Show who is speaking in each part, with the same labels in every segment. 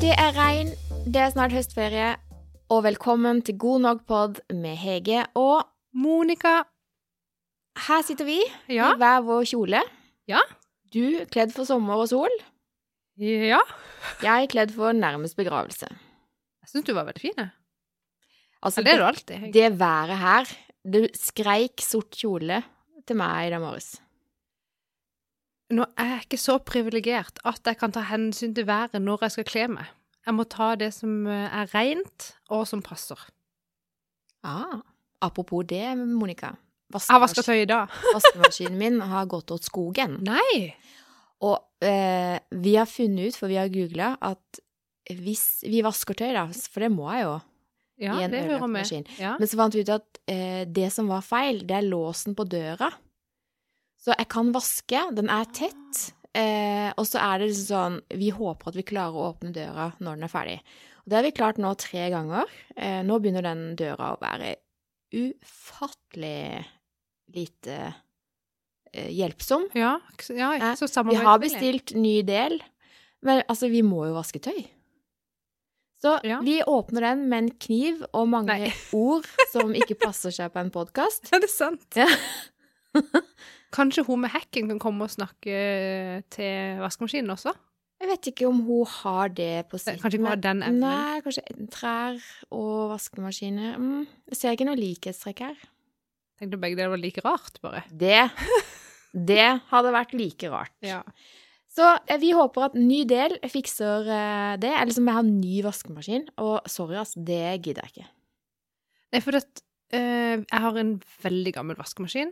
Speaker 1: Det er regn, det er snart høstferie, og velkommen til God nok-pod med Hege. Og
Speaker 2: Monica.
Speaker 1: her sitter vi
Speaker 2: Ja.
Speaker 1: i hver vår kjole.
Speaker 2: Ja.
Speaker 1: Du kledd for sommer og sol,
Speaker 2: Ja.
Speaker 1: jeg kledd for nærmest begravelse.
Speaker 2: Jeg syns du var veldig fin. jeg.
Speaker 1: Altså,
Speaker 2: Ja, det er du alltid.
Speaker 1: det,
Speaker 2: Hege.
Speaker 1: det været her Du skreik sort kjole til meg i dag morges.
Speaker 2: Nå er jeg ikke så privilegert at jeg kan ta hensyn til været når jeg skal kle meg. Jeg må ta det som eh, er rent, og som passer.
Speaker 1: Ah. Apropos det,
Speaker 2: Ah,
Speaker 1: Monica.
Speaker 2: Jeg har vaska tøy i dag.
Speaker 1: Vaskemaskinen min har gått åt skogen.
Speaker 2: Nei!
Speaker 1: Og eh, vi har funnet ut, for vi har googla, at hvis vi vasker tøy, da, for det må jeg jo
Speaker 2: Ja,
Speaker 1: i en
Speaker 2: det hører
Speaker 1: ødelagt
Speaker 2: med.
Speaker 1: maskin
Speaker 2: Ja.
Speaker 1: Men så fant vi ut at eh, det som var feil, det er låsen på døra. Så jeg kan vaske, den er tett. Eh, og så er det liksom sånn Vi håper at vi klarer å åpne døra når den er ferdig. Og det har vi klart nå tre ganger. Eh, nå begynner den døra å være ufattelig lite eh, hjelpsom.
Speaker 2: Ja, k- ja,
Speaker 1: Eh,
Speaker 2: så
Speaker 1: Vi
Speaker 2: samarbeidsvillig.
Speaker 1: har bestilt ny del, men altså, vi må jo vaske tøy. Så
Speaker 2: Ja.
Speaker 1: vi åpner den med en kniv og mange
Speaker 2: Nei.
Speaker 1: ord som ikke passer seg på en podkast.
Speaker 2: Ja, det er sant.
Speaker 1: Ja.
Speaker 2: Kanskje hun med hekken kan komme og snakke eh, til vaskemaskinen også?
Speaker 1: Jeg vet ikke om hun har det på sitt.
Speaker 2: Kanskje ikke
Speaker 1: men-
Speaker 2: bare den evnen.
Speaker 1: Nei, kanskje trær og vaskemaskiner. Mm, jeg ser ikke noe likhetstrekk her.
Speaker 2: Tenkte begge deler var like rart, bare.
Speaker 1: Det, det hadde vært like rart.
Speaker 2: Ja.
Speaker 1: Så eh, vi håper at ny del fikser eh, det. Eller som jeg har ny vaskemaskin. Og sorry, altså, det gidder jeg ikke.
Speaker 2: Nei, for at, eh, jeg har en veldig gammel vaskemaskin.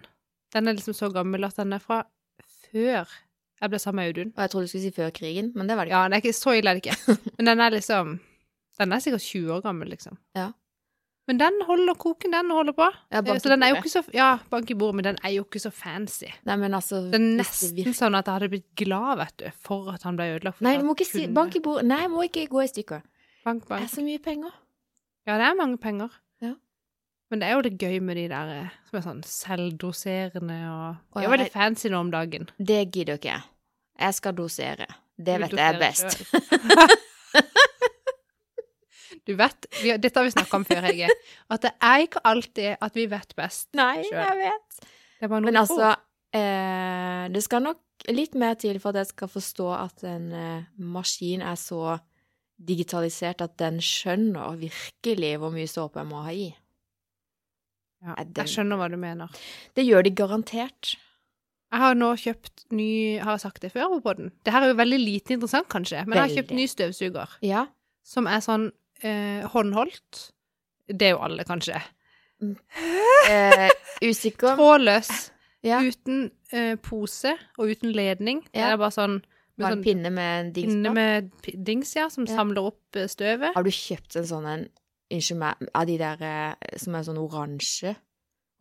Speaker 2: Den er liksom så gammel at den er fra før jeg ble sammen med Audun.
Speaker 1: Og jeg trodde du skulle si før krigen, men det var det ikke.
Speaker 2: Ja, den er ikke, så ille er det ikke. Men den er liksom Den er sikkert 20 år gammel, liksom.
Speaker 1: Ja.
Speaker 2: Men den holder koken, den holder på.
Speaker 1: Ja, bank
Speaker 2: Eh,
Speaker 1: i
Speaker 2: så den er jo
Speaker 1: bordet.
Speaker 2: ikke så Ja, bank i bordet, men den er jo ikke så fancy.
Speaker 1: Nei, men altså
Speaker 2: Det
Speaker 1: hvis
Speaker 2: er
Speaker 1: det
Speaker 2: nesten
Speaker 1: virker-
Speaker 2: sånn at jeg hadde blitt glad, vet du, for at han ble ødelagt. for
Speaker 1: Nei,
Speaker 2: at
Speaker 1: du må ikke si
Speaker 2: kunne-
Speaker 1: Bank i bordet. Nei, må ikke gå i stykker.
Speaker 2: bank,
Speaker 1: Det
Speaker 2: bank.
Speaker 1: er så mye penger.
Speaker 2: Ja, det er mange penger.
Speaker 1: Ja.
Speaker 2: Men det er jo det gøy med de der eh, som er sånn selvdoserende og
Speaker 1: Å,
Speaker 2: Det er
Speaker 1: ja,
Speaker 2: jo veldig
Speaker 1: jeg-
Speaker 2: fancy nå om dagen.
Speaker 1: Det gidder ikke jeg. Jeg skal dosere. Det
Speaker 2: Du
Speaker 1: vet jeg er
Speaker 2: doserer
Speaker 1: best.
Speaker 2: selv. du vet vi, har- Dette har vi snakka om før, Hege. At det er ikke alltid at vi vet best.
Speaker 1: Nei,
Speaker 2: Selv.
Speaker 1: jeg vet.
Speaker 2: Det er bare noe
Speaker 1: Men
Speaker 2: vi
Speaker 1: altså,
Speaker 2: får.
Speaker 1: eh, det skal nok litt mer til for at jeg skal forstå at en eh, maskin er så digitalisert at den skjønner virkelig hvor mye såpe jeg må ha i.
Speaker 2: ja,
Speaker 1: er den-
Speaker 2: Jeg skjønner hva du mener.
Speaker 1: Det gjør de garantert.
Speaker 2: Jeg har nå kjøpt ny Har jeg sagt det før på den? Det her er jo veldig lite interessant, kanskje, men jeg har
Speaker 1: Veldig.
Speaker 2: kjøpt ny støvsuger.
Speaker 1: Ja.
Speaker 2: Som er sånn eh, håndholdt. Det er jo alle, kanskje.
Speaker 1: Eh, usikker.
Speaker 2: Trådløs.
Speaker 1: Ja.
Speaker 2: Uten eh, pose og uten ledning. Det
Speaker 1: Ja.
Speaker 2: er bare sånn med
Speaker 1: Bare en
Speaker 2: sånn
Speaker 1: pinne med en dings
Speaker 2: pinne
Speaker 1: på.
Speaker 2: med pi- dings, ja, som
Speaker 1: Ja.
Speaker 2: samler opp eh, støvet.
Speaker 1: Har du kjøpt en sånn en Unnskyld meg, av de der eh, som er sånn oransje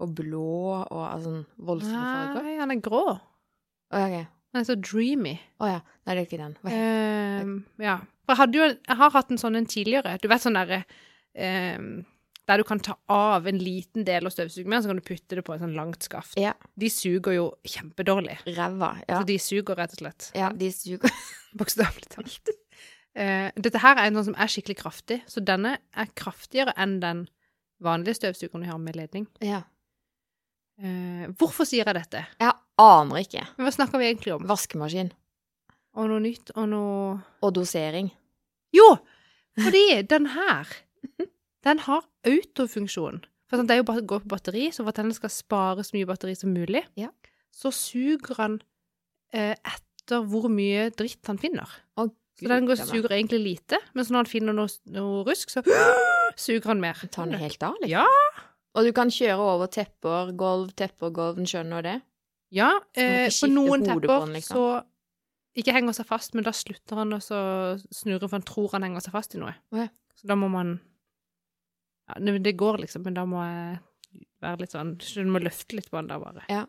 Speaker 1: og blå og av sånn voldsomme farger?
Speaker 2: Nei, han er grå.
Speaker 1: Å ja, ok.
Speaker 2: Han er så dreamy.
Speaker 1: Å ja. Nei, det er ikke den. Hva-
Speaker 2: Ehm, ja. For jeg, hadde jo, en- jeg har hatt en sånn en tidligere. Du vet sånn derre ehm, Der du kan ta av en liten del av støvsugen, med, så kan du putte det på en sånn langt skaft.
Speaker 1: Ja.
Speaker 2: De suger jo kjempedårlig.
Speaker 1: Ræva. Ja.
Speaker 2: Så de suger, rett og slett.
Speaker 1: ja. De suger
Speaker 2: Bokstavelig talt. Eh, dette her er en sånn som er skikkelig kraftig, så denne er kraftigere enn den vanlige støvsugeren vi har med ledning.
Speaker 1: Ja.
Speaker 2: Eh, hvorfor sier jeg dette?
Speaker 1: Jeg aner ikke.
Speaker 2: Men Hva snakker vi egentlig om?
Speaker 1: Vaskemaskin
Speaker 2: Og noe nytt, og noe
Speaker 1: og dosering.
Speaker 2: Jo! Fordi den her, den har autofunksjon. For sånn, det er jo bare går på batteri, så for at den skal spare så mye batteri som mulig,
Speaker 1: Ja.
Speaker 2: så suger han eh, etter hvor mye dritt han finner.
Speaker 1: Å,
Speaker 2: Så den går,
Speaker 1: gud,
Speaker 2: suger egentlig lite, men så når han finner noe, noe rusk, så suger han mer.
Speaker 1: Tar den helt av, liksom?
Speaker 2: Ja.
Speaker 1: Og du kan kjøre over tepper, gulv, tepper, gulv. Den skjønner det.
Speaker 2: Ja,
Speaker 1: må
Speaker 2: eh,
Speaker 1: ikke
Speaker 2: på
Speaker 1: skifte
Speaker 2: noen
Speaker 1: hodet på
Speaker 2: tepper
Speaker 1: den, liksom.
Speaker 2: så Ikke henger seg fast, men da slutter han også å snurre, for han tror han henger seg fast i noe.
Speaker 1: Å ja.
Speaker 2: Så da må man ja, det- Det går, liksom, men da må jeg være litt sånn Du må løfte litt på den der, bare.
Speaker 1: Ja.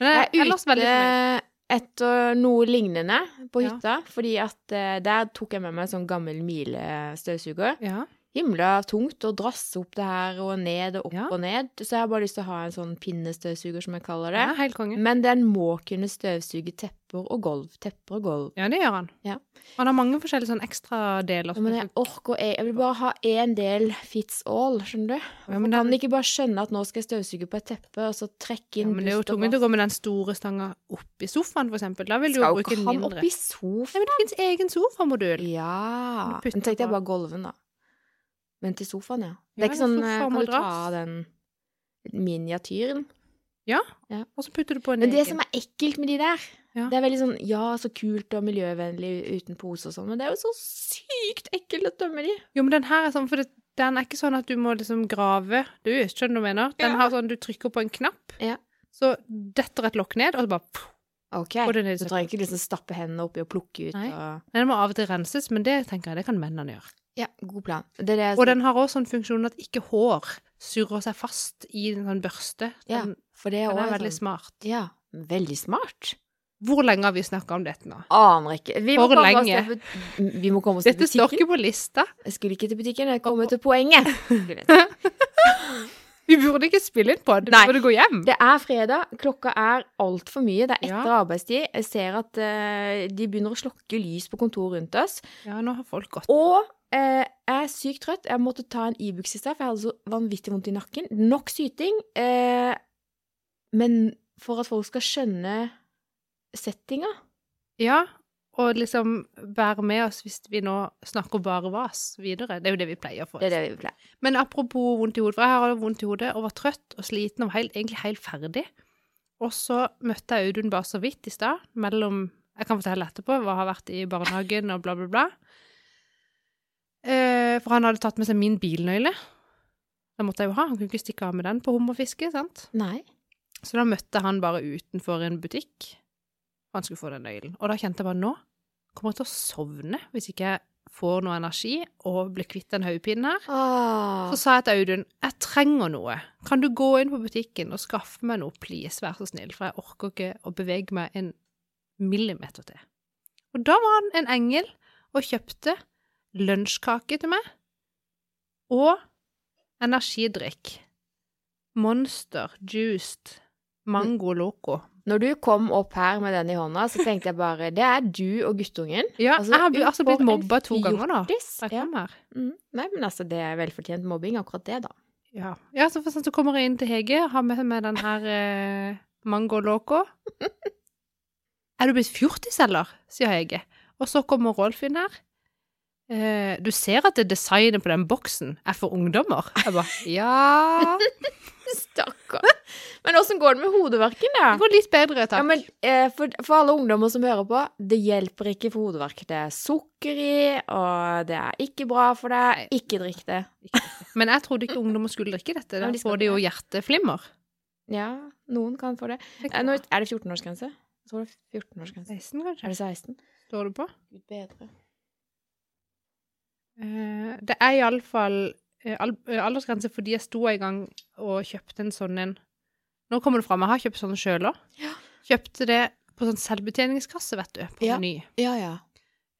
Speaker 2: Men Eh, jeg,
Speaker 1: Jeg
Speaker 2: er ellers
Speaker 1: er
Speaker 2: veldig fornøyd.
Speaker 1: ute etter noe lignende på
Speaker 2: Ja.
Speaker 1: hytta, fordi at eh, der tok jeg med meg en sånn gammel milestøvsuger.
Speaker 2: Ja.
Speaker 1: himla tungt å drasse opp det her og ned og opp
Speaker 2: Ja.
Speaker 1: og ned. Så jeg har bare lyst til å ha en sånn pinnestøvsuger, som jeg kaller det. Mm.
Speaker 2: Ja, helt konge.
Speaker 1: Men den må kunne støvsuge tepper og gulv, tepper og gulv.
Speaker 2: Ja, det gjør han.
Speaker 1: Ja.
Speaker 2: Han har mange forskjellige sånn ekstra deler.
Speaker 1: Ja, Men jeg orker e-, jeg, jeg vil bare ha én del fits all, skjønner du?
Speaker 2: Ja,
Speaker 1: Man
Speaker 2: men
Speaker 1: kan
Speaker 2: den-
Speaker 1: ikke bare skjønne at nå skal jeg støvsuge på et teppe, og så trekke
Speaker 2: ja,
Speaker 1: inn
Speaker 2: men det er jo
Speaker 1: dust og
Speaker 2: tungvint å
Speaker 1: vask.
Speaker 2: gå med den store stanga opp i sofaen, for eksempel. Da vil du
Speaker 1: Skal
Speaker 2: jo
Speaker 1: jo
Speaker 2: bruke
Speaker 1: ikke
Speaker 2: den
Speaker 1: han
Speaker 2: mindre.
Speaker 1: opp i sofaen?
Speaker 2: Nei, men det fins egen sofamodul.
Speaker 1: Ja.
Speaker 2: Du putter
Speaker 1: Men tenk deg
Speaker 2: på.
Speaker 1: bare gulven, da. Men til sofaen, ja.
Speaker 2: Ja,
Speaker 1: Det er ikke
Speaker 2: ja,
Speaker 1: sånn
Speaker 2: sofa
Speaker 1: eh, Kan
Speaker 2: og
Speaker 1: du ta
Speaker 2: madrass.
Speaker 1: av den miniatyren?
Speaker 2: Og så putter du på en
Speaker 1: Men det
Speaker 2: egen.
Speaker 1: som er ekkelt med de der,
Speaker 2: Ja.
Speaker 1: det er veldig sånn ja, så kult og miljøvennlig uten pose og sånn, men det er jo så sykt ekkelt å tømme de.
Speaker 2: Jo, men den her er sånn, for det, den er ikke sånn at du må liksom grave. Du skjønner du hva jeg mener? Den
Speaker 1: Ja.
Speaker 2: har sånn, du trykker på en knapp,
Speaker 1: Ja.
Speaker 2: så detter et lokk ned, og så bare pff,
Speaker 1: Ok.
Speaker 2: går det ned i
Speaker 1: Du
Speaker 2: søpla.
Speaker 1: trenger ikke liksom stappe hendene oppi og plukke ut
Speaker 2: Nei.
Speaker 1: og
Speaker 2: Den må av og til renses, men det tenker jeg, det kan mennene gjøre.
Speaker 1: Ja, god plan. Det er det jeg
Speaker 2: Og den har også sånn funksjon at ikke hår surrer seg fast i en sånn børste.
Speaker 1: Ja,
Speaker 2: Den,
Speaker 1: For det er
Speaker 2: den
Speaker 1: også
Speaker 2: er
Speaker 1: en
Speaker 2: veldig
Speaker 1: sånn
Speaker 2: smart.
Speaker 1: Ja. Veldig smart.
Speaker 2: Hvor lenge har vi snakka om dette nå?
Speaker 1: Aner ikke. Vi må
Speaker 2: For
Speaker 1: komme oss
Speaker 2: lenge.
Speaker 1: til but- Vi må komme oss til
Speaker 2: Dette står
Speaker 1: butikken.
Speaker 2: ikke på lista.
Speaker 1: Jeg skulle ikke til butikken, jeg kommer til poenget.
Speaker 2: Vi burde ikke spille inn på det.
Speaker 1: Nei.
Speaker 2: Vi burde gå hjem.
Speaker 1: Det er fredag, klokka er altfor mye. Det er
Speaker 2: Ja.
Speaker 1: etter arbeidstid. Jeg ser at eh, de begynner å slokke lys på kontoret rundt oss.
Speaker 2: Ja, nå har folk gått.
Speaker 1: Og eh, jeg er sykt trøtt. Jeg måtte ta en Ibux i stad, for jeg hadde så vanvittig vondt i nakken. Nok syting. Eh, men for at folk skal skjønne settinga
Speaker 2: Ja, og liksom være med oss hvis vi nå snakker bare vas videre. Det er jo det vi pleier for.
Speaker 1: Det er det vi pleier.
Speaker 2: Men apropos vondt i hodet, for jeg har vondt i hodet og var trøtt og sliten og var helt, egentlig helt ferdig. Og så møtte jeg Audun bare så vidt i stad, mellom Jeg kan fortelle etterpå hva jeg har vært i barnehagen og bla, bla, bla. Eh, for han hadde tatt med seg min bilnøyle. Den måtte jeg jo ha, han kunne ikke stikke av med den på hummerfiske, sant?
Speaker 1: Nei.
Speaker 2: Så da møtte han bare utenfor en butikk, og han skulle få den nøylen. Og da kjente jeg bare nå kommer jeg til å sovne hvis ikke jeg får noe energi og blir kvitt den hodepinen her.
Speaker 1: Åh.
Speaker 2: Så sa jeg til Audun jeg trenger noe. Kan du gå inn på butikken og skaffe meg noe, please? Vær så snill, for jeg orker ikke å bevege meg en millimeter til. Og da var han en engel og kjøpte lunsjkake til meg og energidrikk. Monster Juiced Mango Loco.
Speaker 1: Når du kom opp her med den i hånda, så tenkte jeg bare Det er du og guttungen.
Speaker 2: Ja,
Speaker 1: Altså,
Speaker 2: jeg har bl-
Speaker 1: ut
Speaker 2: altså
Speaker 1: for
Speaker 2: blitt
Speaker 1: en
Speaker 2: mobba to ganger nå.
Speaker 1: Artis.
Speaker 2: Jeg
Speaker 1: Ja.
Speaker 2: kom her.
Speaker 1: Mm. Nei, men altså, det er velfortjent mobbing, akkurat det, da.
Speaker 2: Ja. ja, så for sånn så kommer jeg inn til Hege, har med meg den her eh, mango loco. Er du blitt fjortis, eller? sier Hege. Og så kommer Rolf inn her. Eh, du ser at det designet på den boksen er for ungdommer? Jeg bare ja
Speaker 1: Stakkar. Men åssen går det med hodeverken, da?
Speaker 2: Det går litt bedre, takk.
Speaker 1: Ja, men eh, for, for alle ungdommer som hører på, det hjelper ikke for hodeverk. Det er sukker i, og det er ikke bra for deg. Ikke drikk det.
Speaker 2: Men jeg trodde ikke ungdommer skulle drikke
Speaker 1: Ja,
Speaker 2: dette. Da
Speaker 1: men de skal
Speaker 2: får de jo hjerteflimmer.
Speaker 1: Ja, noen kan få det.
Speaker 2: Det
Speaker 1: Eh,
Speaker 2: kan
Speaker 1: nå,
Speaker 2: være
Speaker 1: er det 14-årsgrense? Jeg tror det er 14-årsgrense.
Speaker 2: 16,
Speaker 1: Er
Speaker 2: kanskje.
Speaker 1: det 16?
Speaker 2: Står det på?
Speaker 1: Gud bedre.
Speaker 2: Eh, Det er iallfall eh, aldersgrense fordi jeg sto en gang og kjøpte en sånn en Nå kommer det fram, jeg har kjøpt sånne sjøl òg. Kjøpte det på sånn selvbetjeningskasse, vet du, på
Speaker 1: Ja.
Speaker 2: Meny.
Speaker 1: Ja, ja.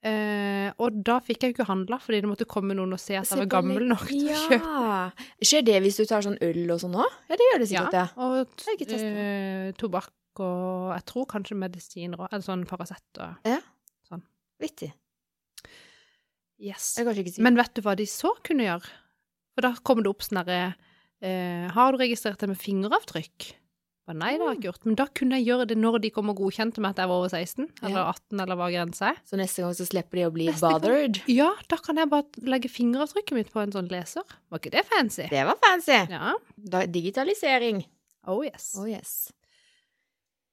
Speaker 2: Eh, og da fikk jeg jo ikke handla, fordi det måtte komme noen og se at jeg var gammel nok til å kjøpe.
Speaker 1: Ja. Skjer det hvis du tar sånn øl og sånn òg? Ja, det gjør det sikkert, ja.
Speaker 2: Og
Speaker 1: har ikke testet det.
Speaker 2: eh, tobakk og jeg tror kanskje medisiner òg, eller sånn Paracet og
Speaker 1: Vittig.
Speaker 2: Yes.
Speaker 1: Det er kanskje ikke sikkert.
Speaker 2: Men vet du hva de så kunne gjøre? For da kom det opp sånn derre eh, Har du registrert det med fingeravtrykk? Å, nei,
Speaker 1: Mm.
Speaker 2: det har jeg ikke gjort. Men da kunne jeg gjøre det når de kom og godkjente meg at jeg var over 16, eller
Speaker 1: Ja.
Speaker 2: 18, eller hva grensa er.
Speaker 1: Så neste gang så slipper de å bli
Speaker 2: Neste gang.
Speaker 1: bothered?
Speaker 2: Ja, da kan jeg bare legge fingeravtrykket mitt på en sånn leser. Var ikke det fancy?
Speaker 1: Det var fancy.
Speaker 2: Ja.
Speaker 1: Da, digitalisering.
Speaker 2: Oh yes.
Speaker 1: Oh yes.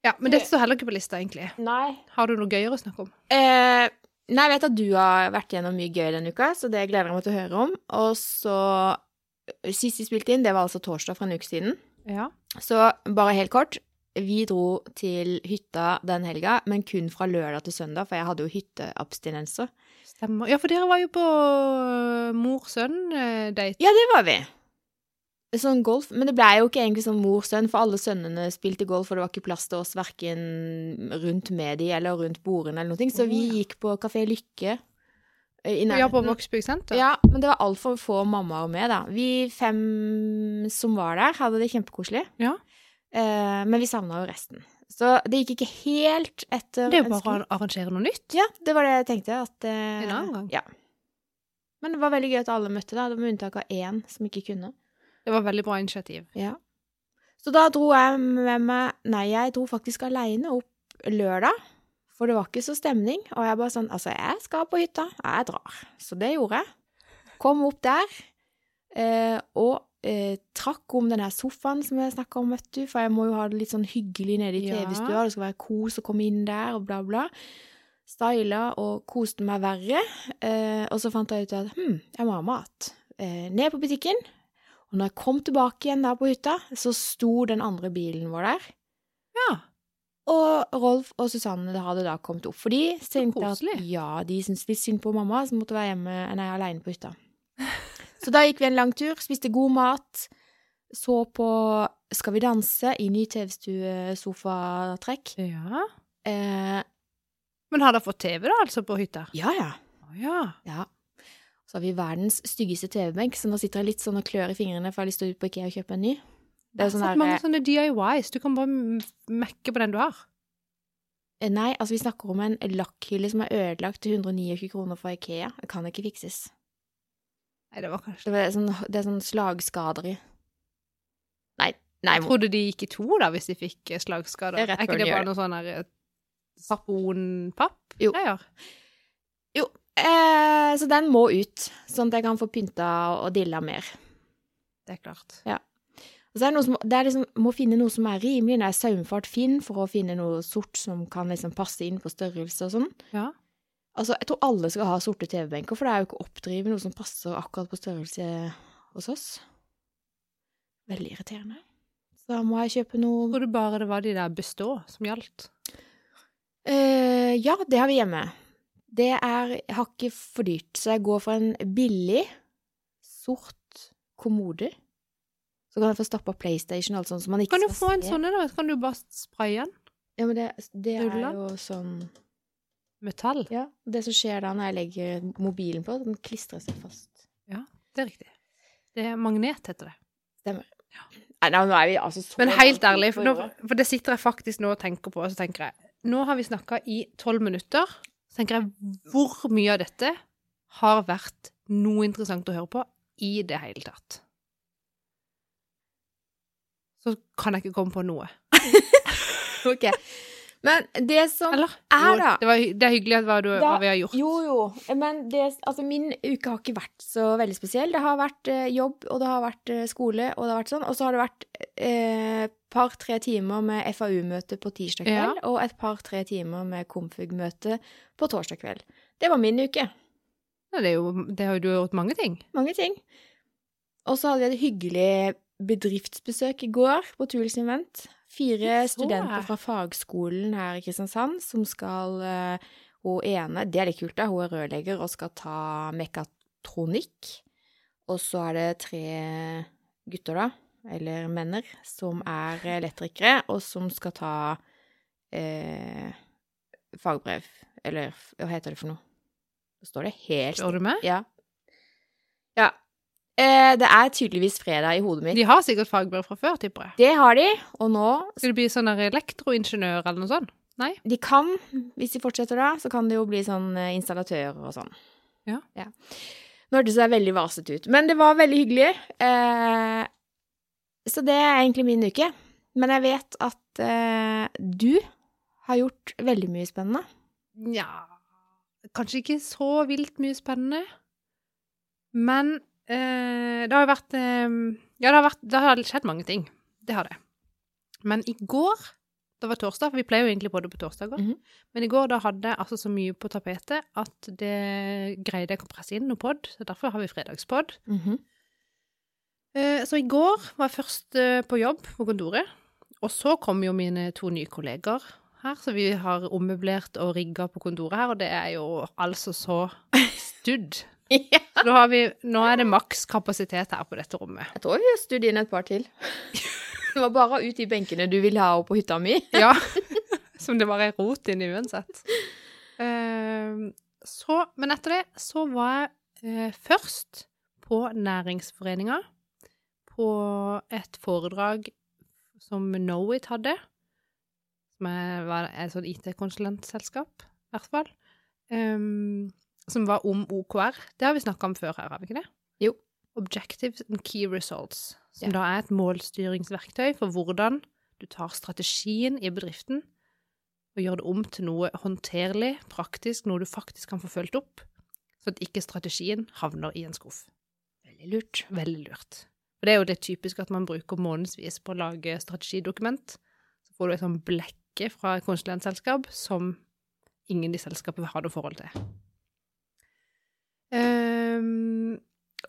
Speaker 2: Ja, Men det står heller ikke på lista, egentlig.
Speaker 1: Nei.
Speaker 2: Har du noe gøyere å snakke om?
Speaker 1: Eh, nei, jeg vet at du har vært gjennom mye gøy denne uka, så det gleder jeg meg til å høre om. Og så eh, Sist vi spilte inn, det var altså torsdag for en uke siden.
Speaker 2: Ja.
Speaker 1: Så bare helt kort. Vi dro til hytta den helga, men kun fra lørdag til søndag, for jeg hadde jo hytteabstinenser.
Speaker 2: Stemmer. Ja, for dere var jo på eh, mor-sønn-date.
Speaker 1: Ja, det var vi. Sånn golf. Men det ble jo ikke egentlig sånn mor-sønn, for alle sønnene spilte golf, og det var ikke plass til oss verken rundt med de eller rundt bordene eller noe. Så vi
Speaker 2: Å, ja.
Speaker 1: gikk på Kafé Lykke eh, I
Speaker 2: Ja, på
Speaker 1: nærheten.
Speaker 2: Vågsbygd senter?
Speaker 1: Ja, men det var altfor få mammaer med, da. Vi fem som var der, hadde det kjempekoselig.
Speaker 2: Ja.
Speaker 1: Eh, men vi savna jo resten. Så det gikk ikke helt etter
Speaker 2: Det er jo bare
Speaker 1: ønskene.
Speaker 2: å arrangere noe nytt.
Speaker 1: Ja, det var det jeg tenkte. At, eh,
Speaker 2: En annen gang.
Speaker 1: Ja. Men det var veldig gøy at alle møtte, da, med unntak av én som ikke kunne.
Speaker 2: Det var veldig bra initiativ.
Speaker 1: Ja. Så da dro jeg med meg Nei, jeg dro faktisk aleine opp lørdag. For det var ikke så stemning. Og jeg bare sånn Altså, jeg skal på hytta. Jeg drar. Så det gjorde jeg. Kom opp der. eh, og eh, trakk om den her sofaen som jeg snakka om, vet du. For jeg må jo ha det litt sånn hyggelig nede i
Speaker 2: Ja.
Speaker 1: TV-stua. Det skal være kos å komme inn der, og bla, bla. Styla og koste meg verre. Eh, og så fant jeg ut at hm, jeg må ha mat. Eh, ned på butikken. Og når jeg kom tilbake igjen der på hytta, så sto den andre bilen vår der.
Speaker 2: Ja.
Speaker 1: Og Rolf og Susanne hadde da kommet opp. For de tenkte at
Speaker 2: koselig.
Speaker 1: ja, de syntes litt synd på mamma, som måtte være hjemme nei, aleine på hytta. Så da gikk vi en lang tur, spiste god mat, så på Skal vi danse i ny TV-stue-sofatrekk.
Speaker 2: ja.
Speaker 1: Eh,
Speaker 2: Men har dere fått TV, da, altså, på hytta?
Speaker 1: ja, ja.
Speaker 2: Å ja.
Speaker 1: Ja. Så har vi verdens styggeste TV-benk, så nå sitter jeg litt sånn og klør i fingrene, for jeg har lyst til å ut på IKEA og kjøpe en ny. Det er jo
Speaker 2: Jeg
Speaker 1: sånn
Speaker 2: har
Speaker 1: der,
Speaker 2: sett mange sånne DIYs. Du kan bare m- mekke på den du har.
Speaker 1: eh, Nei, altså vi snakker om en lakkhylle som er ødelagt til 129 kroner fra IKEA. Det kan ikke fikses.
Speaker 2: Nei, det var kanskje
Speaker 1: Det er sånn, det er sånn slagskader i. Nei, nei,
Speaker 2: Jeg trodde de gikk i to, da, hvis de fikk eh, slagskader.
Speaker 1: Det er rett
Speaker 2: ikke
Speaker 1: før
Speaker 2: det
Speaker 1: de gjør
Speaker 2: bare noe sånn her eh, sponpapp?
Speaker 1: Jo.
Speaker 2: Greier?
Speaker 1: Eh, så den må ut, sånn at jeg kan få pynta og dilla mer.
Speaker 2: Det er klart.
Speaker 1: Og så er det, noe som, det er liksom, må finne noe som er rimelig, når jeg saumfart Finn, for å finne noe sort som kan liksom passe inn på størrelse og sånn.
Speaker 2: Ja.
Speaker 1: Altså, jeg tror alle skal ha sorte TV-benker, for det er jo ikke å oppdrive noe som passer akkurat på størrelse hos oss. Veldig irriterende. Så da må jeg kjøpe
Speaker 2: Jeg
Speaker 1: noe
Speaker 2: trodde bare det var de der bestå som gjaldt.
Speaker 1: eh, Ja, det har vi hjemme. Det er hakket for dyrt, så jeg går for en billig, sort kommode. Så kan jeg få stappa PlayStation og alt sånt, så man ikke
Speaker 2: Kan du få
Speaker 1: skal
Speaker 2: en
Speaker 1: se.
Speaker 2: sånn en, da? Kan du bare spraye den?
Speaker 1: Ja, men det, det er
Speaker 2: Rullant?
Speaker 1: jo sånn
Speaker 2: Metall?
Speaker 1: Ja, det som skjer da når jeg legger mobilen på, den klistrer seg fast.
Speaker 2: Det er riktig. Det er magnet, heter det.
Speaker 1: Nei, nei, nå er vi altså så
Speaker 2: Men helt ærlig, for, nå, for det sitter jeg faktisk nå og tenker på, og så tenker jeg Nå har vi snakka i tolv minutter. Så tenker jeg hvor mye av dette har vært noe interessant å høre på i det hele tatt? Så kan jeg ikke komme på noe.
Speaker 1: Ok. Men det som
Speaker 2: Eller?
Speaker 1: Sånn Er
Speaker 2: Jo,
Speaker 1: da-
Speaker 2: Det, var, hy- det er hyggelig at hva, du,
Speaker 1: Da-
Speaker 2: hva vi har gjort.
Speaker 1: Jo, jo. Men det, altså, min uke har ikke vært så veldig spesiell. Det har vært eh, jobb, og det har vært eh, skole, og det har vært sånn. Og så har det vært eh, par-tre timer med FAU-møte på tirsdag
Speaker 2: Ja.
Speaker 1: kveld, og et par-tre timer med Komfug-møte på torsdag kveld. Det var min uke.
Speaker 2: Ja, det er jo, det har jo du gjort mange ting.
Speaker 1: Mange ting. Og så hadde vi et hyggelig bedriftsbesøk i går på Tuls Invent. Fire
Speaker 2: Jeg så
Speaker 1: studenter
Speaker 2: det.
Speaker 1: fra fagskolen her i Kristiansand som skal eh, Hun ene, det er litt kult, da, hun er rørlegger og skal ta mekatronikk. Og så er det tre gutter, da, eller menner, som er elektrikere, og som skal ta eh, fagbrev. Eller hva heter det for noe? Nå står det helt
Speaker 2: Spør du meg?
Speaker 1: ja. ja. Eh, det er tydeligvis fredag i hodet mitt.
Speaker 2: De har sikkert fagbrev fra før, tipper jeg.
Speaker 1: Det har de, og nå
Speaker 2: Skal du bli sånn der elektroingeniør eller noe sånt? Nei?
Speaker 1: De kan, hvis de fortsetter da, så kan det jo bli sånn eh, installatører og sånn.
Speaker 2: Ja.
Speaker 1: Nå hørtes jeg veldig varset ut, men det var veldig hyggelig. Eh, så det er egentlig min uke. Men jeg vet at eh, du har gjort veldig mye spennende.
Speaker 2: Nja Kanskje ikke så vilt mye spennende. Men eh, det har jo vært eh, Ja, det har, vært, det har skjedd mange ting. Det har det. Men i går Det var torsdag, for vi pleier jo egentlig på det på torsdager.
Speaker 1: Mhm.
Speaker 2: Men i går da hadde jeg altså så mye på tapetet at det greide jeg ikke å presse inn noe pod. Så derfor har vi fredagspod. Eh, Så i går var jeg først eh, på jobb på kontoret, og så kom jo mine to nye kolleger her, så vi har ommøblert og rigga på kontoret her, og det er jo altså så studd.
Speaker 1: Ja.
Speaker 2: Så Nå, har vi, nå er det maks kapasitet her på dette rommet.
Speaker 1: Jeg tror vi har studd inn et par til. Det var bare ut de benkene du ville ha opp på hytta mi.
Speaker 2: Ja, Som det bare er rot inni uansett. Eh, Så, men etter det så var jeg eh, først på Næringsforeninga, på et foredrag som Knowit hadde, som er- var et sånt IT-konsulentselskap, i hvert fall, em, som var om OKR. Det har vi snakka om før her, har vi ikke det?
Speaker 1: Jo.
Speaker 2: Objectives and Key Results, som
Speaker 1: Ja.
Speaker 2: da er et målstyringsverktøy for hvordan du tar strategien i bedriften og gjør det om til noe håndterlig, praktisk, noe du faktisk kan få fulgt opp, så at ikke strategien havner i en skuff.
Speaker 1: Veldig lurt.
Speaker 2: Veldig lurt. For det er jo det typiske at man bruker månedsvis på å lage strategidokument. Så får du et sånt blekke fra et konsulentselskap som ingen i selskapet har noe forhold til. Ehm,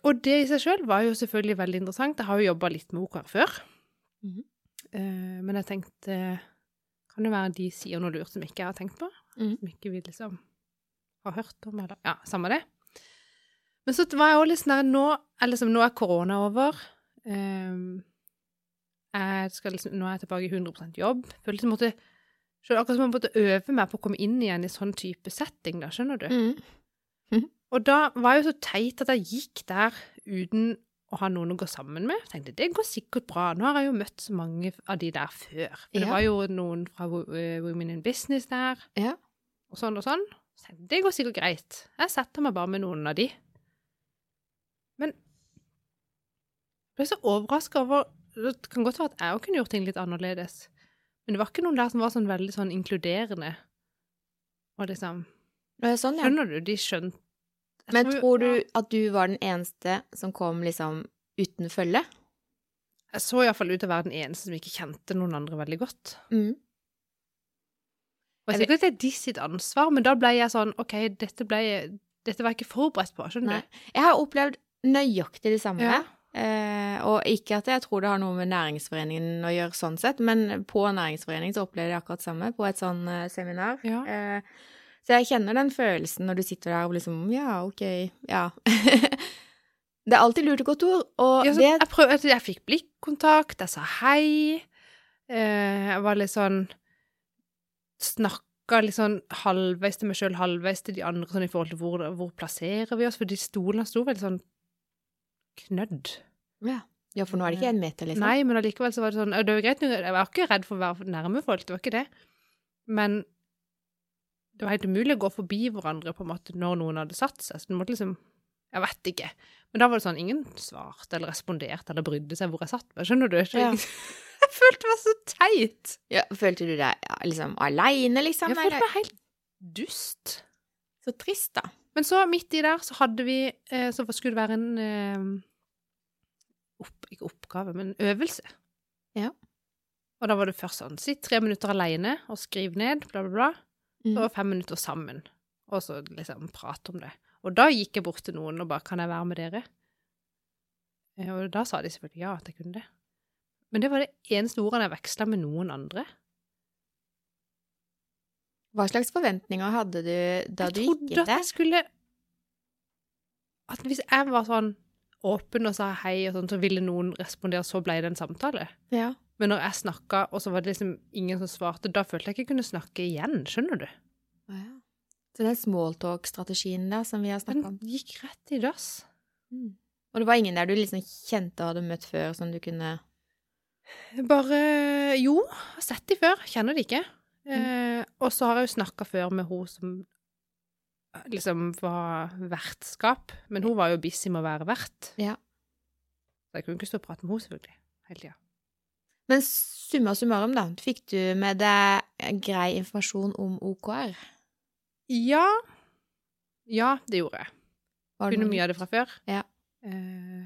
Speaker 2: og det i seg sjøl var jo selvfølgelig veldig interessant. Jeg har jo jobba litt med OKR før.
Speaker 1: Mhm.
Speaker 2: Eh, men jeg tenkte Kan det være de sier noe lurt som ikke jeg har tenkt på?
Speaker 1: Mhm.
Speaker 2: Som ikke vi liksom har hørt om, eller Ja, samme det. Men så var jeg også litt sånn her, nå, er liksom, nå er korona over. Ehm, jeg skal liksom, nå er jeg tilbake i 100 jobb. Føler liksom måtte, selv akkurat som jeg måtte øve meg på å komme inn igjen i sånn type setting, da, skjønner du.
Speaker 1: Mm.
Speaker 2: Og da var jeg jo så teit at jeg gikk der uten å ha noen å gå sammen med. Jeg tenkte, det går sikkert bra. Nå har jeg jo møtt så mange av de der før. For det
Speaker 1: Ja.
Speaker 2: var jo noen fra Wo- eh, Women in Business der,
Speaker 1: Ja.
Speaker 2: og sånn og sånn. Så tenkte, jeg, det går sikkert greit. Jeg setter meg bare med noen av de. Men jeg ble så overraska over Det kan godt være at jeg òg kunne gjort ting litt annerledes. Men det var ikke noen der som var sånn veldig sånn inkluderende. Og liksom
Speaker 1: Det er sånn, ja.
Speaker 2: Skjønner du? De skjønte Jeg
Speaker 1: Men tror
Speaker 2: ja.
Speaker 1: du at du var den eneste som kom liksom uten følge?
Speaker 2: Jeg så iallfall ut til å være den eneste som ikke kjente noen andre veldig godt. Og jeg
Speaker 1: Jeg
Speaker 2: sier ikke at det er de sitt ansvar, men da ble jeg sånn OK, dette, ble, dette var jeg ikke forberedt på, skjønner
Speaker 1: Nei. Jeg har opplevd nøyaktig det
Speaker 2: du?
Speaker 1: samme. Eh, og ikke at jeg tror det har noe med næringsforeningen å gjøre sånn sett, men på næringsforeningen så opplevde jeg akkurat det samme på et sånn eh, seminar.
Speaker 2: Ja.
Speaker 1: Eh, så jeg kjenner den følelsen når du sitter der og liksom Ja, ok, ja. det er alltid lurt å gå tur, og
Speaker 2: Ja, så
Speaker 1: det
Speaker 2: jeg, prøv, jeg, jeg fikk blikkontakt, jeg sa hei. Eh, jeg var litt sånn Snakka litt sånn halvveis til meg sjøl, halvveis til de andre, sånn i forhold til hvor, hvor plasserer vi oss, for de stolene sto veldig sånn knødd.
Speaker 1: Ja, for nå er det ikke én meter, liksom.
Speaker 2: Eh, Nei, men allikevel så var det sånn og Det var greit, nok, jeg var ikke redd for å være nærme folk, det var ikke det. Men det var helt umulig å gå forbi hverandre på en måte når noen hadde satt seg. Så du måtte liksom Jeg vet ikke. Men da var det sånn Ingen svarte eller responderte eller brydde seg hvor jeg satt meg. Skjønner du? Så
Speaker 1: Ja.
Speaker 2: Jeg, jeg følte meg så teit.
Speaker 1: Ja, følte du deg ja, liksom aleine, liksom?
Speaker 2: Jeg følte
Speaker 1: Eller-
Speaker 2: meg helt dust.
Speaker 1: Så trist, da.
Speaker 2: Men så midt i der så hadde vi eh, Så skulle det være en eh, opp, Ikke oppgave, men øvelse.
Speaker 1: Ja.
Speaker 2: Og da var det først sånn Sitt tre minutter alene og skriv ned, bla, bla, bla.
Speaker 1: Mm.
Speaker 2: Så fem minutter sammen, og så liksom prate om det. Og da gikk jeg bort til noen og bare 'Kan jeg være med dere?' Eh, Og da sa de selvfølgelig ja, at jeg kunne det. Men det var det eneste ordene jeg veksla med noen andre.
Speaker 1: Hva slags forventninger hadde du da
Speaker 2: jeg
Speaker 1: du gikk
Speaker 2: trodde
Speaker 1: inn
Speaker 2: at
Speaker 1: der?
Speaker 2: jeg skulle At hvis jeg var sånn åpen og sa hei, og sånn, så ville noen respondere, så ble det en samtale.
Speaker 1: Ja.
Speaker 2: Men når jeg snakka, og så var det liksom ingen som svarte, da følte jeg ikke jeg kunne snakke igjen, skjønner du?
Speaker 1: Å, ja. Så den smalltalk-strategien der som vi har
Speaker 2: Den
Speaker 1: snakka om.
Speaker 2: gikk rett i dass.
Speaker 1: Mm. Og det var ingen der du liksom kjente og hadde møtt før, som du kunne
Speaker 2: Bare Jo, jeg har sett de før. Kjenner de ikke.
Speaker 1: Mm.
Speaker 2: Eh, og så har jeg jo snakka før med hun som eh, liksom var vertskap, men hun var jo busy med å være vert.
Speaker 1: Ja.
Speaker 2: Så jeg kunne ikke stå og prate med henne, selvfølgelig, hele tida.
Speaker 1: Men summa summarum, da, fikk du med deg grei informasjon om OKR?
Speaker 2: Ja. Ja, det gjorde jeg.
Speaker 1: Var
Speaker 2: Kunne
Speaker 1: noe-
Speaker 2: mye av det fra før.
Speaker 1: Ja.
Speaker 2: Eh,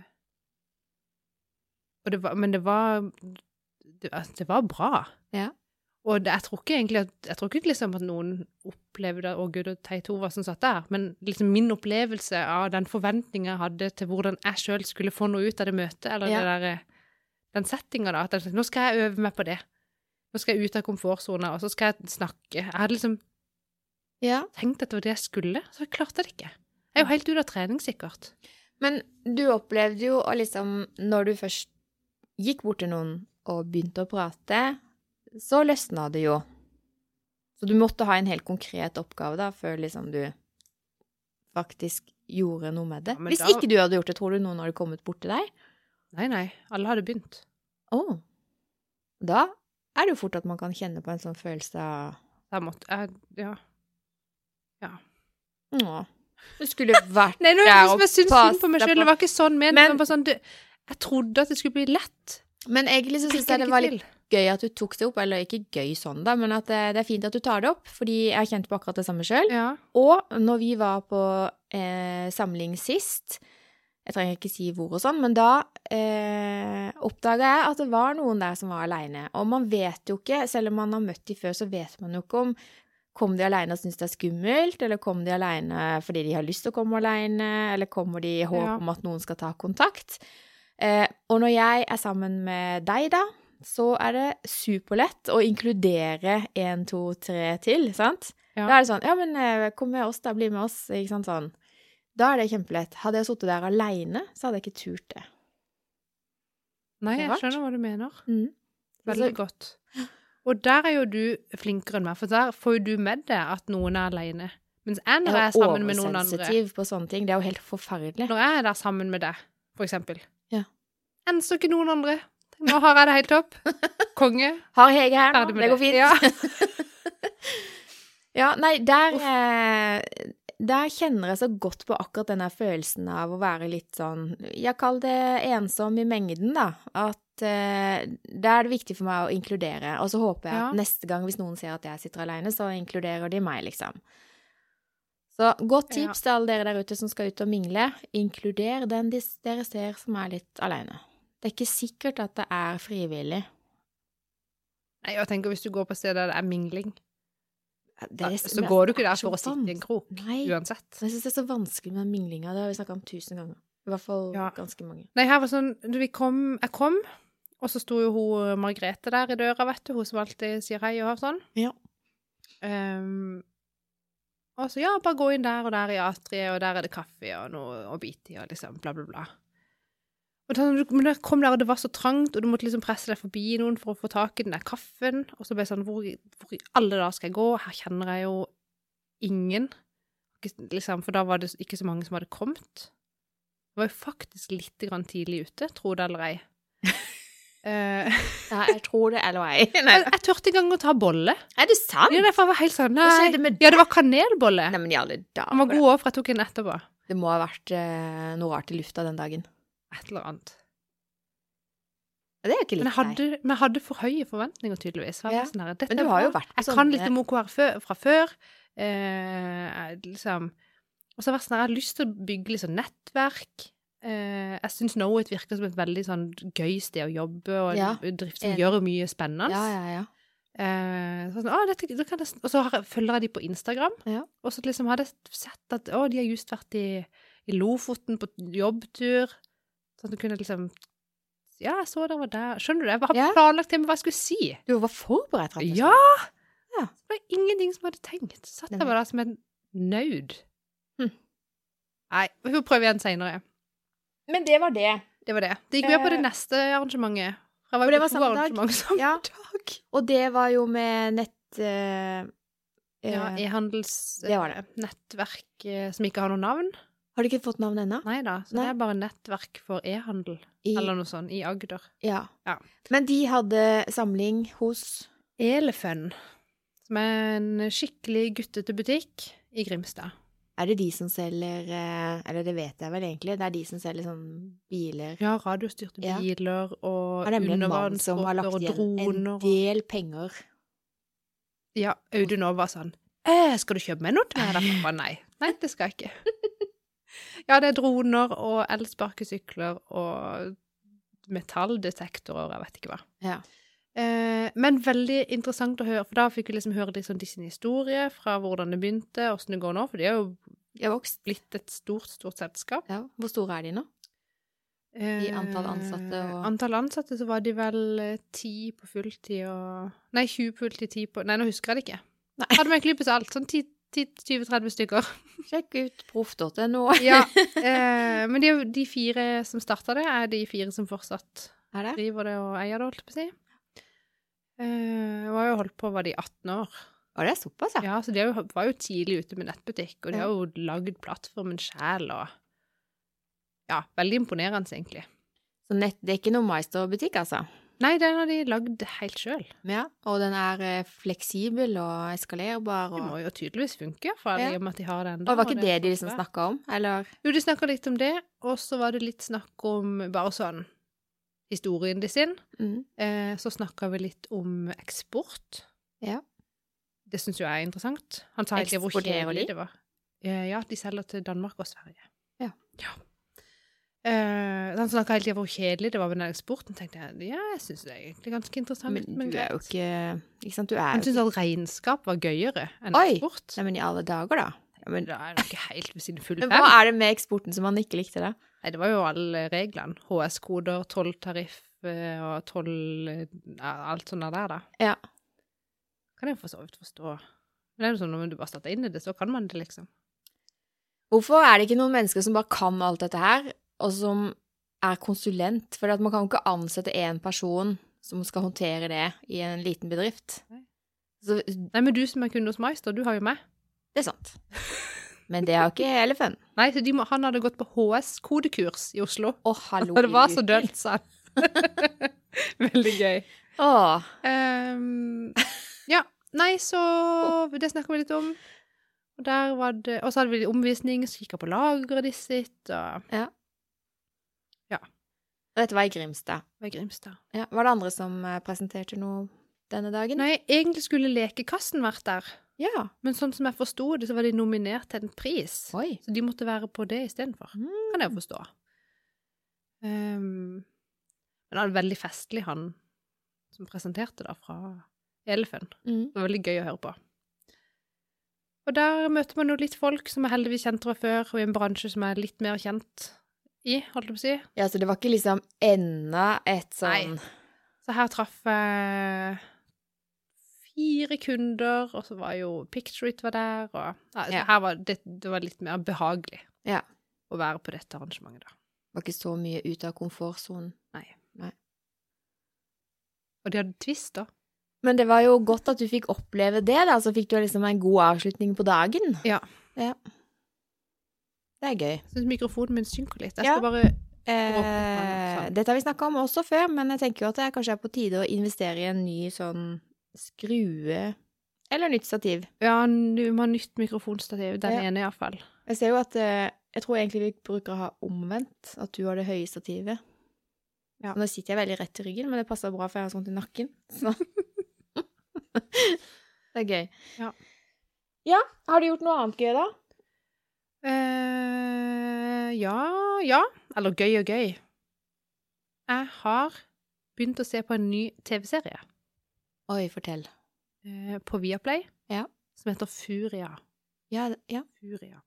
Speaker 2: og det var, men det var det, altså, det var bra.
Speaker 1: Ja.
Speaker 2: Og det, jeg tror ikke egentlig at, jeg tror ikke liksom at noen opplevde at, å gud, og Teit Hova som satt der, men liksom min opplevelse av den forventninga jeg hadde til hvordan jeg sjøl skulle få noe ut av det møtet, eller
Speaker 1: Ja.
Speaker 2: det der, eh, den settinga, da. At jeg, tenkte, nå skal jeg øve meg på det. Nå skal jeg ut av komfortsona, og så skal jeg snakke. Jeg hadde liksom
Speaker 1: Ja.
Speaker 2: tenkt at det var det jeg skulle, så jeg klarte det ikke. Jeg er jo helt ute av trening, sikkert.
Speaker 1: Men du opplevde jo å liksom Når du først gikk bort til noen og begynte å prate, så løsna det jo. Så du måtte ha en helt konkret oppgave da, før liksom du faktisk gjorde noe med det.
Speaker 2: Ja, men
Speaker 1: Hvis
Speaker 2: da-
Speaker 1: ikke du hadde gjort det, tror du noen hadde kommet bort til deg?
Speaker 2: Nei, nei. Alle hadde begynt.
Speaker 1: Å. Da er det jo fort at man kan kjenne på en sånn følelse av
Speaker 2: Da måtte jeg Ja.
Speaker 1: Å. Du skulle vært
Speaker 2: Nei, nå
Speaker 1: der
Speaker 2: liksom,
Speaker 1: og
Speaker 2: jeg syns synd på meg
Speaker 1: passet
Speaker 2: sjøl.
Speaker 1: på-
Speaker 2: Det var ikke sånn ment.
Speaker 1: Men-
Speaker 2: Men, bare sånn, det, jeg trodde at det skulle bli lett.
Speaker 1: Men egentlig så syns
Speaker 2: fikk
Speaker 1: jeg det
Speaker 2: ikke
Speaker 1: var
Speaker 2: til.
Speaker 1: litt gøy at du tok det opp, eller ikke gøy sånn, da, men at eh, det er fint at du tar det opp, fordi jeg kjente på akkurat det samme sjøl.
Speaker 2: Ja.
Speaker 1: Og når vi var på eh, samling sist, jeg trenger ikke si hvor og sånn, men da eh, oppdaga jeg at det var noen der som var aleine. Og man vet jo ikke, selv om man har møtt de før, så vet man jo ikke om Kom de aleine og syns det er skummelt, eller kom de aleine fordi de har lyst til å komme aleine, eller kommer de i håp
Speaker 2: Ja.
Speaker 1: om at noen skal ta kontakt? Eh, og når jeg er sammen med deg, da, så er det superlett å inkludere én, to, tre til, sant?
Speaker 2: Ja.
Speaker 1: Da er det sånn Ja, men eh, kom med oss, da. Bli med oss. Ikke sant sånn. Da er det kjempelett. Hadde jeg sittet der aleine, så hadde jeg ikke turt det. Det
Speaker 2: Nei,
Speaker 1: er
Speaker 2: jeg
Speaker 1: rart.
Speaker 2: skjønner hva du mener.
Speaker 1: Mm.
Speaker 2: Veldig godt. Og der er jo du flinkere enn meg, for der får jo du med deg at noen er aleine. Mens jeg, når jeg er sammen med noen andre
Speaker 1: oversensitiv på sånne ting. Det er jo helt forferdelig.
Speaker 2: Når jeg er der sammen med deg, for eksempel
Speaker 1: Ja.
Speaker 2: Enn så ikke noen andre. Nå har jeg det helt topp. Konge.
Speaker 1: Har Hege her nå.
Speaker 2: Ferdig med
Speaker 1: Det går fint.
Speaker 2: Ja.
Speaker 1: Ja, nei, der, eh, der kjenner jeg så godt på akkurat denne følelsen av å være litt sånn Jeg kaller det ensom i mengden, da. At eh, der er det viktig for meg å inkludere. Og så håper jeg
Speaker 2: Ja.
Speaker 1: at neste gang hvis noen ser at jeg sitter alene, så inkluderer de meg, liksom. Så godt
Speaker 2: Ja.
Speaker 1: tips til alle dere der ute som skal ut og mingle. Inkluder den de, dere ser som er litt aleine. Det er ikke sikkert at det er frivillig.
Speaker 2: Nei, jeg tenker hvis du går på et sted der det er mingling,
Speaker 1: Det er-
Speaker 2: så går du ikke
Speaker 1: det er
Speaker 2: der
Speaker 1: så
Speaker 2: for å sitte i en krok.
Speaker 1: vanskelig. Nei.
Speaker 2: Uansett.
Speaker 1: Så Jeg syns det er så vanskelig med den minglinga. Det har vi snakka om tusen ganger. I hvert fall
Speaker 2: Ja.
Speaker 1: ganske mange.
Speaker 2: Nei, her var sånn du, vi kom, Jeg kom, og så sto jo hun eh, Margrethe der i døra, vet du. Hun som alltid sier hei og sånn.
Speaker 1: Ja.
Speaker 2: Ehm, og så ja, bare gå inn der og der i atriet, og der er det kaffe og noe å bite i, og liksom bla, bla, bla. Og da, men da jeg kom der, og det var så trangt, og du måtte liksom presse deg forbi noen for å få tak i den der kaffen. Og så ble jeg sånn Hvor, i- hvor i alle dager skal jeg gå? Her kjenner jeg jo ingen. Ikke- Liksom, for da var det ikke så mange som hadde kommet. Jeg var jo faktisk litt grann tidlig ute, tro det eller ei. Eh,
Speaker 1: Nei, jeg tror det, eller ei. Nei,
Speaker 2: jeg, jeg turte ikke engang å ta bolle.
Speaker 1: er det sant?
Speaker 2: Ja, derfor var jeg helt sånn
Speaker 1: Hva
Speaker 2: Nei.
Speaker 1: skjedde med
Speaker 2: Ja, det var kanelbolle.
Speaker 1: Nei, men i alle
Speaker 2: Han var
Speaker 1: dager.
Speaker 2: god òg, for jeg tok en etterpå.
Speaker 1: Det må ha vært eh, noe rart i lufta den dagen.
Speaker 2: Et eller annet.
Speaker 1: Ja, Det er jo ikke
Speaker 2: Men jeg
Speaker 1: litt deg.
Speaker 2: hadde, men jeg hadde for høye forventninger, tydeligvis. Jeg var
Speaker 1: Ja.
Speaker 2: sånn her, Dette
Speaker 1: Men du
Speaker 2: er
Speaker 1: har jo
Speaker 2: bra.
Speaker 1: vært sånn, eh, på
Speaker 2: Jeg kan
Speaker 1: sånne-
Speaker 2: litt om OKR før, fra før. Eh, jeg liksom Og så har jeg vært sånn her, jeg har lyst til å bygge litt sånn nettverk. Eh, jeg syns Knowit virker som et veldig sånn gøy sted å jobbe, og en
Speaker 1: Ja,
Speaker 2: bedrift som
Speaker 1: enig.
Speaker 2: gjør mye spennende.
Speaker 1: Ja, ja, ja.
Speaker 2: Eh, så sånn, «Å, dette, da kan jeg, s- og så har, jeg- følger jeg de på Instagram,
Speaker 1: Ja.
Speaker 2: og så liksom hadde jeg sett at å, de har just vært i, i Lofoten på jobbtur. Sånn at du kunne liksom Ja, jeg så dere var der. Skjønner du? Jeg har
Speaker 1: Ja.
Speaker 2: planlagt det med hva jeg skulle si.
Speaker 1: Du var forberedt, rett og slett.
Speaker 2: Ja!
Speaker 1: Ja.
Speaker 2: Det var ingenting som jeg hadde tenkt. Satt jeg
Speaker 1: Nemlig.
Speaker 2: bare der som en naud.
Speaker 1: Hm.
Speaker 2: Nei, vi får prøve igjen seinere.
Speaker 1: Men det var det.
Speaker 2: Det var det. Det gikk med på det
Speaker 1: Eh,
Speaker 2: neste arrangementet. Jeg
Speaker 1: for
Speaker 2: var
Speaker 1: det
Speaker 2: jo
Speaker 1: var
Speaker 2: på to
Speaker 1: samme dag.
Speaker 2: arrangement samme
Speaker 1: Ja.
Speaker 2: dag.
Speaker 1: Og det var jo med nett... eh, eh,
Speaker 2: Ja, e-handels...
Speaker 1: det var det.
Speaker 2: Nettverk eh, som ikke har noe navn.
Speaker 1: har du ikke fått navn ennå?
Speaker 2: Nei da, så
Speaker 1: Nei.
Speaker 2: det er bare nettverk for e-handel,
Speaker 1: I-
Speaker 2: eller noe sånt, i Agder.
Speaker 1: Ja.
Speaker 2: Ja.
Speaker 1: Men de hadde samling hos
Speaker 2: Elefun, som er en skikkelig guttete butikk i Grimstad.
Speaker 1: Er det de som selger eh, Eller det vet jeg vel egentlig. Det er de som selger sånn biler
Speaker 2: Ja, radiostyrte
Speaker 1: Ja.
Speaker 2: biler og
Speaker 1: Det er nemlig en mann som har
Speaker 2: undervannsbåter
Speaker 1: lagt
Speaker 2: og
Speaker 1: igjen en
Speaker 2: droner. og-
Speaker 1: del penger.
Speaker 2: Ja, Audun òg var sånn «Eh, Skal du kjøpe meg noe til meg? Jeg bare, Nei. Nei, det skal jeg ikke. Ja, det er droner og elsparkesykler og metalldetektorer, jeg vet ikke hva.
Speaker 1: Ja.
Speaker 2: Eh, men veldig interessant å høre, for da fikk vi liksom høre liksom de sin historie fra hvordan det begynte, åssen det går nå, for de er jo
Speaker 1: Jeg vokst.
Speaker 2: blitt et stort, stort selskap.
Speaker 1: Ja. Hvor store er de nå? I antall ansatte og-
Speaker 2: Eh, Antall ansatte så var de vel eh, 10 på fulltid og Nei, 20 på fulltid, 10 på Nei, nå husker jeg det ikke.
Speaker 1: Nei.
Speaker 2: Hadde meg klype salt. Sånn 10 10-20-30 stykker.
Speaker 1: Sjekk ut proff.no.
Speaker 2: Ja, eh, Men de, de fire som starta det, er de fire som fortsatt
Speaker 1: Er det?
Speaker 2: driver det og eier det, holdt jeg på å si. Eh, Hun har jo holdt på, var de 18 år?
Speaker 1: Å, det er såpass, ja.
Speaker 2: Ja, så de er jo- var jo tidlig ute med nettbutikk, og de
Speaker 1: Ja.
Speaker 2: har jo lagd plattformen sjæl og Ja, veldig imponerende, egentlig.
Speaker 1: Så nett, det er ikke noen MyStore-butikk, altså.
Speaker 2: Nei, den har de lagd helt sjøl.
Speaker 1: Ja, og den er eh, fleksibel og eskalerbar.
Speaker 2: Det
Speaker 1: Og,
Speaker 2: må jo tydeligvis funke, for
Speaker 1: Ja.
Speaker 2: i og med at de har den.
Speaker 1: og
Speaker 2: da,
Speaker 1: det var ikke det de
Speaker 2: får
Speaker 1: liksom
Speaker 2: være.
Speaker 1: snakka om? Eller
Speaker 2: Jo, de snakka litt om det, og så var det litt snakk om bare sånn historien de sin.
Speaker 1: mm.
Speaker 2: Eh, så snakka vi litt om eksport.
Speaker 1: Ja.
Speaker 2: Det syns jo jeg er interessant. Han sa egentlig hvor
Speaker 1: Eksporterer
Speaker 2: kjedelig
Speaker 1: de?
Speaker 2: det var. Eh, ja, de selger til Danmark og Sverige.
Speaker 1: Ja.
Speaker 2: Eh, han snakka hele tida hvor kjedelig det var med den eksporten. tenkte jeg, ja, jeg syns det er egentlig ganske interessant.
Speaker 1: Men
Speaker 2: men
Speaker 1: du er jo
Speaker 2: greit.
Speaker 1: ikke Ikke sant, du er
Speaker 2: Han
Speaker 1: jo
Speaker 2: syntes at regnskap var gøyere enn
Speaker 1: Oi!
Speaker 2: eksport.
Speaker 1: Nei, men i alle dager, da. Ja, men,
Speaker 2: Da er det ikke helt ved sine fulle
Speaker 1: men
Speaker 2: fem.
Speaker 1: hva er det med eksporten som man ikke likte, da?
Speaker 2: Nei, det var jo alle reglene. HS-koder, tolltariff eh, og toll eh, Alt sånt der, da.
Speaker 1: Ja.
Speaker 2: Kan jeg for så vidt forstå. Men det er jo sånn når du bare starter inn i det, så kan man det, liksom.
Speaker 1: Hvorfor er det ikke noen mennesker som bare kan alt dette her, og som er konsulent? For at man kan jo ikke ansette én person som skal håndtere det i en liten bedrift.
Speaker 2: Nei.
Speaker 1: Så det
Speaker 2: Nei, men du som er kunde hos Meister, du har jo meg.
Speaker 1: er sant. Men det har ikke hele fun.
Speaker 2: Nei, så de må, han hadde gått på HS-kodekurs i Oslo.
Speaker 1: Å, hallo.
Speaker 2: Og det var så
Speaker 1: Lucy.
Speaker 2: dølt, sa han. Veldig gøy.
Speaker 1: Å,
Speaker 2: Ehm, ja. Nei, så Det snakker vi litt om. Og der var det Og så hadde vi litt omvisning, så kikka på lageret de sitt, og
Speaker 1: og dette var i Grimstad.
Speaker 2: ved Grimstad.
Speaker 1: Ja, var det andre som eh, presenterte noe denne dagen?
Speaker 2: Nei, egentlig skulle Lekekassen vært der,
Speaker 1: Ja.
Speaker 2: men sånn som jeg forsto det, så var de nominert til en pris.
Speaker 1: Oi.
Speaker 2: Så de måtte være på det istedenfor.
Speaker 1: Mm.
Speaker 2: Kan jeg jo forstå. Ehm, men han er veldig festlig, han som presenterte da fra Elefen.
Speaker 1: Mm.
Speaker 2: Det var veldig gøy å høre på. Og der møter man jo litt folk som er heldigvis kjent fra før, og i en bransje som er litt mer kjent i, holdt jeg på å si.
Speaker 1: Ja, så det var ikke liksom enda et sånn
Speaker 2: Så her traff jeg fire kunder, og så var jo Picture It var der, og ja, så
Speaker 1: Ja.
Speaker 2: her var det, det var litt mer behagelig
Speaker 1: Ja.
Speaker 2: å være på dette arrangementet, da.
Speaker 1: Det var ikke så mye ut av komfortsonen.
Speaker 2: Og de hadde twist, da.
Speaker 1: Men det var jo godt at du fikk oppleve det, da. Så fikk du liksom en god avslutning på dagen.
Speaker 2: Ja.
Speaker 1: ja. Det er gøy.
Speaker 2: Jeg syns mikrofonen min synker litt. Jeg
Speaker 1: Ja.
Speaker 2: skal bare
Speaker 1: Eh, dette har vi snakka om også før, men jeg tenker jo at det kanskje er på tide å investere i en ny sånn skrue eller nytt stativ.
Speaker 2: Ja, du må ha nytt mikrofonstativ. Den
Speaker 1: Ja.
Speaker 2: ene, iallfall.
Speaker 1: Jeg ser jo at eh, Jeg tror egentlig vi bruker å ha omvendt, at du har det høye stativet.
Speaker 2: Ja.
Speaker 1: Nå sitter jeg veldig rett i ryggen, men det passer bra, for jeg har sånt i nakken. Så. det er gøy.
Speaker 2: Ja.
Speaker 1: Ja, Har du gjort noe annet gøy, da?
Speaker 2: eh ja, ja. Eller gøy og gøy. Jeg har begynt å se på en ny TV-serie
Speaker 1: Oi, fortell.
Speaker 2: eh, på Viaplay
Speaker 1: Ja.
Speaker 2: som heter Furia.
Speaker 1: Ja, ja.
Speaker 2: Furia.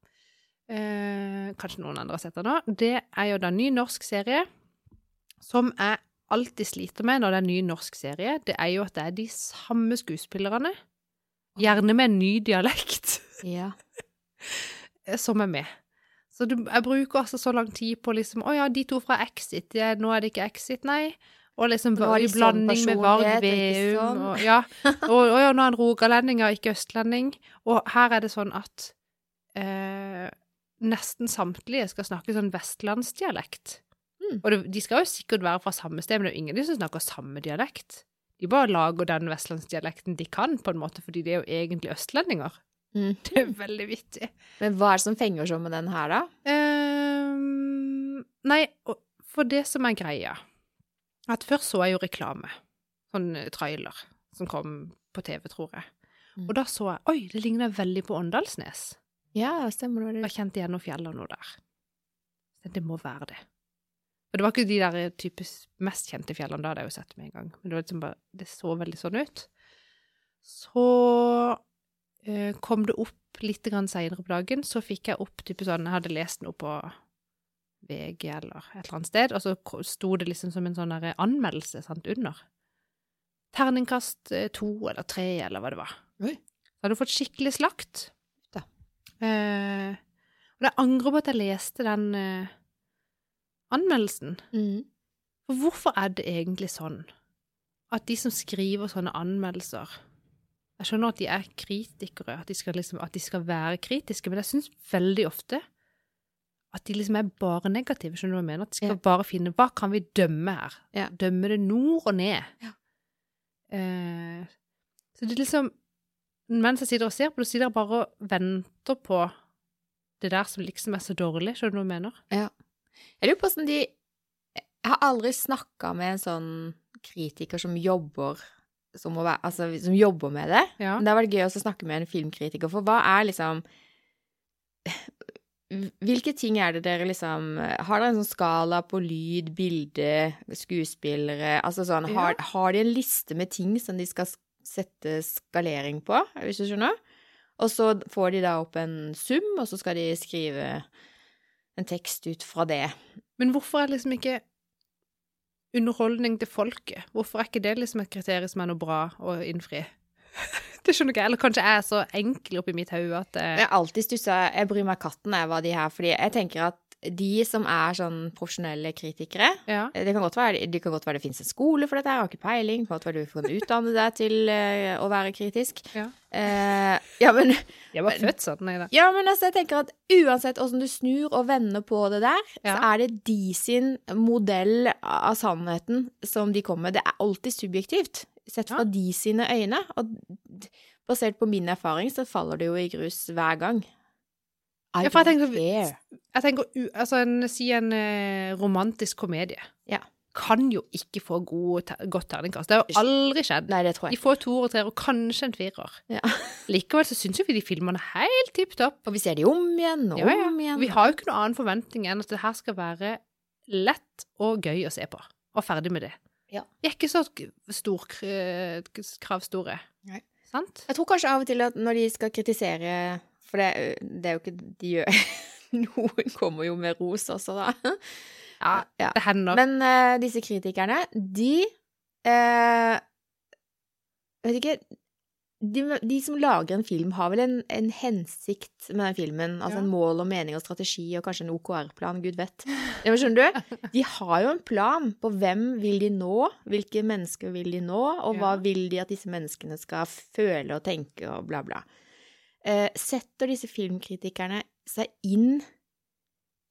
Speaker 2: Eh, kanskje noen andre har sett den nå. Det er jo da en ny norsk serie som jeg alltid sliter med når det er en ny norsk serie. Det er jo at det er de samme skuespillerne, gjerne med en ny dialekt,
Speaker 1: ja.
Speaker 2: eh, som er med. Så du, jeg bruker altså så lang tid på liksom Å ja, de to fra Exit. Det, er- nå er det ikke Exit, nei. Og liksom
Speaker 1: Nå har de
Speaker 2: i
Speaker 1: sånn
Speaker 2: blanding med Varg
Speaker 1: personlighet, og ikke
Speaker 2: Veum.
Speaker 1: sånn.
Speaker 2: Og, ja. og, og ja, nå er han rogalending og ikke østlending. Og her er det sånn at eh, nesten samtlige skal snakke sånn vestlandsdialekt.
Speaker 1: Mm.
Speaker 2: Og det, de skal jo sikkert være fra samme sted, men det er jo ingen av de som snakker samme dialekt. De bare lager den vestlandsdialekten de kan, på en måte, fordi de er jo egentlig østlendinger.
Speaker 1: Mm.
Speaker 2: Det er veldig vittig.
Speaker 1: Men hva er det som fenger sånn med den her, da?
Speaker 2: Ehm, nei, og- for det som er greia At først så jeg jo reklame. Sånn eh, trailer som kom på TV, tror jeg.
Speaker 1: Mm.
Speaker 2: Og da så jeg Oi, det ligner veldig på Åndalsnes.
Speaker 1: Ja, stemmer det. var
Speaker 2: Jeg
Speaker 1: det.
Speaker 2: kjente igjen noen fjell og noe der. Så det må være det. Og det var ikke de der eh, typisk mest kjente fjellene, da hadde jeg jo sett med en gang. Men det, var liksom bare, det så veldig sånn ut. Så eh, kom det opp litt grann senere på dagen, så fikk jeg opp type sånn, jeg hadde lest noe på VG eller et eller annet sted, og så ko- sto det liksom som en sånn der anmeldelse sant, under. Terningkast eh, to eller tre, eller hva det var.
Speaker 1: Oi.
Speaker 2: Så hadde du fått skikkelig slakt.
Speaker 1: Da.
Speaker 2: Eh, og jeg angrer på at jeg leste den eh, anmeldelsen.
Speaker 1: Mm.
Speaker 2: For hvorfor er det egentlig sånn at de som skriver sånne anmeldelser Jeg skjønner at de er kritikere, at de skal, liksom, at de skal være kritiske, men jeg syns veldig ofte at de liksom er bare negative. Skjønner du hva jeg mener? At de skal
Speaker 1: Ja.
Speaker 2: bare finne Hva kan vi dømme her?
Speaker 1: Ja.
Speaker 2: Dømme det nord og ned.
Speaker 1: Ja.
Speaker 2: Eh, så det er liksom Mens jeg sitter og ser på det, så sitter jeg bare og venter på det der som liksom er så dårlig. Skjønner du hva jeg mener?
Speaker 1: Jeg lurer på hvordan de Jeg har aldri snakka med en sånn kritiker som jobber som, må være, altså, som jobber med det.
Speaker 2: Ja.
Speaker 1: Men det har vært gøy også å snakke med en filmkritiker, for hva er liksom Hvilke ting er det dere liksom Har dere en sånn skala på lyd, bilde, skuespillere Altså sånn
Speaker 2: Ja.
Speaker 1: Har, har de en liste med ting som de skal s- sette skalering på, hvis du skjønner? Og så får de da opp en sum, og så skal de skrive en tekst ut fra det.
Speaker 2: Men hvorfor er liksom ikke underholdning til folket? Hvorfor er ikke det liksom et kriterium som er noe bra å innfri? Det skjønner ikke jeg. Eller kanskje jeg er så enkel oppi mitt hode at eh,
Speaker 1: Jeg har alltid stussa Jeg bryr meg katten jeg var de her, fordi jeg tenker at de som er sånn profesjonelle kritikere,
Speaker 2: ja.
Speaker 1: Eh, Det kan godt være, det kan godt være det finnes en skole for dette, her, jeg har ikke peiling. Det kan godt være du kan utdanne deg til eh, å være kritisk.
Speaker 2: Ja.
Speaker 1: Eh, ja, men,
Speaker 2: Jeg var født sånn, nei da.
Speaker 1: ja, men altså, jeg tenker at uansett hvordan du snur og vender på det der, så
Speaker 2: Ja.
Speaker 1: er det de sin modell av sannheten som de kommer med. Det er alltid subjektivt, sett fra
Speaker 2: Ja.
Speaker 1: de sine øyne. Og d- basert på min erfaring så faller det jo i grus hver gang. I
Speaker 2: Ja, for jeg
Speaker 1: don't
Speaker 2: tenker-
Speaker 1: care.
Speaker 2: Jeg tenker, u- altså en, si en eh, romantisk komedie.
Speaker 1: Ja.
Speaker 2: Kan jo ikke få god, te- godt terningkast. Det har jo aldri skjedd.
Speaker 1: Nei, det tror
Speaker 2: De
Speaker 1: jeg.
Speaker 2: får to og tre, og kanskje en firer.
Speaker 1: Ja.
Speaker 2: Likevel så syns jo vi de filmene er helt tipp topp.
Speaker 1: Og vi ser de om igjen og
Speaker 2: Ja, ja.
Speaker 1: om igjen.
Speaker 2: Vi har jo ikke noen annen forventning enn at det her skal være lett og gøy å se på. Og ferdig med det.
Speaker 1: Ja.
Speaker 2: Vi er ikke så k- stor, k- kravstore.
Speaker 1: Nei.
Speaker 2: Sant?
Speaker 1: Jeg tror kanskje av og til at når de skal kritisere For det, det er jo ikke De gjør Noen kommer jo med ros også, da.
Speaker 2: Ja,
Speaker 1: Ja.
Speaker 2: det hender.
Speaker 1: Men eh, disse kritikerne, de eh, Vet ikke de, de som lager en film, har vel en, en hensikt med den filmen? Altså
Speaker 2: Ja.
Speaker 1: en mål og mening og strategi og kanskje en OKR-plan, gud vet. Ja, men skjønner du? De har jo en plan på hvem vil de nå, hvilke mennesker vil de nå, og hva
Speaker 2: Ja.
Speaker 1: vil de at disse menneskene skal føle og tenke og bla, bla. Eh, setter disse filmkritikerne seg inn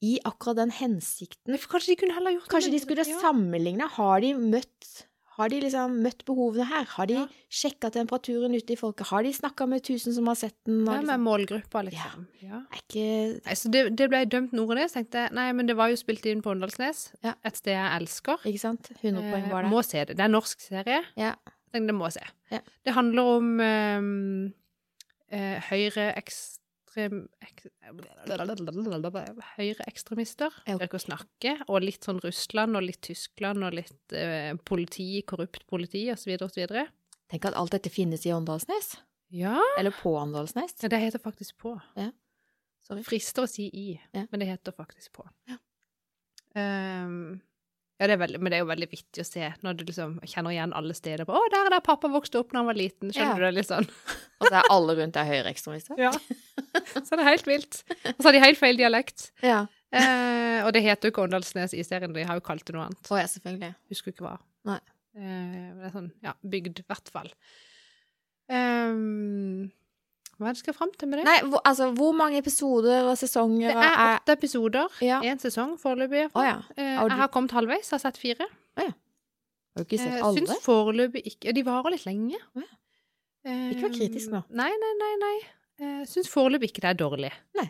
Speaker 1: i akkurat den hensikten?
Speaker 2: Men kanskje de kunne heller gjort
Speaker 1: Kanskje de
Speaker 2: det.
Speaker 1: skulle
Speaker 2: sånn, ja.
Speaker 1: sammenligne. Har de møtt har de liksom møtt behovene her? Har de
Speaker 2: Ja.
Speaker 1: sjekka temperaturen ute i folket? Har de snakka med tusen som har sett den? Og
Speaker 2: Ja, med
Speaker 1: liksom,
Speaker 2: målgruppa, liksom. Ja.
Speaker 1: er ikke
Speaker 2: Nei, så det, det ble dømt nord og ned. Så tenkte jeg nei, men det var jo spilt inn på Åndalsnes.
Speaker 1: Ja.
Speaker 2: Et sted jeg elsker.
Speaker 1: Ikke sant? 100 poeng
Speaker 2: Eh,
Speaker 1: var det.
Speaker 2: Må se det. Det er en norsk serie.
Speaker 1: Ja.
Speaker 2: Jeg tenkte, Det må jeg se.
Speaker 1: Ja.
Speaker 2: Det handler om um, eh, høyreekstrem... ek- Høyreekstremister.
Speaker 1: Ja.
Speaker 2: Jeg ikke å snakke. Og litt sånn Russland og litt Tyskland og litt eh, politi, korrupt politi osv. osv.
Speaker 1: Tenk at alt dette finnes i Åndalsnes.
Speaker 2: Ja.
Speaker 1: Eller på Åndalsnes.
Speaker 2: Ja, det heter faktisk på.
Speaker 1: Ja. Sorry.
Speaker 2: Frister å si i,
Speaker 1: Ja.
Speaker 2: men det heter faktisk på.
Speaker 1: Ja.
Speaker 2: Ehm, ja, det er veldig, men det er jo veldig vittig å se når du liksom kjenner igjen alle steder. På, 'Å, der er der pappa vokste opp da han var liten.' Skjønner
Speaker 1: Ja.
Speaker 2: du det? Litt sånn.
Speaker 1: Og så Altså, er alle rundt der høyreekstremister.
Speaker 2: Ja. så det er helt vilt. Og så har de helt feil dialekt.
Speaker 1: Ja.
Speaker 2: Eh, og det heter jo ikke Åndalsnes i serien, de har jo kalt det noe annet.
Speaker 1: Å ja, selvfølgelig.
Speaker 2: Husker ikke hva.
Speaker 1: Nei.
Speaker 2: Eh, men det er sånn, ja, bygd, i hvert fall. Ehm, hva er det jeg skal fram til med det?
Speaker 1: Nei, hvor, altså, hvor mange episoder og sesonger
Speaker 2: det
Speaker 1: og
Speaker 2: er åtte episoder.
Speaker 1: Ja.
Speaker 2: Én sesong foreløpig.
Speaker 1: Å ja.
Speaker 2: Eh,
Speaker 1: Har du-
Speaker 2: Jeg har kommet halvveis, har sett fire.
Speaker 1: Har du ikke sett
Speaker 2: Eh,
Speaker 1: alle?
Speaker 2: Syns foreløpig ikke De varer litt lenge.
Speaker 1: Å ja.
Speaker 2: Eh,
Speaker 1: Ikke vær kritisk nå.
Speaker 2: Nei, nei, nei. nei. Eh, Syns foreløpig ikke det er dårlig.
Speaker 1: Nei.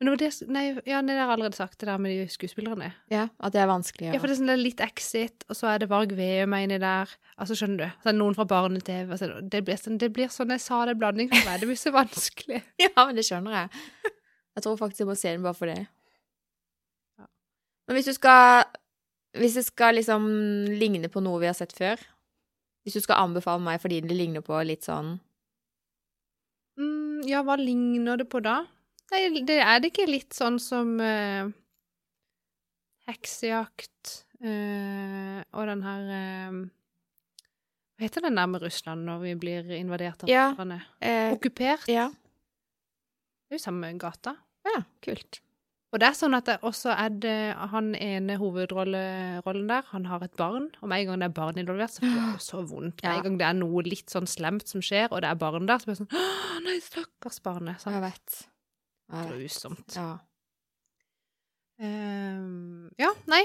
Speaker 2: Men det var det s- Nei, ja, nei, det har jeg allerede sagt, det der med de skuespillerne.
Speaker 1: Ja, at det er vanskelig å
Speaker 2: Ja, for det er sånn det er litt Exit, og så er det Varg Veum er inni der. Altså, skjønner du. Så er det noen fra barne-TV. Altså, det, blir sånn, det blir sånn jeg sa det, blanding for meg. Det blir så vanskelig.
Speaker 1: Ja, men det skjønner jeg. Jeg tror faktisk jeg må se den bare for det.
Speaker 2: Ja.
Speaker 1: Men hvis du skal Hvis det skal liksom ligne på noe vi har sett før Hvis du skal anbefale meg fordi det ligner på litt sånn
Speaker 2: Mm, ja, hva ligner det på da? Nei, det er det ikke litt sånn som eh, heksejakt eh, og den her eh, Hva heter den der med Russland når vi blir invadert av
Speaker 1: Ja.
Speaker 2: russerne?
Speaker 1: eh,
Speaker 2: Okkupert?
Speaker 1: Ja.
Speaker 2: Det er jo samme gata.
Speaker 1: ja kult.
Speaker 2: Og det er sånn at det også er det, han ene hovedrollen der, han har et barn, og med en gang det er barn involvert, så får det så vondt. Med
Speaker 1: Ja.
Speaker 2: en gang det er noe litt sånn slemt som skjer, og det er barn der, så blir det sånn Å, nei, stakkars barnet. Sånn
Speaker 1: Jeg vet. Jeg vet.
Speaker 2: grusomt.
Speaker 1: Ja.
Speaker 2: Ehm, ja, nei.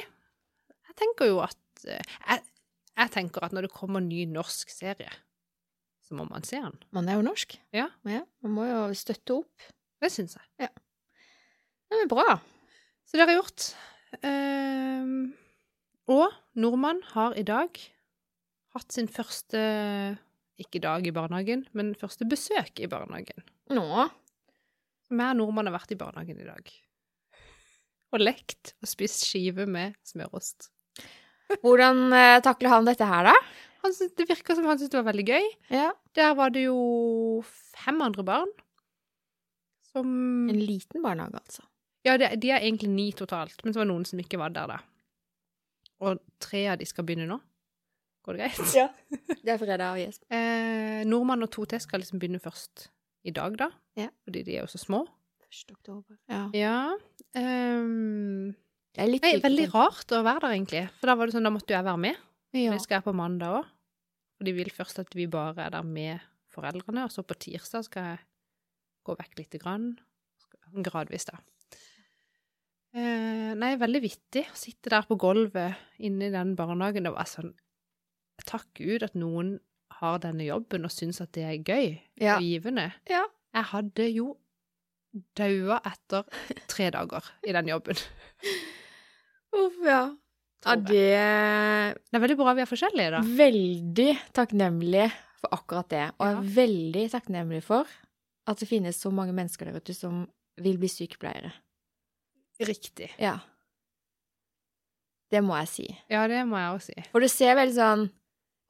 Speaker 2: Jeg tenker jo at eh, jeg, jeg tenker at når det kommer ny norsk serie, så må man se den.
Speaker 1: Man er jo norsk.
Speaker 2: Ja.
Speaker 1: Man må jo støtte opp.
Speaker 2: Det syns jeg.
Speaker 1: Det er bra.
Speaker 2: Så det har jeg gjort. Ehm, og nordmann har i dag hatt sin første ikke dag i barnehagen, men første besøk i barnehagen.
Speaker 1: Nå.
Speaker 2: Mer nordmann har vært i barnehagen i dag. Og lekt og spist skive med smørost.
Speaker 1: Hvordan eh, takler han dette her, da?
Speaker 2: Han syntes- det virker som han syntes det var veldig gøy.
Speaker 1: Ja.
Speaker 2: Der var det jo fem andre barn. Som
Speaker 1: En liten barnehage, altså.
Speaker 2: Ja, det, de er egentlig ni totalt, men så var det noen som ikke var der, da. Og tre av de skal begynne nå. Går det greit?
Speaker 1: Ja. Det er fredag og Jesper.
Speaker 2: Eh, nordmann og to til skal liksom begynne først i dag, da.
Speaker 1: Ja.
Speaker 2: Fordi de er jo så små.
Speaker 1: 1. oktober. Ja.
Speaker 2: Ja. ehm,
Speaker 1: Det er litt
Speaker 2: nei, veldig rart å være der, egentlig. For da var det sånn, da måtte jo jeg være med.
Speaker 1: Ja.
Speaker 2: Det skal jeg på mandag òg. Og de vil først at vi bare er der med foreldrene, og så på tirsdag skal jeg gå vekk lite grann. Gradvis, da. Eh, nei, veldig vittig å sitte der på gulvet inne i den barnehagen. Det var sånn Takk Gud at noen har denne jobben og syns at det er gøy
Speaker 1: Ja.
Speaker 2: og givende.
Speaker 1: Ja.
Speaker 2: Jeg hadde jo daua etter tre dager i den jobben.
Speaker 1: Uff, ja. Ja,
Speaker 2: tror jeg.
Speaker 1: det er
Speaker 2: Det er veldig bra vi er forskjellige, da.
Speaker 1: veldig takknemlig for akkurat det. Og jeg
Speaker 2: Ja.
Speaker 1: er veldig takknemlig for at det finnes så mange mennesker der ute som vil bli sykepleiere.
Speaker 2: Mm, Riktig.
Speaker 1: Ja. Det må jeg si.
Speaker 2: Ja, det må jeg òg si.
Speaker 1: For det ser veldig sånn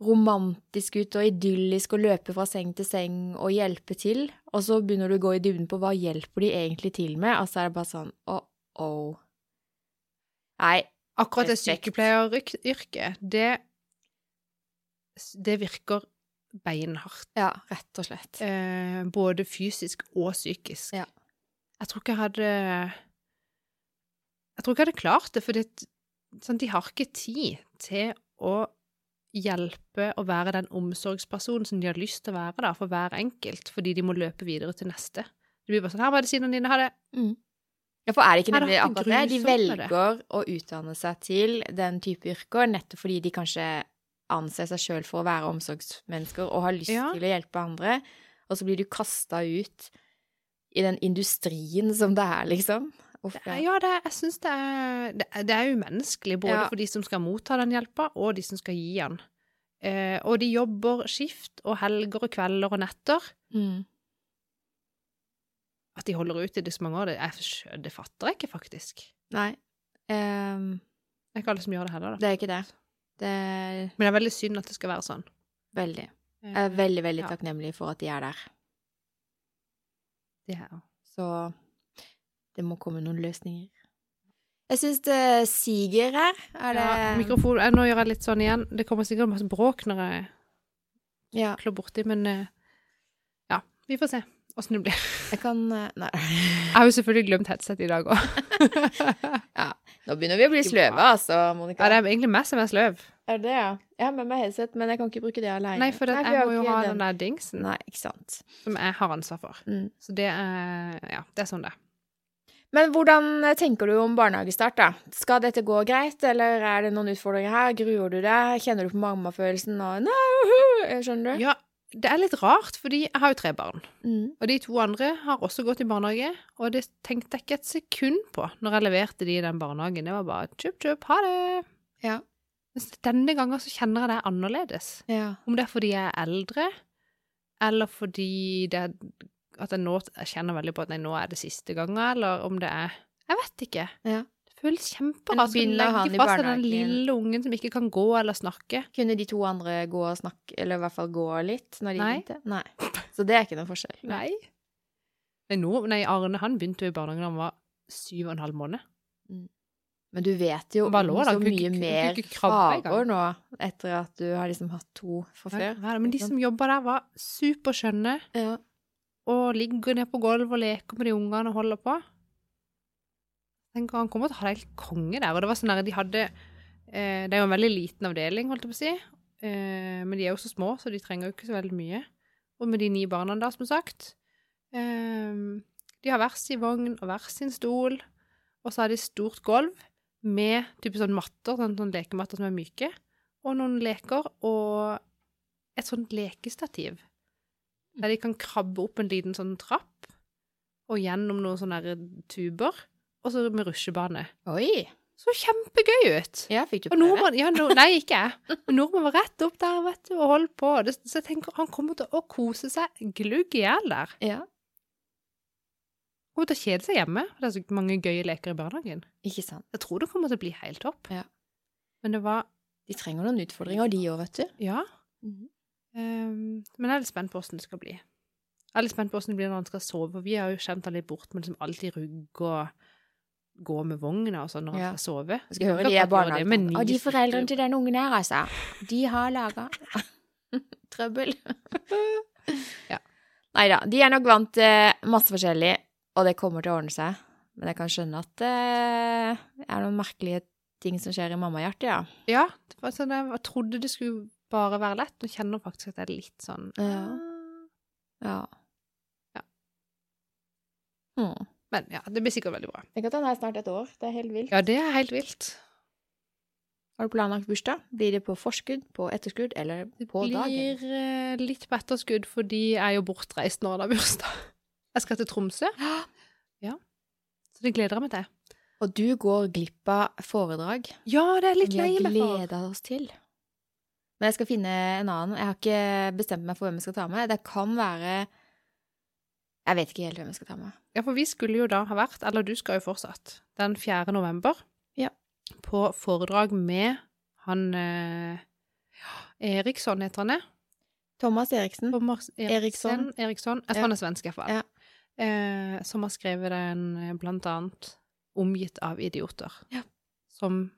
Speaker 1: romantisk ut og idyllisk å løpe fra seng til seng og hjelpe til, og så begynner du å gå i dybden på hva hjelper de egentlig til med, altså er det bare sånn oh-oh. Nei,
Speaker 2: Akkurat det
Speaker 1: Respekt.
Speaker 2: sykepleieryrket, det, det virker beinhardt.
Speaker 1: ja, rett og slett.
Speaker 2: Eh, både fysisk og psykisk.
Speaker 1: Ja.
Speaker 2: Jeg tror ikke jeg hadde Jeg tror ikke jeg hadde klart det, for det, sånn, de har ikke tid til å hjelpe og være den omsorgspersonen som de har lyst til å være da, for hver enkelt, fordi de må løpe videre til neste. Det blir bare sånn 'Her var medisinene dine. Ha det.'
Speaker 1: Ja, for er det ikke
Speaker 2: Er det
Speaker 1: nemlig
Speaker 2: ikke
Speaker 1: akkurat det? De
Speaker 2: grusomt med det?
Speaker 1: velger å utdanne seg til den type yrker nettopp fordi de kanskje anser seg sjøl for å være omsorgsmennesker og har lyst
Speaker 2: Ja.
Speaker 1: til å hjelpe andre, og så blir du kasta ut i den industrien som det er, liksom. Uff,
Speaker 2: Ja, ja det, jeg syns det er, det, er- det er umenneskelig, både
Speaker 1: Ja.
Speaker 2: for de som skal motta den hjelpa, og de som skal gi den. Eh, og de jobber skift og helger og kvelder og netter.
Speaker 1: Mm.
Speaker 2: At de holder ut i det så mange år, det, jeg, skjø- det fatter jeg ikke, faktisk.
Speaker 1: Nei. Ehm,
Speaker 2: Det er ikke alle som gjør det heller, da.
Speaker 1: det er ikke det. Det er
Speaker 2: Men det er veldig synd at det skal være sånn.
Speaker 1: veldig. Jeg er veldig, veldig
Speaker 2: Ja.
Speaker 1: takknemlig for at de er der.
Speaker 2: Det her.
Speaker 1: Så det må komme noen løsninger. Jeg syns det siger her. Er det
Speaker 2: Ja, mikrofon, eh, nå gjør jeg litt sånn igjen. Det kommer sikkert masse bråk når jeg
Speaker 1: Ja,
Speaker 2: klår borti, men eh, ja, vi får se åssen det blir.
Speaker 1: jeg kan eh, Nei.
Speaker 2: Jeg har jo selvfølgelig glemt headset i dag òg.
Speaker 1: Nå begynner vi å bli
Speaker 2: Ikke
Speaker 1: sløve,
Speaker 2: bra.
Speaker 1: altså, Monica.
Speaker 2: Ja, det er egentlig meg som er sløv.
Speaker 1: Er det, ja? Jeg har med meg headset, men jeg kan ikke bruke det alene.
Speaker 2: Nei, for det,
Speaker 1: vi
Speaker 2: jeg
Speaker 1: har
Speaker 2: må jo
Speaker 1: ikke
Speaker 2: ha den der dingsen
Speaker 1: Nei, ikke sant.
Speaker 2: som jeg har ansvar for.
Speaker 1: Mm.
Speaker 2: Så det er Ja, det er sånn det er.
Speaker 1: Men hvordan eh, tenker du om barnehagestart, da? Skal dette gå greit, eller er det noen utfordringer her? Gruer du deg? Kjenner du på mammafølelsen og Nei, uhu! Eh, Skjønner du?
Speaker 2: Ja, det er litt rart, fordi jeg har jo tre barn.
Speaker 1: Mm.
Speaker 2: Og de to andre har også gått i barnehage, og det tenkte jeg ikke et sekund på når jeg leverte de i den barnehagen. Det var bare tjup, tjup, ha det.
Speaker 1: Ja.
Speaker 2: Mens denne gangen så kjenner jeg det er annerledes.
Speaker 1: ja.
Speaker 2: Om det er fordi jeg er eldre, eller fordi det er at jeg nå jeg kjenner veldig på at nei, nå er det siste gangen, eller om det er Jeg vet ikke.
Speaker 1: Ja.
Speaker 2: Det føles
Speaker 1: Men
Speaker 2: kjemperart. Skal du
Speaker 1: begynner han i
Speaker 2: legge fra seg den
Speaker 1: barnehagen?
Speaker 2: lille ungen som ikke kan gå eller snakke?
Speaker 1: Kunne de to andre gå og snakke, eller i hvert fall gå litt når de
Speaker 2: Nei.
Speaker 1: begynte? Nei. Så det er ikke noen forskjell.
Speaker 2: Nei. Men nå, nei, Arne han begynte jo i barnehagen da han var syv og en halv måned.
Speaker 1: Men du vet jo
Speaker 2: Han bare
Speaker 1: om
Speaker 2: lå der,
Speaker 1: så
Speaker 2: kunne ikke-
Speaker 1: mye
Speaker 2: kunne
Speaker 1: mer
Speaker 2: ikke krabbe engang.
Speaker 1: farger nå, etter at du har liksom hatt to fra
Speaker 2: Ja,
Speaker 1: før.
Speaker 2: ja, men de som jobba der, var superskjønne
Speaker 1: Ja.
Speaker 2: og ligger ned på gulvet og leker med de ungene og holder på. Tenk, han kommer til å ha det helt konge der. Og det var sånn der, de hadde eh, Det er jo en veldig liten avdeling, holdt jeg på å si. Eh, men de er jo så små, så de trenger jo ikke så veldig mye. Og med de ni barna, da, som sagt. Eh, de har hver sin vogn og hver sin stol. Og så har de stort gulv med type sånn matter, sånn, sånn lekematter som er myke. Og noen leker og et sånt lekestativ. Der de kan krabbe opp en liten sånn trapp, og gjennom noen sånne her tuber. Og så med rusjebane.
Speaker 1: Oi!
Speaker 2: Så kjempegøy ut!
Speaker 1: Ja, fikk du
Speaker 2: Og
Speaker 1: prøve?
Speaker 2: nordmann ja, no, Nei, ikke jeg. Men nordmann var rett opp der vet du, og holdt på. Det, så jeg tenker, han kommer til å kose seg glugg i hjel der.
Speaker 1: Ja.
Speaker 2: Kommer til å kjede seg hjemme. for Det er så mange gøye leker i barnehagen.
Speaker 1: Ikke sant.
Speaker 2: Jeg tror det kommer til å bli helt topp.
Speaker 1: Ja.
Speaker 2: Men det var
Speaker 1: De trenger noen utfordringer, de òg, vet du.
Speaker 2: Ja.
Speaker 1: Mhm.
Speaker 2: ehm, men jeg er litt spent på åssen det skal bli. Jeg er litt spent på åssen det blir når han skal sove. for Vi har jo kjent han litt bort med liksom alltid rugg og gå med vogna og sånn når han
Speaker 1: Ja.
Speaker 2: skal sove.
Speaker 1: Jeg skal høre
Speaker 2: Kan
Speaker 1: de er
Speaker 2: godt gjøre det, men
Speaker 1: barnehagene. Og de
Speaker 2: ni
Speaker 1: foreldrene
Speaker 2: stykker.
Speaker 1: til den ungen her, altså. De har laga trøbbel.
Speaker 2: Ja.
Speaker 1: Nei da. De er nok vant til masse forskjellig, og det kommer til å ordne seg. Men jeg kan skjønne at det er noen merkelige ting som skjer i mammahjertet, ja.
Speaker 2: Ja, det var sånn, jeg trodde det skulle bare være lett, men kjenner faktisk at det er litt sånn
Speaker 1: Ja.
Speaker 2: ah.
Speaker 1: Ja.
Speaker 2: Ja.
Speaker 1: Mm.
Speaker 2: Men ja, det blir sikkert veldig bra.
Speaker 1: Tenk at han er snart et år. Det er helt vilt.
Speaker 2: Ja, det er helt vilt.
Speaker 1: Har du planlagt bursdag? Blir det på forskudd, på etterskudd eller på dagen?
Speaker 2: Blir eh, litt på etterskudd fordi jeg er jo bortreist når det er bursdag. Jeg skal til Tromsø. Ja. Så det gleder jeg meg til.
Speaker 1: Og du går glipp av foredrag
Speaker 2: Ja, det er litt
Speaker 1: vi
Speaker 2: lei
Speaker 1: har
Speaker 2: meg for.
Speaker 1: gleda oss til. Men jeg skal finne en annen. Jeg har ikke bestemt meg for hvem jeg skal ta med. Det kan være Jeg vet ikke helt hvem jeg skal ta med.
Speaker 2: Ja, for vi skulle jo da ha vært, eller du skal jo fortsatt, den 4. november
Speaker 1: Ja.
Speaker 2: på foredrag med han eh, Eriksson heter han det.
Speaker 1: Thomas Eriksen.
Speaker 2: Thomas Eriksson.
Speaker 1: Eriksson.
Speaker 2: Eriksson. Jeg tror
Speaker 1: Ja.
Speaker 2: han er svensk, iallfall.
Speaker 1: Ja.
Speaker 2: Eh, som har skrevet den eh, blant annet 'Omgitt av idioter'.
Speaker 1: Ja.
Speaker 2: Som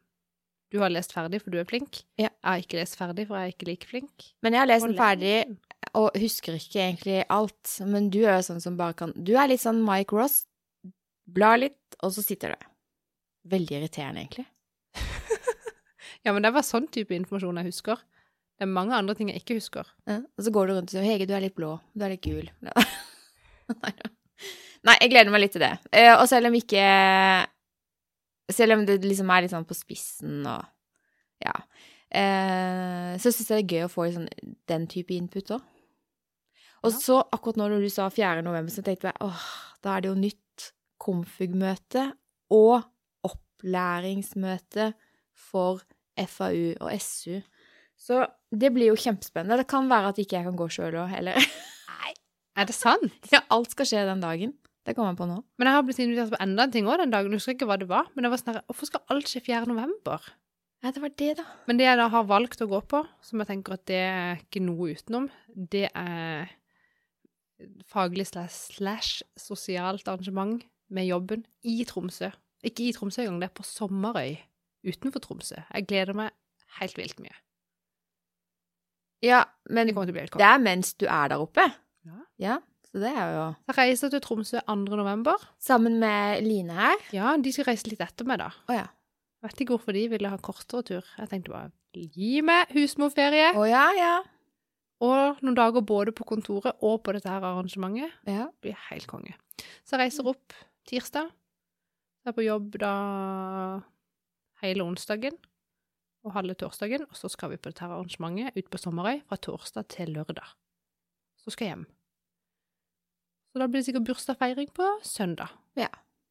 Speaker 2: du har lest ferdig, for du er flink.
Speaker 1: Ja.
Speaker 2: Jeg har ikke lest ferdig, for jeg er ikke like flink.
Speaker 1: Men jeg har lest
Speaker 2: Og
Speaker 1: den ferdig
Speaker 2: lenge.
Speaker 1: og husker ikke egentlig alt. Men du er jo sånn som bare kan Du er litt sånn Mike Ross. Blar litt, og så sitter det. Veldig irriterende, egentlig.
Speaker 2: Ja, men det var sånn type informasjon jeg husker. Det er mange andre ting jeg ikke husker.
Speaker 1: Ja, og så går du rundt og sier 'Hege, du er litt blå. Du er litt gul'. Nei da. Nei, jeg gleder meg litt til det. Eh, Og selv om ikke Selv om det liksom er litt sånn på spissen og Ja. Eh, Så syns jeg det er gøy å få litt sånn den type input òg. Og
Speaker 2: Ja.
Speaker 1: så, akkurat nå når du sa 4. november, så tenkte jeg åh, da er det jo nytt konfig-møte og opplæringsmøte for FAU og SU. Så det blir jo kjempespennende. Det kan være at ikke jeg kan gå sjøl òg heller.
Speaker 2: Er det sant?
Speaker 1: Ja, alt skal skje den dagen. Det kommer jeg på nå.
Speaker 2: Men jeg har blitt invitert på enda en ting òg den dagen. Jeg husker ikke hva det var. Men det var sånn her, hvorfor skal alt skje 4. november?
Speaker 1: Ja, det var det, da.
Speaker 2: Men det jeg da har valgt å gå på, som jeg tenker at det er ikke noe utenom, det er faglig slash, slash sosialt arrangement med jobben i Tromsø. Ikke i Tromsø engang, det er på Sommerøy utenfor Tromsø. Jeg gleder meg helt vilt mye.
Speaker 1: Ja, men
Speaker 2: Det kommer til å bli helt
Speaker 1: det
Speaker 2: kort.
Speaker 1: er mens du er der oppe.
Speaker 2: Ja.
Speaker 1: Ja, så det er jo
Speaker 2: Jeg reiser til Tromsø 2. november.
Speaker 1: Sammen med Line her.
Speaker 2: Ja, de skal reise litt etter meg, da.
Speaker 1: Å ja.
Speaker 2: Jeg vet ikke hvorfor de ville ha kortere tur. Jeg tenkte bare gi meg husmorferie
Speaker 1: Å ja, ja.
Speaker 2: og noen dager både på kontoret og på dette her arrangementet.
Speaker 1: Ja,
Speaker 2: blir helt konge. Så jeg reiser opp tirsdag. Jeg er på jobb da hele onsdagen og halve torsdagen. Og så skal vi på dette her arrangementet ut på Sommerøy fra torsdag til lørdag. Så skal jeg hjem. Så da blir det sikkert bursdagsfeiring på søndag.
Speaker 1: Ja.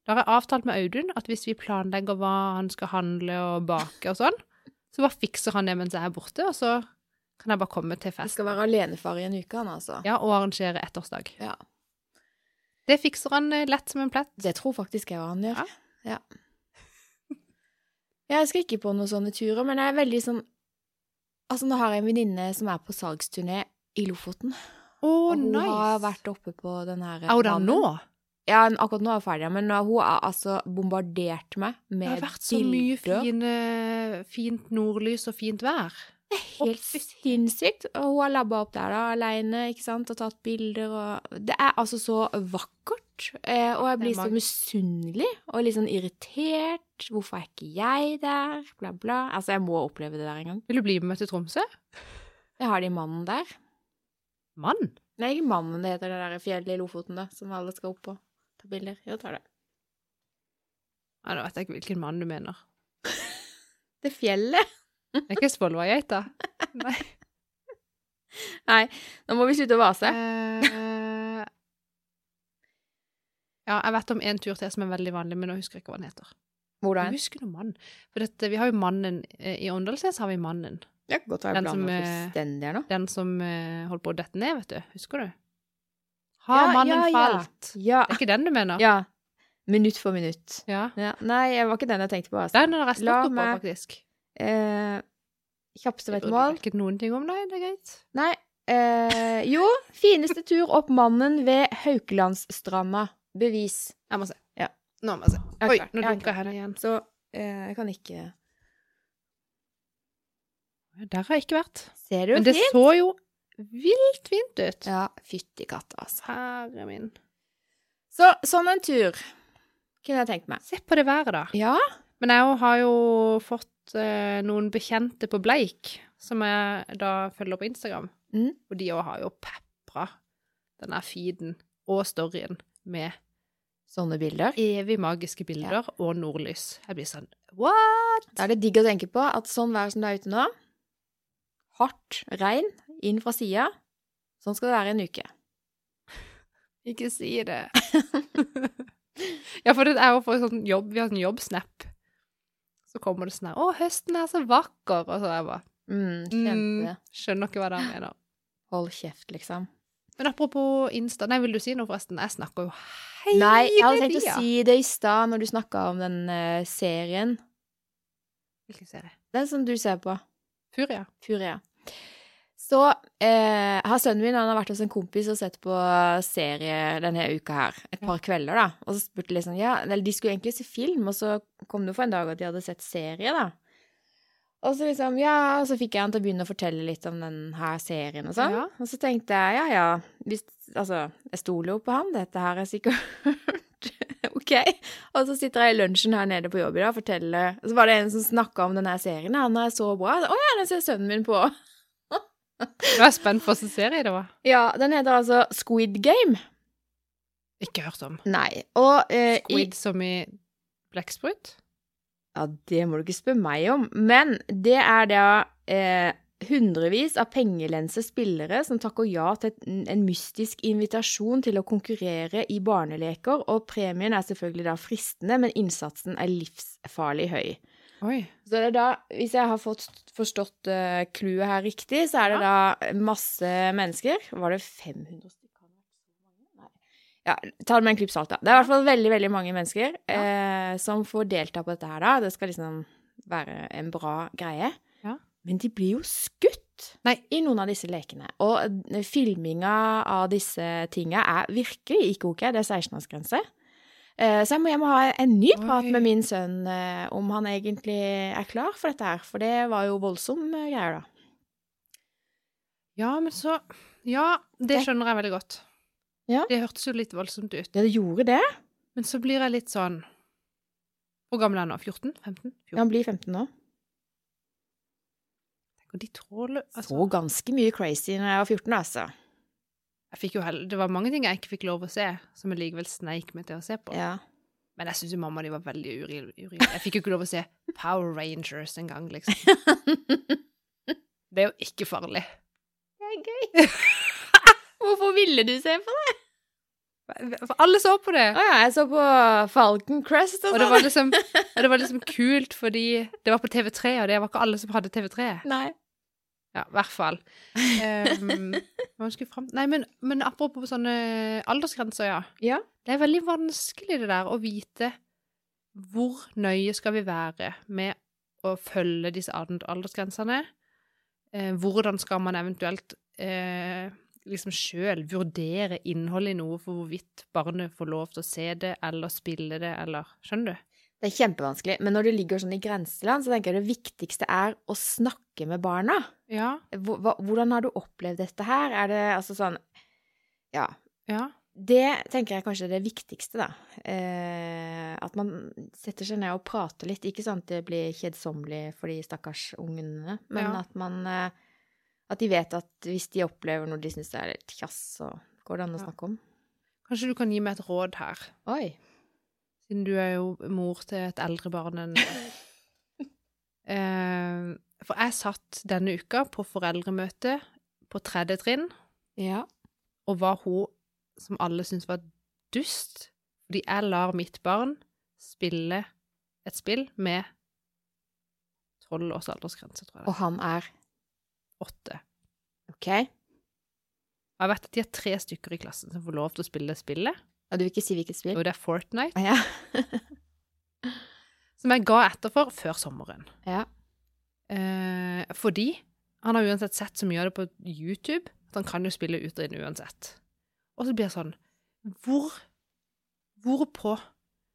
Speaker 2: Da har jeg avtalt med Audun at hvis vi planlegger hva han skal handle og bake og sånn, så bare fikser han det mens jeg er borte, og så kan jeg bare komme til
Speaker 1: Du
Speaker 2: fest.
Speaker 1: skal være alenefar i en uke, han altså.
Speaker 2: Ja, og arrangere ettårsdag.
Speaker 1: Ja.
Speaker 2: Det fikser han eh, lett som en plett.
Speaker 1: Det tror faktisk jeg han gjør. Ja. Ja, Jeg skal ikke på noen sånne turer, men jeg er veldig sånn Altså, nå har jeg en venninne som er på salgsturné i Lofoten.
Speaker 2: Å,
Speaker 1: og hun
Speaker 2: nice!
Speaker 1: har vært oppe på den her
Speaker 2: Er hun der
Speaker 1: dammen.
Speaker 2: nå?
Speaker 1: Ja, akkurat nå er jeg ferdig, men hun har altså bombardert meg
Speaker 2: Det
Speaker 1: med
Speaker 2: har vært så mye fine, fint nordlys og fint vær.
Speaker 1: Helt sinnssykt. Og hun har labba opp der da, aleine, ikke sant, og tatt bilder og Det er altså så vakkert. gjort. Eh, og jeg
Speaker 2: Det er
Speaker 1: blir så
Speaker 2: mange.
Speaker 1: misunnelig og litt sånn irritert. Hvorfor er ikke jeg der? Bla, bla. Altså, jeg må oppleve det der en gang.
Speaker 2: Vil du bli med meg til Tromsø?
Speaker 1: Jeg har de mannen der.
Speaker 2: Mann?
Speaker 1: Nei, ikke mannen det heter det der fjellet i Lofoten, da, som alle skal opp på. Ta bilder. Jo, tar det.
Speaker 2: Ja, nå vet jeg ikke hvilken mann du mener.
Speaker 1: Det fjellet.
Speaker 2: Det er ikke Svolværgeita. Nei.
Speaker 1: Nå må vi slutte å vase.
Speaker 2: Eh, ja, jeg vet om en tur til som er veldig vanlig, men nå husker jeg ikke hva den heter. Jeg
Speaker 1: Hvordan?
Speaker 2: husker noe mann. For dette, vi har jo mannen eh, i Åndalsnes, har vi mannen.
Speaker 1: Det kan godt være
Speaker 2: Den
Speaker 1: blander
Speaker 2: som, eh,
Speaker 1: fullstendig her nå.
Speaker 2: Den som eh, holdt på å dette ned, vet du. Husker du? Har
Speaker 1: Ja,
Speaker 2: mannen
Speaker 1: ja, ja.
Speaker 2: falt?
Speaker 1: Ja.
Speaker 2: Det er ikke den du mener?
Speaker 1: ja. Minutt for minutt.
Speaker 2: Ja.
Speaker 1: Ja. Nei, det var ikke den jeg tenkte på. Altså.
Speaker 2: Den har jeg
Speaker 1: La
Speaker 2: stått opp på,
Speaker 1: meg-
Speaker 2: faktisk.
Speaker 1: Eh, kjappeste
Speaker 2: Det
Speaker 1: ved et
Speaker 2: burde
Speaker 1: mål.
Speaker 2: jeg ikke noen ting om, nei. Det er greit.
Speaker 1: Nei. Eh, jo, fineste tur opp mannen ved Haukelandsstranda. Bevis.
Speaker 2: Jeg må se.
Speaker 1: Ja.
Speaker 2: Nå må jeg se.
Speaker 1: Jeg har
Speaker 2: Oi,
Speaker 1: klart,
Speaker 2: nå
Speaker 1: jeg har klart.
Speaker 2: dunker jeg henne igjen.
Speaker 1: Så eh, jeg kan ikke
Speaker 2: Der har jeg ikke vært.
Speaker 1: Ser du?
Speaker 2: Men det
Speaker 1: Fint.
Speaker 2: så jo vilt fint ut.
Speaker 1: Ja, fytti katta, altså.
Speaker 2: Herre min.
Speaker 1: Så sånn en tur kunne jeg tenkt meg.
Speaker 2: Se på det været, da.
Speaker 1: Ja.
Speaker 2: Men jeg har jo fått eh, noen bekjente på Bleik, som jeg da følger på Instagram.
Speaker 1: Mm.
Speaker 2: Og de òg har jo pepra denne feeden og storyen med
Speaker 1: Sånne bilder.
Speaker 2: evig magiske bilder og nordlys. Jeg blir sånn What?!
Speaker 1: Da er det digg å tenke på at sånn vær som det er ute nå Hardt regn inn fra sida. Sånn skal det være en uke.
Speaker 2: Ikke si det. ja, for det er jo for sånn jobb, vi har sånn jobbsnap. Så kommer det sånn her 'Å, høsten er så vakker', og så er jeg bare
Speaker 1: Mm,
Speaker 2: mm,
Speaker 1: kjempe.
Speaker 2: Skjønner ikke hva det er jeg mener.
Speaker 1: Hold kjeft, liksom.
Speaker 2: Men apropos Insta Nei, vil du si noe, forresten? Jeg snakker jo hele
Speaker 1: Nei, jeg hadde tenkt
Speaker 2: tida.
Speaker 1: å si det i stad når du snakka om den eh, serien.
Speaker 2: Hvilken serie?
Speaker 1: Den som du ser på.
Speaker 2: Furia.
Speaker 1: Furia. Så eh, har sønnen min han har vært hos en kompis og sett på serie denne uka her. Et par kvelder, da. Og så spurte de liksom ja, Eller de skulle egentlig se film, og så kom det for en dag at de hadde sett serie, da. Og så liksom, ja, og så fikk jeg han til å begynne å fortelle litt om den her serien og sånn.
Speaker 2: Ja.
Speaker 1: Og så tenkte jeg, ja ja, hvis, altså, jeg stoler jo på han, dette her er sikkert ok. Og så sitter jeg i lunsjen her nede på jobb i dag og forteller Så var det en som snakka om den her serien, han er så bra. Å ja, den ser sønnen min på.
Speaker 2: Nå er jeg spent på hvilken serie det var.
Speaker 1: Ja, den heter altså Squid Game.
Speaker 2: Ikke hørt om.
Speaker 1: Nei. Og eh, i,
Speaker 2: Squid som i blekksprut?
Speaker 1: Ja, det må du ikke spørre meg om. Men det er da eh, hundrevis av pengelense spillere som takker ja til et, en mystisk invitasjon til å konkurrere i barneleker, og premien er selvfølgelig da fristende, men innsatsen er livsfarlig høy.
Speaker 2: Oi.
Speaker 1: Så det er da, hvis jeg har fått, forstått eh, clouet her riktig, så er det da masse mennesker. Var det 500 stykker? Nei. Ja, ta det med en klype salt, da. Det er i hvert fall veldig veldig mange mennesker eh, som får delta på dette her, da. Det skal liksom være en bra greie.
Speaker 2: Ja.
Speaker 1: Men de blir jo skutt
Speaker 2: Nei.
Speaker 1: i noen av disse lekene. Og eh, filminga av disse tinga er virkelig ikke ok. Det er 16-årsgrense. Eh, Så jeg må, jeg må ha en ny prat
Speaker 2: Oi.
Speaker 1: med min sønn eh, om han egentlig er klar for dette her, for det var jo voldsomme greier, da.
Speaker 2: Ja, men så Ja, det skjønner jeg veldig godt.
Speaker 1: Ja.
Speaker 2: Det hørtes jo litt voldsomt ut.
Speaker 1: Ja, det gjorde det.
Speaker 2: Men så blir jeg litt sånn Hvor gammel er han nå? 14? 15? 14?
Speaker 1: Han blir 15 nå.
Speaker 2: Og de tråler
Speaker 1: Så
Speaker 2: altså,
Speaker 1: ganske mye crazy når jeg var 14, da, altså.
Speaker 2: jeg fikk jo hell, Det var mange ting jeg ikke fikk lov å se, som jeg likevel sneik meg til å se på.
Speaker 1: Ja.
Speaker 2: Men jeg syns jo mamma og de var veldig urile. Jeg fikk jo ikke lov å se Power Rangers engang, liksom. Det er jo ikke farlig.
Speaker 1: Det er gøy. Hvorfor ville du se på det?
Speaker 2: For alle så på det!
Speaker 1: Å ja, jeg så på Falcon Crest og
Speaker 2: Og det
Speaker 1: sånn.
Speaker 2: var liksom, og det var liksom kult fordi det var på TV3, og det var ikke alle som hadde TV3.
Speaker 1: Nei.
Speaker 2: Ja, i hvert fall. Um, hva skulle jeg fram- Nei, men, men apropos sånne aldersgrenser, ja.
Speaker 1: Ja.
Speaker 2: Det er veldig vanskelig det der å vite hvor nøye skal vi være med å følge disse al- aldersgrensene. Eh, hvordan skal man eventuelt eh, liksom sjøl vurdere innholdet i noe for hvorvidt barnet får lov til å se det eller spille det eller Skjønner du?
Speaker 1: Det er kjempevanskelig. Men når du ligger sånn i grenseland, så tenker jeg det viktigste er å snakke med barna.
Speaker 2: Ja.
Speaker 1: Hvor- hva- Hvordan har du opplevd dette her? Er det altså sånn Ja.
Speaker 2: Ja.
Speaker 1: Det tenker jeg kanskje er det viktigste, da. Eh, at man setter seg ned og prater litt. Ikke sånn at det blir kjedsommelig for de stakkars ungene, men
Speaker 2: Ja.
Speaker 1: at man eh, At de vet at hvis de opplever noe de syns er litt kjass, så går det an å
Speaker 2: Ja.
Speaker 1: snakke om.
Speaker 2: Kanskje du kan gi meg et råd her,
Speaker 1: Oi.
Speaker 2: siden du er jo mor til et eldre barn enn Eh, For jeg satt denne uka på foreldremøte på tredje trinn,
Speaker 1: Ja.
Speaker 2: og var hun som alle syntes var dust, fordi jeg lar mitt barn spille et spill med tolv års aldersgrense, tror jeg.
Speaker 1: Og han er
Speaker 2: det er. Åtte.
Speaker 1: OK? Ja,
Speaker 2: Og jeg vet at de er tre stykker i klassen som får lov til å spille spillet,
Speaker 1: du vil ikke si hvilket spill? Ah,
Speaker 2: og det er Fortnite,
Speaker 1: Ja.
Speaker 2: som jeg ga etter for før sommeren.
Speaker 1: ja.
Speaker 2: Eh, fordi han har uansett sett så mye av det på YouTube, at han kan jo spille ut og inn uansett. Og så blir det sånn Hvor Hvorpå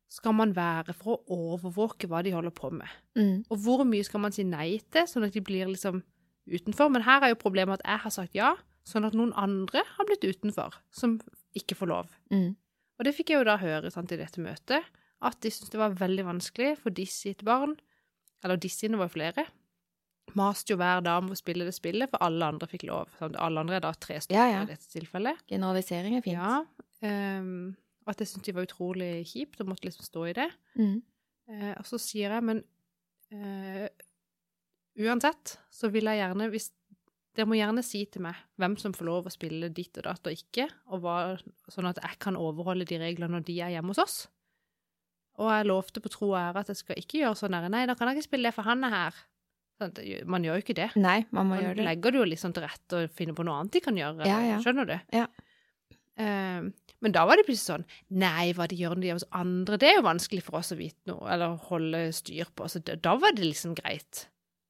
Speaker 2: skal man være for å overvåke hva de holder på med?
Speaker 1: Mm.
Speaker 2: Og hvor mye skal man si nei til, sånn at de blir liksom utenfor? Men her er jo problemet at jeg har sagt ja, sånn at noen andre har blitt utenfor, som ikke får lov.
Speaker 1: Mm.
Speaker 2: Og det fikk jeg jo da høre sant, i dette møtet, at de syntes det var veldig vanskelig for de sitt barn, eller de sine var jo flere, maste jo hver dag om å spille det spillet, for alle andre fikk lov. Sant? Alle andre er da tre stykker
Speaker 1: Ja, ja.
Speaker 2: i dette tilfellet.
Speaker 1: Generalisering er fint.
Speaker 2: Ja, ehm, og at jeg syntes de var utrolig kjipt og måtte liksom stå i det.
Speaker 1: Mm.
Speaker 2: Eh, og så sier jeg, men eh, uansett så vil jeg gjerne hvis, Dere må gjerne si til meg hvem som får lov å spille ditt og datt og ikke, og hva, sånn at jeg kan overholde de reglene når de er hjemme hos oss. Og jeg lovte på tro og ære at jeg skal ikke gjøre sånn der. Nei, da kan jeg ikke spille det, for han er her. Sånn, det- Man gjør jo ikke det.
Speaker 1: Nei, man må
Speaker 2: Man
Speaker 1: gjøre det.
Speaker 2: legger det jo liksom til rette og finner på noe annet de kan gjøre.
Speaker 1: Ja, ja.
Speaker 2: Skjønner du?
Speaker 1: Ja.
Speaker 2: Eh, men da var det plutselig sånn Nei, hva de gjør når de er hos andre, det er jo vanskelig for oss å vite noe, eller holde styr på. Så da, da var det liksom greit.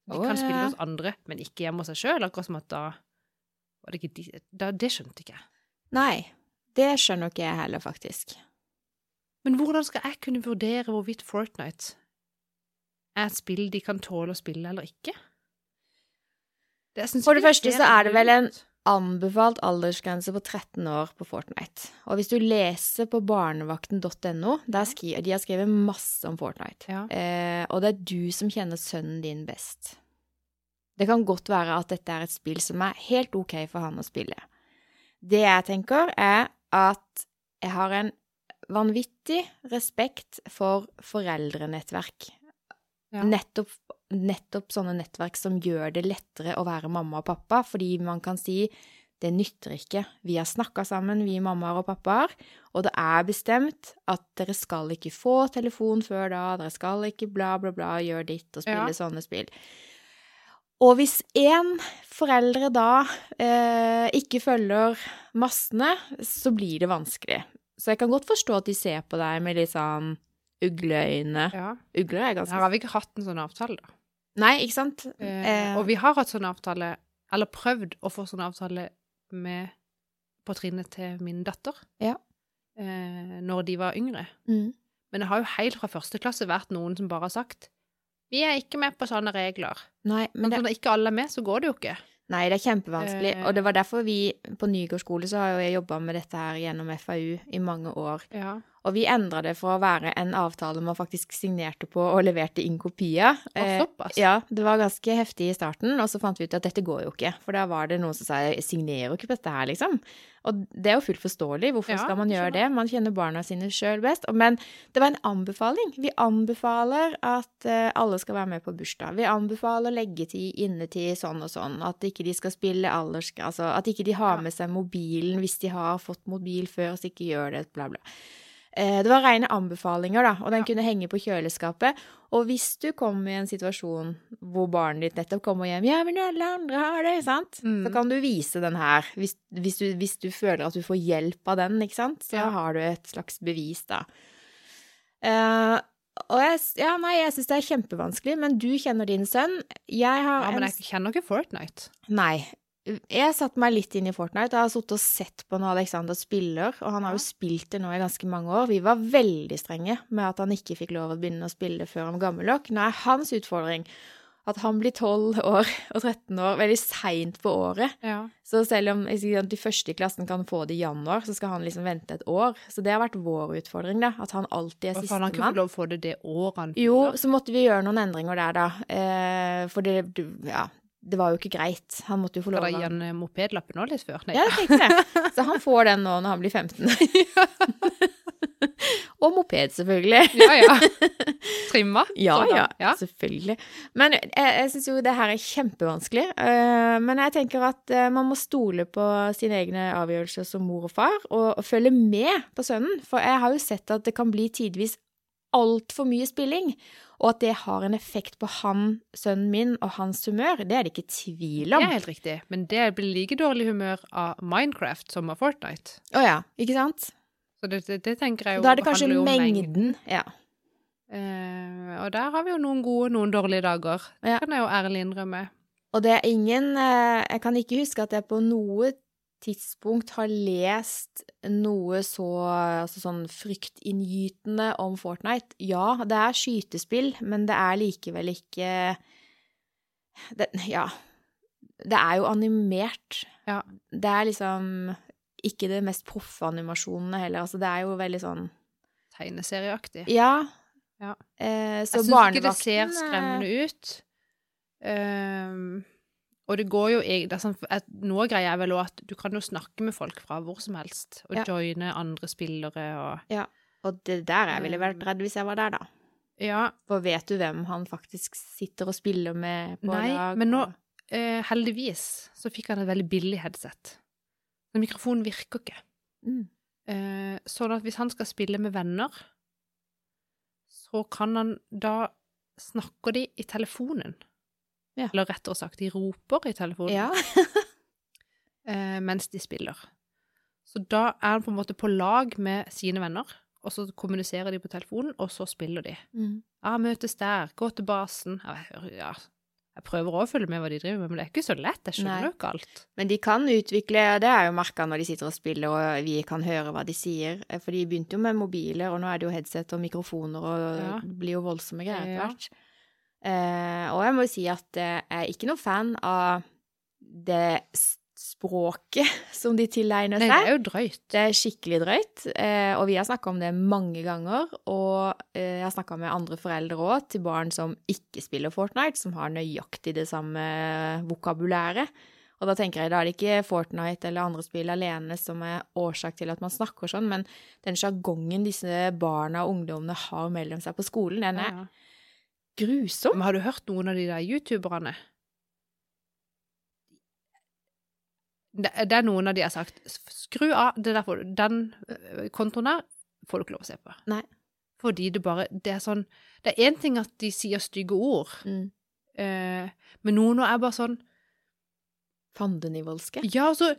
Speaker 2: De
Speaker 1: Å,
Speaker 2: kan spille
Speaker 1: ja.
Speaker 2: hos andre, men ikke hjemme hos seg sjøl. Akkurat som at da var det ikke de da, Det skjønte ikke jeg.
Speaker 1: Nei. Det skjønner ikke jeg heller, faktisk.
Speaker 2: Men hvordan skal jeg kunne vurdere hvorvidt Fortnite er et spill de kan tåle å spille eller ikke? Det- jeg synes
Speaker 1: For det
Speaker 2: ikke
Speaker 1: første
Speaker 2: ser
Speaker 1: så er det vel en-
Speaker 2: ut.
Speaker 1: Anbefalt aldersgrense på 13 år på Fortnite. Og hvis du leser på barnevakten.no, der skri, de har skrevet masse om Fortnite.
Speaker 2: Ja.
Speaker 1: Eh, og det er du som kjenner sønnen din best. Det kan godt være at dette er et spill som er helt ok for han å spille. Det jeg tenker, er at jeg har en vanvittig respekt for foreldrenettverk.
Speaker 2: Ja.
Speaker 1: Nettopp, nettopp sånne nettverk som gjør det lettere å være mamma og pappa, fordi man kan si det nytter ikke. Vi har snakka sammen, vi mammaer og pappaer, og det er bestemt at dere skal ikke få telefon før da, dere skal ikke bla, bla, bla, gjøre ditt og spille
Speaker 2: Ja.
Speaker 1: sånne spill. Og hvis én foreldre da eh, ikke følger massene, så blir det vanskelig. Så jeg kan godt forstå at de ser på deg med litt sånn ugleøyne.
Speaker 2: Ja.
Speaker 1: Ugler er ganske
Speaker 2: Her har vi ikke hatt en sånn avtale, da.
Speaker 1: Nei, ikke sant?
Speaker 2: Eh, og vi har hatt sånn avtale, eller prøvd å få sånn avtale med på trinnet til min datter.
Speaker 1: Ja.
Speaker 2: Eh, når de var yngre.
Speaker 1: Mm.
Speaker 2: Men det har jo helt fra første klasse vært noen som bare har sagt vi er ikke med på sånne regler.
Speaker 1: Nei, men
Speaker 2: Men
Speaker 1: det,
Speaker 2: når ikke alle er med, så går det jo ikke.
Speaker 1: nei, det er kjempevanskelig.
Speaker 2: Eh.
Speaker 1: Og det var derfor vi på Nygård skole så har jo jeg jobba med dette her gjennom FAU i mange år.
Speaker 2: Ja.
Speaker 1: Og vi endra det fra å være en avtale man faktisk signerte på og leverte inn kopier. Eh,
Speaker 2: Og såpass.
Speaker 1: ja, det var ganske heftig i starten, og så fant vi ut at dette går jo ikke. For da var det noen som sa jeg signerer jo ikke på dette her, liksom. Og det er jo fullt forståelig. Hvorfor
Speaker 2: Ja,
Speaker 1: skal man gjøre
Speaker 2: skjønner.
Speaker 1: det? Man kjenner barna sine sjøl best. Og- Men det var en anbefaling. Vi anbefaler at eh, alle skal være med på bursdag. Vi anbefaler leggetid, innetid, sånn og sånn. At ikke de skal spille alders... Altså at ikke de har
Speaker 2: Ja.
Speaker 1: med seg mobilen hvis de har fått mobil før, så ikke gjør det, bla, bla. Eh, Det var rene anbefalinger, da, og den
Speaker 2: Ja.
Speaker 1: kunne henge på kjøleskapet. Og hvis du kom i en situasjon hvor barnet ditt nettopp kommer hjem Ja, men alle andre har det, sant?
Speaker 2: Mm.
Speaker 1: Så kan du vise den her. Hvis, hvis, du, hvis du føler at du får hjelp av den, ikke sant, så
Speaker 2: Ja.
Speaker 1: har du et slags bevis, da. Eh, og jeg, s- ja, nei, jeg syns det er kjempevanskelig, men du kjenner din sønn. Jeg har
Speaker 2: ja,
Speaker 1: en
Speaker 2: men jeg kjenner ikke Fortnite.
Speaker 1: Nei. Jeg satte meg litt inn i Fortnite. Jeg har sittet og sett på når Alexander spiller, og han har jo spilt det nå i ganske mange år. Vi var veldig strenge med at han ikke fikk lov å begynne å spille før han var gammel nok. Nå er hans utfordring at han blir 12 år og 13 år veldig seint på året.
Speaker 2: Ja.
Speaker 1: Så selv om jeg sier at de første i klassen kan få det i januar, så skal han liksom vente et år. Så det har vært vår utfordring, da. At han alltid er
Speaker 2: Hva faen, han kunne
Speaker 1: sistemann.
Speaker 2: ikke lov å få det det året han
Speaker 1: Jo, så måtte vi gjøre noen endringer der, da. Eh, for det, du- ja, det var jo ikke greit. Han måtte jo få
Speaker 2: Skal
Speaker 1: lov
Speaker 2: dere gi
Speaker 1: å
Speaker 2: han eh, mopedlappen nå litt før? Nei.
Speaker 1: Ja, jeg tenkte det. Så han får den nå når han blir 15. og moped, selvfølgelig.
Speaker 2: ja. ja. Trimma?
Speaker 1: Ja,
Speaker 2: Sånn,
Speaker 1: ja,
Speaker 2: ja.
Speaker 1: selvfølgelig. Men jeg, jeg syns jo det her er kjempevanskelig. eh, men jeg tenker at eh, man må stole på sine egne avgjørelser som mor og far, og, og følge med på sønnen. For jeg har jo sett at det kan bli tidvis altfor mye spilling, og at det har en effekt på han, sønnen min, og hans humør. Det er det ikke tvil
Speaker 2: Det
Speaker 1: om.
Speaker 2: er helt riktig. Men det blir like dårlig humør av Minecraft som av Fortnite.
Speaker 1: Å ja, ikke sant?
Speaker 2: Så det, det, det tenker jeg jo
Speaker 1: Da er det kanskje
Speaker 2: handler jo om mengden.
Speaker 1: mengden. Ja.
Speaker 2: Eh, og der har vi jo noen gode og noen dårlige dager. Det
Speaker 1: Ja.
Speaker 2: kan jeg jo ærlig innrømme.
Speaker 1: Og det er ingen eh, Jeg kan ikke huske at jeg på noe tidspunkt har lest noe så altså sånn fryktinngytende om Fortnite. Ja, det er skytespill, men det er likevel ikke det, Ja. Det er jo animert.
Speaker 2: Ja.
Speaker 1: Det er liksom ikke det mest proffe animasjonene heller. Altså, det er jo veldig sånn
Speaker 2: Tegneserieaktig.
Speaker 1: Ja.
Speaker 2: Ja.
Speaker 1: Eh, så eh,
Speaker 2: Jeg syns ikke det ser skremmende ut. Ehm, og det går jo eg- det er sånn, at Noe greier jeg vel òg at du kan jo snakke med folk fra hvor som helst, og
Speaker 1: Ja.
Speaker 2: joine andre spillere og
Speaker 1: Og det der jeg ville
Speaker 2: Eh.
Speaker 1: vært redd hvis jeg var der, da.
Speaker 2: Ja.
Speaker 1: For vet du hvem han faktisk sitter og spiller med på
Speaker 2: Nei,
Speaker 1: dag?
Speaker 2: men nå
Speaker 1: og-
Speaker 2: eh, Heldigvis så fikk han et veldig billig headset. Men mikrofonen virker ikke.
Speaker 1: mm.
Speaker 2: Eh, sånn at hvis han skal spille med venner, så kan han da snakker de i telefonen.
Speaker 1: Ja.
Speaker 2: Eller rettere sagt, de roper i telefonen
Speaker 1: Ja.
Speaker 2: eh, mens de spiller. Så da er han på en måte på lag med sine venner, og så kommuniserer de på telefonen, og så spiller de.
Speaker 1: Mm.
Speaker 2: Ja, møtes der, gå til basen. Ja, jeg, hører- ja. jeg prøver å følge med hva de driver med, men det er ikke så lett. Jeg skjønner
Speaker 1: Nei.
Speaker 2: jo ikke alt.
Speaker 1: Men de kan utvikle, det er jo merka når de sitter og spiller og vi kan høre hva de sier. eh, For de begynte jo med mobiler, og nå er det jo headset og mikrofoner og
Speaker 2: Ja.
Speaker 1: det blir jo voldsomme greier etter
Speaker 2: Ja.
Speaker 1: hvert. Eh, og jeg må jo si at eh, jeg er ikke noen fan av det s- språket som de tilegner
Speaker 2: Nei,
Speaker 1: seg.
Speaker 2: det er jo drøyt.
Speaker 1: Det er skikkelig drøyt, eh, og vi har snakka om det mange ganger. Og eh, jeg har snakka med andre foreldre òg, til barn som ikke spiller Fortnite, som har nøyaktig det samme vokabulæret. Og da tenker jeg da er det ikke Fortnite eller andre spill alene som er årsak til at man snakker sånn, men den sjargongen disse barna og ungdommene har mellom seg på skolen, den er
Speaker 2: Ja, ja.
Speaker 1: grusom.
Speaker 2: Men har du hørt noen av de der youtuberne? Det, det er noen av de jeg har sagt Skru av, det der får du, den øh, kontoen der får du ikke lov å se på.
Speaker 1: Nei.
Speaker 2: Fordi det bare Det er sånn Det er én ting at de sier stygge ord,
Speaker 1: Mm.
Speaker 2: eh, men noen nå er bare sånn
Speaker 1: Fandenivoldske.
Speaker 2: Ja, og så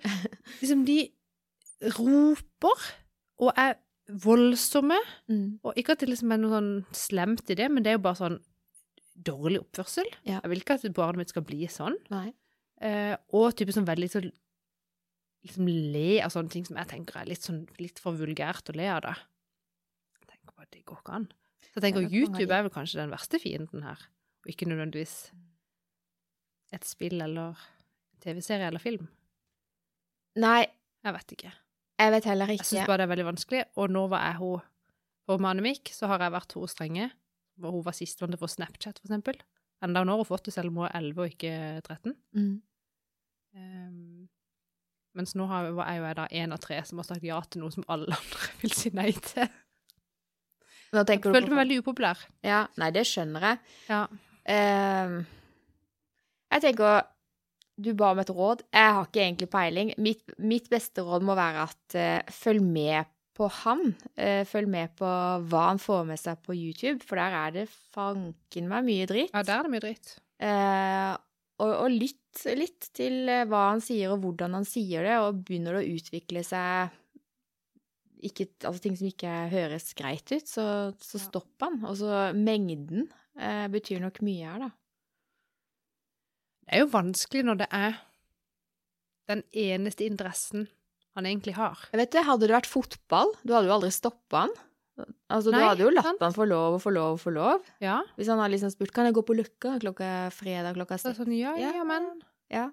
Speaker 2: liksom De roper og er voldsomme.
Speaker 1: Mm.
Speaker 2: Og ikke at det liksom er noe sånn slemt i det, men det er jo bare sånn dårlig oppførsel.
Speaker 1: Ja.
Speaker 2: Jeg vil ikke at barnet mitt skal bli sånn.
Speaker 1: Nei.
Speaker 2: Eh, og type sånn veldig så liksom le av sånne ting som jeg tenker er litt, sånn, litt for vulgært å le av det. Jeg tenker bare, det går ikke an. Så jeg tenker
Speaker 1: Ja, det kan
Speaker 2: YouTube
Speaker 1: være.
Speaker 2: er vel kanskje den verste fienden her, og ikke nødvendigvis et spill eller TV-serie eller film.
Speaker 1: Nei,
Speaker 2: Jeg vet ikke.
Speaker 1: jeg vet heller
Speaker 2: Jeg syns
Speaker 1: ikke.
Speaker 2: bare det er veldig vanskelig, og nå var jeg hun på Manemik, så har jeg vært hun strenge. Hvor hun var sistemann til å få Snapchat, for eksempel. Enda hun har fått det, selv om hun er 11 og ikke 13.
Speaker 1: Mm.
Speaker 2: Ehm, mens nå har, er jo jeg da én av tre som har sagt ja til noe som alle andre vil si nei til.
Speaker 1: Nå
Speaker 2: Jeg
Speaker 1: tenker du
Speaker 2: følte meg
Speaker 1: på
Speaker 2: veldig upopulær.
Speaker 1: Ja, nei, det skjønner jeg.
Speaker 2: Ja.
Speaker 1: Ehm, jeg tenker Du ba om et råd. Jeg har ikke egentlig peiling. Mitt, mitt beste råd må være at eh, følg med på han. Eh, følg med på hva han får med seg på YouTube, for der er det fanken meg mye dritt.
Speaker 2: ja, der er det mye dritt.
Speaker 1: Eh, og, og lytt litt til eh, hva han sier, og hvordan han sier det, og begynner det å utvikle seg ikke, altså ting som ikke høres greit ut, så, så
Speaker 2: Ja.
Speaker 1: stopp han. Og så mengden eh, betyr nok mye her, da.
Speaker 2: Det er jo vanskelig når det er den eneste interessen han egentlig har.
Speaker 1: Jeg vet det, Hadde det vært fotball, du hadde jo aldri stoppa han. Altså, du
Speaker 2: Nei,
Speaker 1: hadde jo latt
Speaker 2: sant.
Speaker 1: han få lov og få lov og få lov.
Speaker 2: Ja.
Speaker 1: Hvis han hadde liksom spurt kan jeg gå på Løkka klokka fredag klokka
Speaker 2: Så er det
Speaker 1: seks.
Speaker 2: sånn, ja, ja,
Speaker 1: Ja.
Speaker 2: men
Speaker 1: Ja,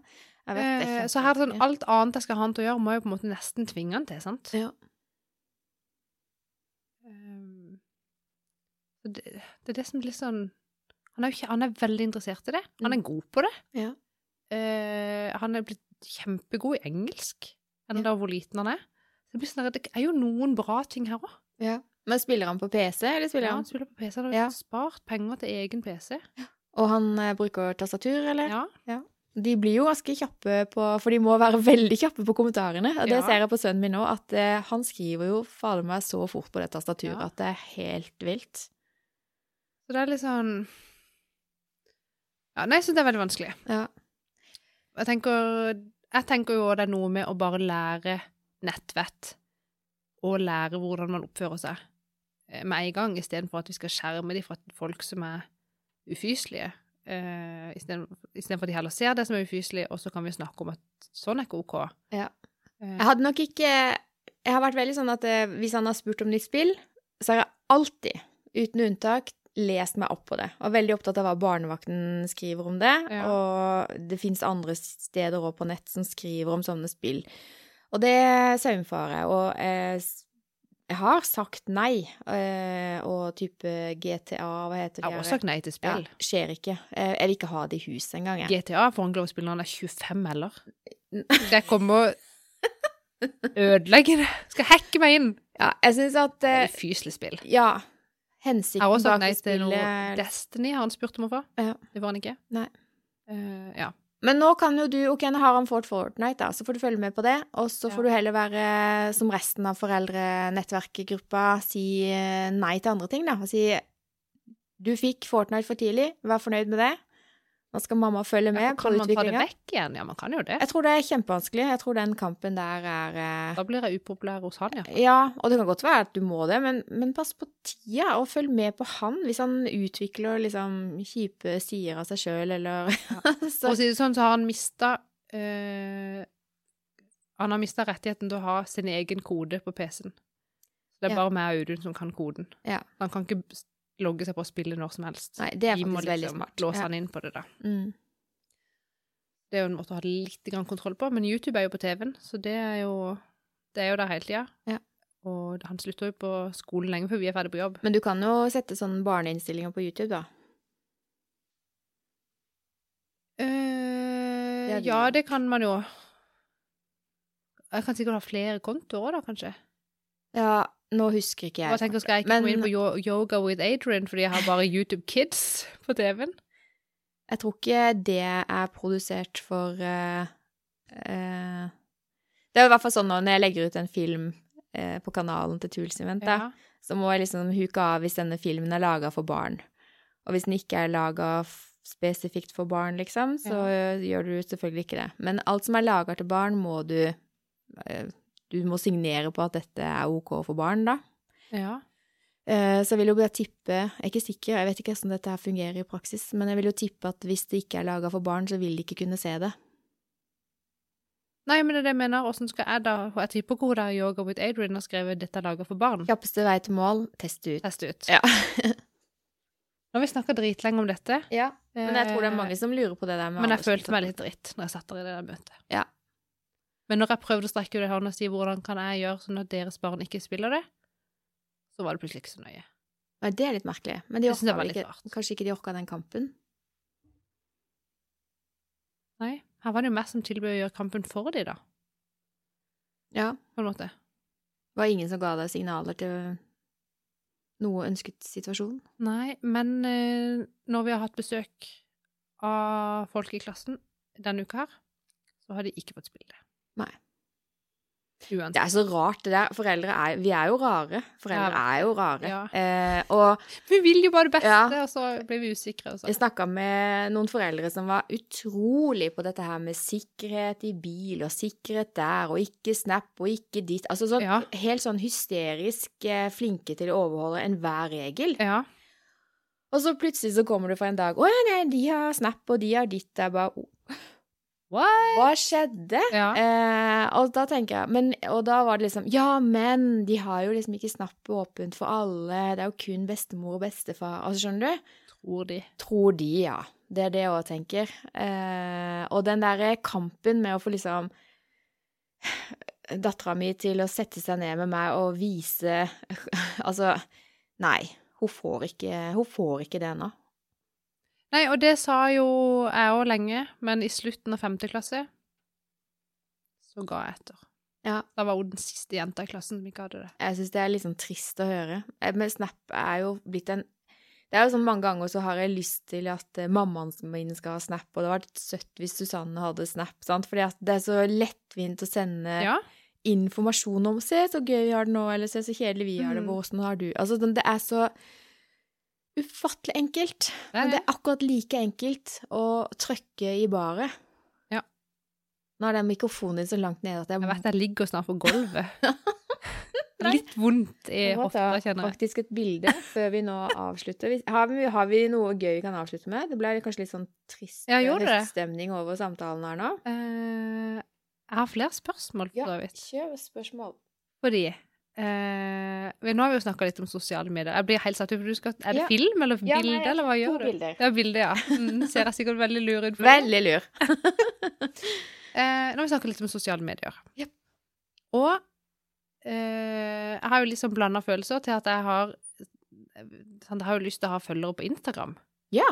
Speaker 1: jeg vet det.
Speaker 2: eh,
Speaker 1: er
Speaker 2: Så her er det sånn
Speaker 1: kjempevanskelig.
Speaker 2: alt annet jeg skal ha han til å gjøre, må jeg jo på en måte nesten tvinge han til, sant?
Speaker 1: Ja.
Speaker 2: Um, så det, det er det som blir sånn han er, jo ikke, han er veldig interessert i det. Han er god på det.
Speaker 1: Mm. Ja.
Speaker 2: Eh, han er blitt kjempegod i engelsk,
Speaker 1: Ja.
Speaker 2: enda hvor liten han er. Så det, blir sånn, der, det er jo noen bra ting her òg.
Speaker 1: ja. Men spiller han på PC, eller spiller
Speaker 2: Ja, han
Speaker 1: han
Speaker 2: spiller på PC. Han har
Speaker 1: Ja.
Speaker 2: spart penger til egen PC.
Speaker 1: Og han eh, bruker tastatur, eller?
Speaker 2: Ja.
Speaker 1: De blir jo ganske kjappe på For de må være veldig kjappe på kommentarene. Og det
Speaker 2: Ja.
Speaker 1: ser jeg på sønnen min nå, at eh, han skriver jo fader meg så fort på det tastaturet
Speaker 2: Ja.
Speaker 1: at det er helt vilt.
Speaker 2: Så det er litt sånn Ja, nei, jeg syns det er veldig vanskelig.
Speaker 1: Ja.
Speaker 2: Jeg tenker, jeg tenker jo også det er noe med å bare lære nettvett, og lære hvordan man oppfører seg eh, med en gang, istedenfor at vi skal skjerme dem fra folk som er ufyselige. Uh, istedenfor at de heller ser det som er ufyselig, og så kan vi snakke om at sånn er ikke OK.
Speaker 1: Ja.
Speaker 2: Eh,
Speaker 1: Jeg hadde nok ikke Jeg har vært veldig sånn at eh, hvis han har spurt om nytt spill, så har jeg alltid, uten unntak, lest meg opp på det. Og veldig opptatt av hva barnevakten skriver om det.
Speaker 2: Ja.
Speaker 1: Og det fins andre steder òg på nett som skriver om sånne spill. Og det saumfarer jeg. Og eh, s- jeg har sagt nei, eh, og type GTA, hva heter det?
Speaker 2: jeg har også sagt nei til
Speaker 1: ja,
Speaker 2: spill.
Speaker 1: skjer ikke. Eh, Jeg vil ikke ha det i huset engang, jeg.
Speaker 2: GTA får han ikke lov å spille når han er 25, eller? Det kommer å ødelegge det. Skal hacke meg inn.
Speaker 1: Ja, jeg syns at
Speaker 2: Det
Speaker 1: eh,
Speaker 2: er Ufyselig spill.
Speaker 1: Ja.
Speaker 2: Jeg har
Speaker 1: Hensikten
Speaker 2: også sagt
Speaker 1: bak
Speaker 2: nei
Speaker 1: det
Speaker 2: til noe
Speaker 1: spillet
Speaker 2: Destiny, har han spurt om å få.
Speaker 1: Ja.
Speaker 2: Det får han ikke.
Speaker 1: Nei.
Speaker 2: Eh, ja.
Speaker 1: Men nå kan jo du Ok, nå har han fått Fortnite, da, så får du følge med på det. Og så
Speaker 2: Ja.
Speaker 1: får du heller være som resten av foreldrenettverkgruppa, si eh, nei til andre ting, da. Og si du fikk Fortnite for tidlig, vær fornøyd med det. Nå skal mamma følge med
Speaker 2: Ja,
Speaker 1: på
Speaker 2: kan man ta det
Speaker 1: utviklinga.
Speaker 2: vekk igjen? Ja, man kan jo det.
Speaker 1: Jeg tror det er kjempevanskelig. Jeg tror den kampen der er eh,
Speaker 2: Da blir jeg upopulær hos han, ja.
Speaker 1: Ja, og det kan godt være at du må det, men, men pass på tida, og følg med på han hvis han utvikler liksom kjipe sider av seg sjøl, eller
Speaker 2: For
Speaker 1: så,
Speaker 2: å si det sånn, så har han mista eh, Han har mista rettigheten til å ha sin egen kode på PC-en. Det er
Speaker 1: Ja.
Speaker 2: bare meg og Audun som kan koden.
Speaker 1: Ja.
Speaker 2: Han kan ikke logge seg på å spille når som helst.
Speaker 1: Nei, det er
Speaker 2: Vi må
Speaker 1: faktisk veldig
Speaker 2: liksom
Speaker 1: smart.
Speaker 2: låse
Speaker 1: Ja.
Speaker 2: han inn på det, da.
Speaker 1: Mm.
Speaker 2: Det er jo en måte å ha litt grann kontroll på, men YouTube er jo på TV-en, så det er jo, det er jo der hele tida.
Speaker 1: Ja.
Speaker 2: Og han slutter jo på skolen lenge før vi er ferdig på jobb.
Speaker 1: Men du kan jo sette sånne barneinnstillinger på YouTube, da.
Speaker 2: Eh,
Speaker 1: Det er det.
Speaker 2: ja, det kan man jo. Jeg kan sikkert ha flere kontoer da, kanskje.
Speaker 1: Ja, nå husker ikke jeg.
Speaker 2: Hva tenker Skal jeg ikke
Speaker 1: Men-
Speaker 2: komme inn på yo- Yoga with Adrian fordi jeg har bare YouTube Kids på TV-en?
Speaker 1: Jeg tror ikke det er produsert for eh, eh, Det er i hvert fall sånn nå, når jeg legger ut en film eh, på kanalen til Tools Invent, da,
Speaker 2: Ja.
Speaker 1: så må jeg liksom huke av hvis denne filmen er laga for barn. Og hvis den ikke er laga spesifikt for barn, liksom, så eh, gjør du selvfølgelig ikke det. Men alt som er laga til barn, må du eh, Du må signere på at dette er OK for barn, da.
Speaker 2: ja.
Speaker 1: Eh, Så jeg vil jo bare tippe Jeg er ikke sikker, jeg vet ikke hvordan dette her fungerer i praksis, men jeg vil jo tippe at hvis det ikke er laga for barn, så vil de ikke kunne se det.
Speaker 2: Nei, men det er det jeg mener. Åssen skal jeg da og Jeg tipper hvor det er Yoga with Adrian har skrevet 'Dette er laga for barn'.
Speaker 1: Kjappeste vei til mål test ut.
Speaker 2: Test ut.
Speaker 1: Ja.
Speaker 2: Nå har vi snakka dritlenge om dette.
Speaker 1: ja. Men jeg tror det er mange som lurer på det der med
Speaker 2: Eh, Men jeg
Speaker 1: aldersgrensa.
Speaker 2: følte meg litt dritt når jeg satt der i det der møtet.
Speaker 1: Ja.
Speaker 2: Men når jeg prøvde å strekke ut en hånd og si hvordan kan jeg gjøre sånn at deres barn ikke spiller det, så var det plutselig ikke så nøye.
Speaker 1: Nei, det er litt merkelig. Men de
Speaker 2: Jeg synes det
Speaker 1: orka
Speaker 2: var
Speaker 1: vel
Speaker 2: litt
Speaker 1: ikke
Speaker 2: rart.
Speaker 1: Kanskje ikke de orka den kampen?
Speaker 2: Nei, her var det jo meg som tilbød å gjøre kampen for dem, da,
Speaker 1: Ja.
Speaker 2: på en måte.
Speaker 1: Det var ingen som ga deg signaler til noe ønsket situasjon?
Speaker 2: Nei, men eh, når vi har hatt besøk av folk i klassen denne uka her, så har de ikke fått spille det.
Speaker 1: Nei.
Speaker 2: Uansett.
Speaker 1: Det er så rart, det der. Foreldre er Vi er jo rare. Foreldre
Speaker 2: Ja.
Speaker 1: er jo rare.
Speaker 2: Ja.
Speaker 1: Eh, og
Speaker 2: Vi vil jo bare det beste,
Speaker 1: Ja.
Speaker 2: og så blir vi usikre. Og så.
Speaker 1: Jeg snakka med noen foreldre som var utrolig på dette her med sikkerhet i bil, og sikkerhet der, og ikke snap, og ikke dit. Altså sånn,
Speaker 2: Ja.
Speaker 1: helt sånn hysterisk eh, flinke til å overholde enhver regel.
Speaker 2: Ja.
Speaker 1: Og så plutselig så kommer du for en dag Å ja, nei, de har snap, og de har ditt. Det er bare
Speaker 2: What?
Speaker 1: Hva skjedde?
Speaker 2: Ja.
Speaker 1: Eh, og da tenker jeg men, Og da var det liksom Ja, men de har jo liksom ikke snappet åpent for alle. Det er jo kun bestemor og bestefar. Altså, skjønner du?
Speaker 2: Tror de.
Speaker 1: Tror de, ja. Det er det jeg òg tenker. Eh, og den derre kampen med å få liksom Dattera mi til å sette seg ned med meg og vise Altså, nei. Hun får ikke, hun får ikke det ennå.
Speaker 2: Nei, og det sa jo jeg òg lenge, men i slutten av femte klasse så ga jeg etter.
Speaker 1: Ja.
Speaker 2: Da var hun den siste jenta i klassen som ikke hadde det.
Speaker 1: Jeg syns det er litt sånn trist å høre. Eh, Men Snap er jo blitt en Det er jo sånn mange ganger så har jeg lyst til at eh, mammaen min skal ha Snap, og det hadde vært søtt hvis Susanne hadde Snap, sant? Fordi at det er så lettvint å sende
Speaker 2: Ja.
Speaker 1: informasjon om 'se så gøy vi har det nå', eller 'se så kjedelig vi har det',
Speaker 2: Mhm.
Speaker 1: hvordan har du Altså, den- det er så ufattelig enkelt. Men det er akkurat like enkelt å trykke i baret.
Speaker 2: Ja.
Speaker 1: Nå er den mikrofonen din så langt nede at jeg,
Speaker 2: Jeg vet jeg ligger snart på gulvet.
Speaker 1: Nei.
Speaker 2: Litt vondt i
Speaker 1: Jeg må
Speaker 2: hofta,
Speaker 1: ta
Speaker 2: kjenner jeg.
Speaker 1: faktisk et bilde før vi nå avslutter. Vi- Har vi, har vi noe gøy vi kan avslutte med? Det ble kanskje litt sånn trist
Speaker 2: Ja, gjorde det.
Speaker 1: høststemning over samtalen her nå.
Speaker 2: Eh, jeg har flere spørsmål, for
Speaker 1: Ja,
Speaker 2: så vidt.
Speaker 1: kjør spørsmål.
Speaker 2: Fordi eh, men Nå har vi jo snakka litt om sosiale medier. Jeg blir helt satt ut, for du skal, Er det
Speaker 1: Ja.
Speaker 2: film eller
Speaker 1: Ja, nei, jeg
Speaker 2: bilde,
Speaker 1: har
Speaker 2: eller hva gjør
Speaker 1: to
Speaker 2: du?
Speaker 1: bilder.
Speaker 2: Ja, bilde, ja. Mm, ser jeg sikkert veldig lur ut. på det.
Speaker 1: Veldig lur.
Speaker 2: Eh, nå har vi snakket litt om sosiale medier.
Speaker 1: Ja.
Speaker 2: Og eh, jeg har jo litt sånn blanda følelser til at jeg har sånn, Jeg har jo lyst til å ha følgere på Instagram.
Speaker 1: Ja.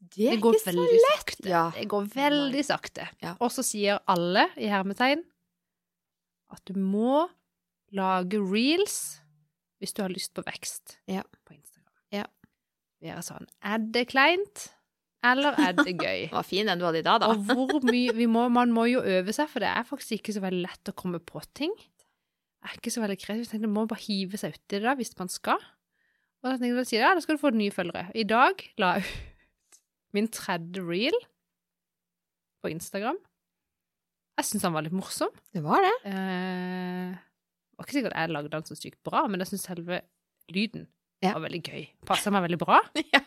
Speaker 1: Det er
Speaker 2: Det går
Speaker 1: ikke så
Speaker 2: veldig sakte.
Speaker 1: Ja.
Speaker 2: Det går veldig sakte.
Speaker 1: Ja.
Speaker 2: Og så sier alle, i hermetegn, at du må lage reels hvis du har lyst på vekst
Speaker 1: Ja.
Speaker 2: på Instagram.
Speaker 1: Ja.
Speaker 2: Være sånn Er det kleint, eller er det gøy?
Speaker 1: Det var fin den du hadde i dag, da.
Speaker 2: Og hvor mye vi må, Man må jo øve seg, for det er faktisk ikke så veldig lett å komme på ting. Det er ikke så veldig kreativt. Jeg tenkte, Man må bare hive seg uti det da, hvis man skal. Og da tenkte jeg, da sier jeg, ja, da skal du få nye følgere. I dag la jeg ut min tredje reel på Instagram. Jeg syns han var litt morsom.
Speaker 1: Det var det.
Speaker 2: Eh, det var ikke sikkert jeg lagde den så sykt bra, men jeg syns selve lyden
Speaker 1: Ja.
Speaker 2: var veldig gøy. Passa meg veldig bra.
Speaker 1: Ja.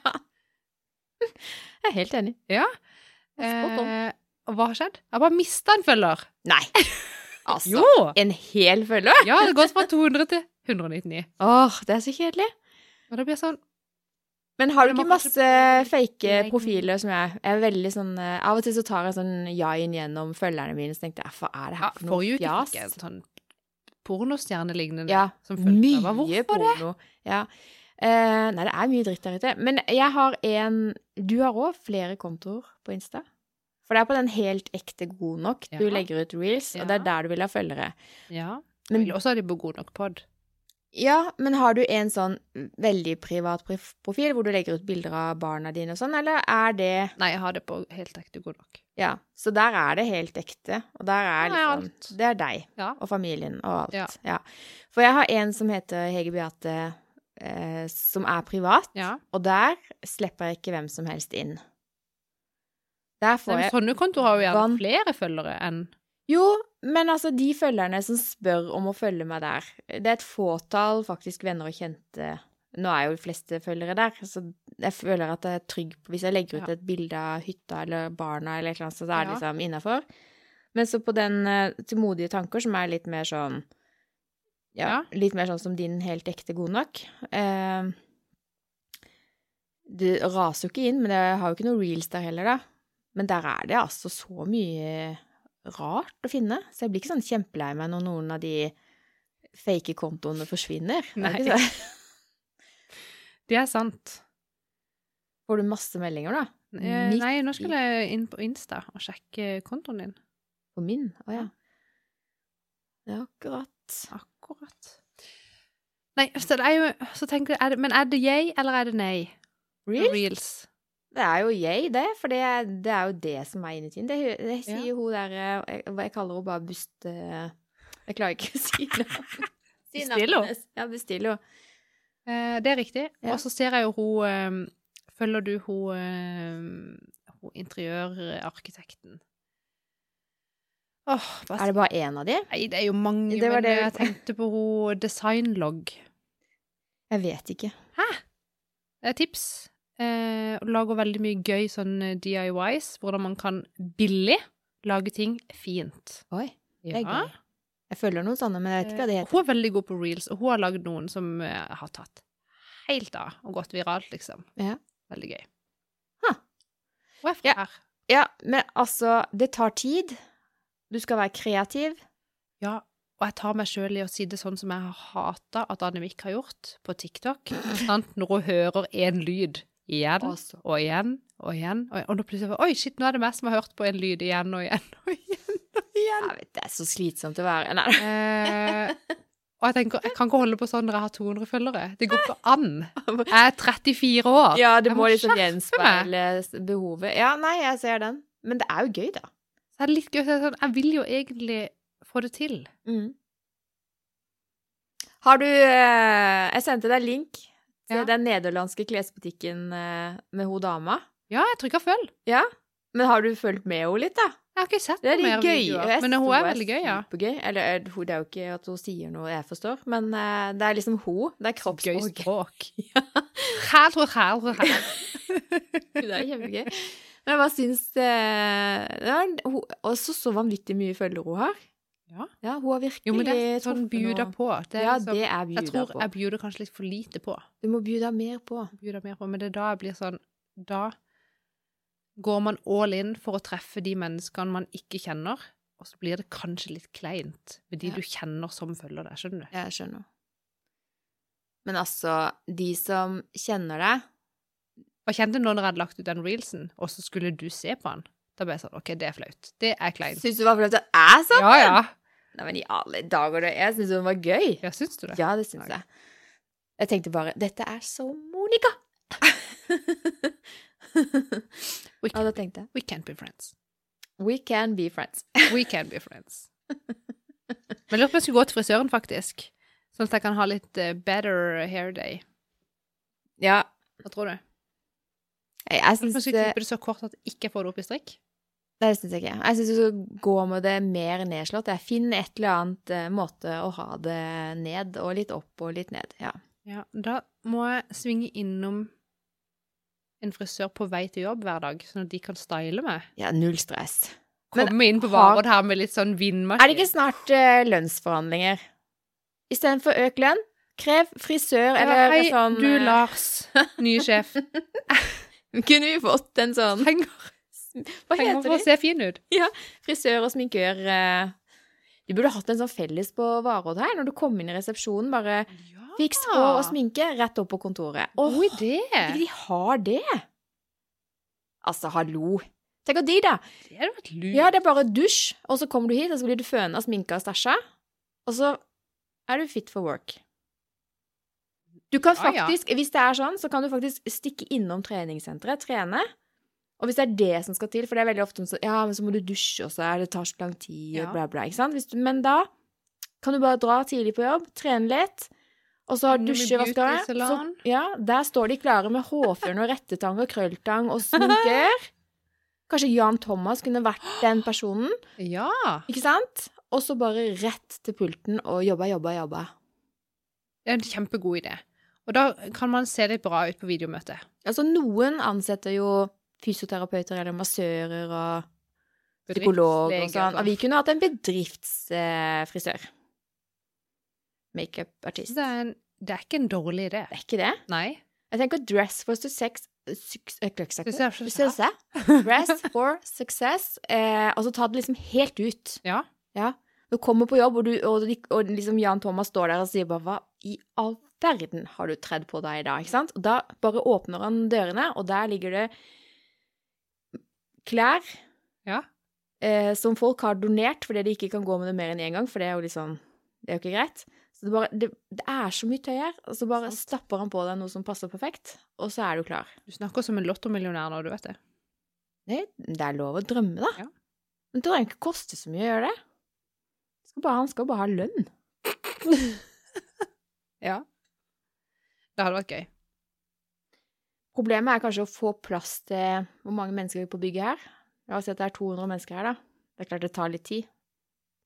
Speaker 1: Jeg er helt enig.
Speaker 2: Ja.
Speaker 1: Spot on.
Speaker 2: Eh, og hva har skjedd? Jeg bare mista en følger.
Speaker 1: Nei. Altså.
Speaker 2: Jo!
Speaker 1: En hel følger?
Speaker 2: Ja, det har gått fra 200 til 199.
Speaker 1: Åh, det er så kjedelig.
Speaker 2: Og det blir sånn
Speaker 1: Men har du
Speaker 2: Men
Speaker 1: ikke
Speaker 2: man
Speaker 1: masse
Speaker 2: kanskje-
Speaker 1: fake
Speaker 2: Nei.
Speaker 1: profiler som jeg? Jeg er veldig sånn eh, Av og til så tar jeg sånn jain gjennom følgerne mine, så tenkte jeg hva er det
Speaker 2: ja,
Speaker 1: her for noe
Speaker 2: Forrige uke
Speaker 1: fjas?
Speaker 2: fikk jeg en sånn pornostjernelignende
Speaker 1: Ja,
Speaker 2: som fulgte meg.
Speaker 1: mye
Speaker 2: Hvorfor det?
Speaker 1: porno. Ja. Eh, nei, det er mye dritt der ute. Men jeg har en Du har òg flere kontoer på Insta? For det er på den helt ekte god nok. Du
Speaker 2: Ja.
Speaker 1: legger ut reels, og det
Speaker 2: Ja.
Speaker 1: er der du vil ha følgere.
Speaker 2: Ja.
Speaker 1: Men-
Speaker 2: Men også har de på god nok pod.
Speaker 1: Ja, men har du en sånn veldig privat prif- profil hvor du legger ut bilder av barna dine og sånn, eller er det
Speaker 2: Nei, jeg har det på helt ekte god nok.
Speaker 1: Ja, så der er det helt ekte, og der er
Speaker 2: Der er
Speaker 1: liksom
Speaker 2: alt.
Speaker 1: Det er deg
Speaker 2: Ja.
Speaker 1: og familien og alt.
Speaker 2: Ja.
Speaker 1: Ja. For jeg har en som heter Hege Beate, eh, som er privat,
Speaker 2: ja.
Speaker 1: og der slipper jeg ikke hvem som helst inn. Der
Speaker 2: Nei,
Speaker 1: får
Speaker 2: men
Speaker 1: jeg
Speaker 2: sånne kontoer har jo gjerne
Speaker 1: Van-
Speaker 2: flere følgere enn
Speaker 1: Jo, men altså, de følgerne som spør om å følge meg der Det er et fåtall faktisk venner og kjente Nå er jo de fleste følgere der, så jeg føler at jeg er trygg på Hvis jeg legger ut
Speaker 2: Ja.
Speaker 1: et bilde av hytta eller barna eller et eller annet, så da er det
Speaker 2: Ja.
Speaker 1: liksom innafor. Men så på den eh, til modige tanker, som er litt mer sånn ja,
Speaker 2: Ja.
Speaker 1: litt mer sånn som din helt ekte god nok. Eh, det raser jo ikke inn, men jeg har jo ikke noen reels der heller, da. Men der er det altså så mye rart å finne. Så jeg blir ikke sånn kjempelei meg når noen av de fake kontoene forsvinner. Det er ikke
Speaker 2: Nei.
Speaker 1: så-
Speaker 2: Det er sant.
Speaker 1: Får du masse meldinger, da?
Speaker 2: Eh,
Speaker 1: Midt
Speaker 2: Nei, nå
Speaker 1: i-
Speaker 2: skulle jeg inn på Insta og sjekke kontoen din.
Speaker 1: På min? Å ja. Det er akkurat.
Speaker 2: Akkurat. Nei, så det er jo så tenker jeg, er det, Men er det jeg, eller er det nei?
Speaker 1: Reels?
Speaker 2: Reels.
Speaker 1: Det er jo jeg, det. For det, er- det er jo det som er inni tiden. Det, det
Speaker 2: Ja.
Speaker 1: sier hun der eh, jeg- Hva jeg kaller hun bare bust... eh, Jeg klarer ikke å si navnet. Si navnet
Speaker 2: Bustillo.
Speaker 1: hennes. Ja, Bustillo.
Speaker 2: Eh, det er riktig.
Speaker 1: Ja.
Speaker 2: Og så ser jeg jo hun eh, Følger du hun, eh, hun interiørarkitekten? Åh, hva
Speaker 1: Er det bare én av de?
Speaker 2: Nei, det er jo mange,
Speaker 1: Det var
Speaker 2: men
Speaker 1: det vi-
Speaker 2: jeg tenkte på hun designlogg.
Speaker 1: Jeg vet ikke.
Speaker 2: Det er tips. Eh, hun lager veldig mye gøy sånn eh, DIYs, hvordan man kan billig lage ting fint.
Speaker 1: Oi, det er gøy. Jeg følger noen sånne, men jeg vet ikke hva det
Speaker 2: Eh,
Speaker 1: heter.
Speaker 2: Hun er veldig god på reels, og hun har lagd noen som eh, har tatt helt av og gått viralt, liksom.
Speaker 1: Ja.
Speaker 2: Veldig gøy.
Speaker 1: Ha.
Speaker 2: Hun er fra
Speaker 1: Ja.
Speaker 2: her.
Speaker 1: Ja, men altså, det tar tid. Du skal være kreativ.
Speaker 2: Ja, og jeg tar meg sjøl i å si det sånn som jeg har hata at Annemik har gjort på TikTok. Sant? Når hun hører én lyd igjen
Speaker 1: Altså.
Speaker 2: og igjen og igjen, og, og nå plutselig bare, Oi, shit, nå er det meg som har hørt på en lyd igjen og igjen og igjen. Og igjen.
Speaker 1: Jeg vet, det er så slitsomt å være Nei,
Speaker 2: Eh, og jeg tenker, jeg kan ikke holde på sånn når jeg har 200 følgere. Det går ikke an. Jeg er 34 år.
Speaker 1: Ja, det
Speaker 2: Jeg
Speaker 1: må
Speaker 2: må
Speaker 1: liksom
Speaker 2: skjerpe meg.
Speaker 1: gjenspeile behovet. Ja, nei, jeg ser den. Men det er jo gøy, da.
Speaker 2: Så det er litt gøy å si sånn Jeg vil jo egentlig få det til.
Speaker 1: Mm. Har du eh, Jeg sendte deg link til
Speaker 2: Ja.
Speaker 1: den nederlandske klesbutikken eh, med hun dama.
Speaker 2: Ja, jeg trykker følg.
Speaker 1: Men har du fulgt med henne litt, da?
Speaker 2: Jeg har ikke sett
Speaker 1: Det er
Speaker 2: noe mer
Speaker 1: litt gøy.
Speaker 2: videoer. Men hun er veldig gøy, ja.
Speaker 1: Supergøy. Eller eh, hun- det er jo ikke at hun sier noe jeg forstår, men eh, det er liksom hun. Det er
Speaker 2: Gøy
Speaker 1: kroppsspråk.
Speaker 2: språk. Hæl, hæl, hæl, hæl.
Speaker 1: Det er kjempegøy. Men jeg bare syns eh, det var en- hun- Også så vanvittig mye følgere hun har.
Speaker 2: Ja.
Speaker 1: Hun har virkelig
Speaker 2: Jo, men det er sånn
Speaker 1: truffet
Speaker 2: bjuda
Speaker 1: noe.
Speaker 2: på. Det er
Speaker 1: ja,
Speaker 2: liksom,
Speaker 1: det er bjuda
Speaker 2: jeg tror
Speaker 1: på.
Speaker 2: jeg bjuder kanskje litt for lite på.
Speaker 1: Du må bjuda mer på.
Speaker 2: Bjuder mer på. Men det er da jeg blir sånn Da går man all in for å treffe de menneskene man ikke kjenner. Og så blir det kanskje litt kleint med de
Speaker 1: Ja.
Speaker 2: du kjenner som følger deg. Skjønner du?
Speaker 1: Jeg skjønner. Men altså, de som kjenner deg
Speaker 2: Og kjente nå når jeg hadde lagt ut den reelsen, og så skulle du se på den. Da ble jeg sånn OK, det er flaut. Det er kleint.
Speaker 1: Syns du det var flaut at jeg sa
Speaker 2: Ja, ja.
Speaker 1: Nei, men i alle dager, du. Jeg syns hun var gøy.
Speaker 2: Ja, syns du det?
Speaker 1: Ja, det syns
Speaker 2: Takk.
Speaker 1: jeg. Jeg tenkte bare Dette er så Monica!
Speaker 2: We
Speaker 1: ja,
Speaker 2: can,
Speaker 1: da tenkte jeg.
Speaker 2: we can be friends.
Speaker 1: We can be friends.
Speaker 2: We can be friends. Men jeg lurer på om jeg skulle gå til frisøren, faktisk. Sånn at jeg kan ha litt eh, better hair day.
Speaker 1: Ja.
Speaker 2: Hva tror du?
Speaker 1: Jeg, jeg
Speaker 2: Jeg lurer på om jeg
Speaker 1: syns
Speaker 2: skulle
Speaker 1: det
Speaker 2: klippe det så kort at jeg ikke får det opp i strikk.
Speaker 1: Nei, det syns jeg ikke. Jeg syns du skal gå med det mer nedslått. Jeg finner et eller annet eh, måte å ha det ned, og litt opp og litt ned. Ja.
Speaker 2: Ja, da må jeg svinge innom en frisør på vei til jobb hver dag, sånn at de kan style meg.
Speaker 1: ja null stress. Men
Speaker 2: Komme inn på
Speaker 1: har-
Speaker 2: varer her med litt sånn vindmaskin.
Speaker 1: Er det ikke snart eh, lønnsforhandlinger? Istedenfor økt lønn, krev frisør
Speaker 2: Ja,
Speaker 1: eller
Speaker 2: Hei,
Speaker 1: sånn
Speaker 2: du
Speaker 1: eh,
Speaker 2: Lars, nye sjef.
Speaker 1: Kunne vi fått en sånn
Speaker 2: Trenger,
Speaker 1: Hva
Speaker 2: trenger
Speaker 1: heter
Speaker 2: for å
Speaker 1: de?
Speaker 2: se fin ut.
Speaker 1: Frisør og sminkør. eh, De burde hatt en sånn felles på Varodd her. Når du kom inn i resepsjonen, bare fiks hår og sminke, rett opp på kontoret. Åh,
Speaker 2: God idé!
Speaker 1: ikke de har det! Altså, hallo. Tenk at de, da.
Speaker 2: Det hadde vært lurt.
Speaker 1: Ja, det er bare dusj, og så kommer du hit, og så blir du føna, sminka og stæsja. Og så er du fit for work. Du kan
Speaker 2: Ja, ja.
Speaker 1: faktisk, hvis det er sånn, så kan du faktisk stikke innom treningssenteret, trene. Og hvis det er det som skal til, for det er veldig ofte sånn Ja, men så må du dusje, og så er det tar så lang tid,
Speaker 2: Ja.
Speaker 1: og bla, bla. Ikke sant? Hvis du, men da kan du bare dra tidlig på jobb, trene litt, og så
Speaker 2: Innom i
Speaker 1: dusje, vaske håret. Så,
Speaker 2: beautysalon.
Speaker 1: ja, der står de klare med hårføn og rettetang og krølltang og sminker. Kanskje Jan Thomas kunne vært den personen,
Speaker 2: Ja.
Speaker 1: ikke sant? Og så bare rett til pulten og jobba, jobba, jobba.
Speaker 2: Det er en kjempegod idé. Og da kan man se litt bra ut på videomøtet.
Speaker 1: Altså, noen ansetter jo fysioterapeuter eller massører og psykolog og
Speaker 2: Bedriftsleger
Speaker 1: sånn. Og vi kunne hatt en bedriftsfrisør. Makeup-artist.
Speaker 2: Det er, en, det er ikke en dårlig idé.
Speaker 1: Det er ikke det.
Speaker 2: Nei.
Speaker 1: Jeg tenker dress for success suks- eh,
Speaker 2: Du
Speaker 1: success-
Speaker 2: ser så-
Speaker 1: Success. Dress for success. Eh, og så ta det liksom helt ut.
Speaker 2: Ja.
Speaker 1: Du kommer på jobb, og, du, og, de- og liksom Jan Thomas står der og sier bare Hva i all verden har du tredd på deg i dag? Ikke sant? Og da bare åpner han dørene, og der ligger det klær
Speaker 2: Ja.
Speaker 1: eh, som folk har donert fordi de ikke kan gå med det mer enn én gang, for det er jo litt sånn Det er jo ikke greit. Så det, bare, det, det er så mye tøy her, og så bare stapper han på deg noe som passer perfekt, og så er du klar.
Speaker 2: Du snakker som en lottomillionær nå, du vet det.
Speaker 1: Det, det er lov å drømme, da.
Speaker 2: Ja.
Speaker 1: Men det trenger ikke koste så mye å gjøre det. Skal bare, han skal bare ha lønn.
Speaker 2: Ja. Det hadde vært gøy.
Speaker 1: Problemet er kanskje å få plass til hvor mange mennesker vi på bygget her. La oss si at det er 200 mennesker her, da. Det er klart det tar litt tid.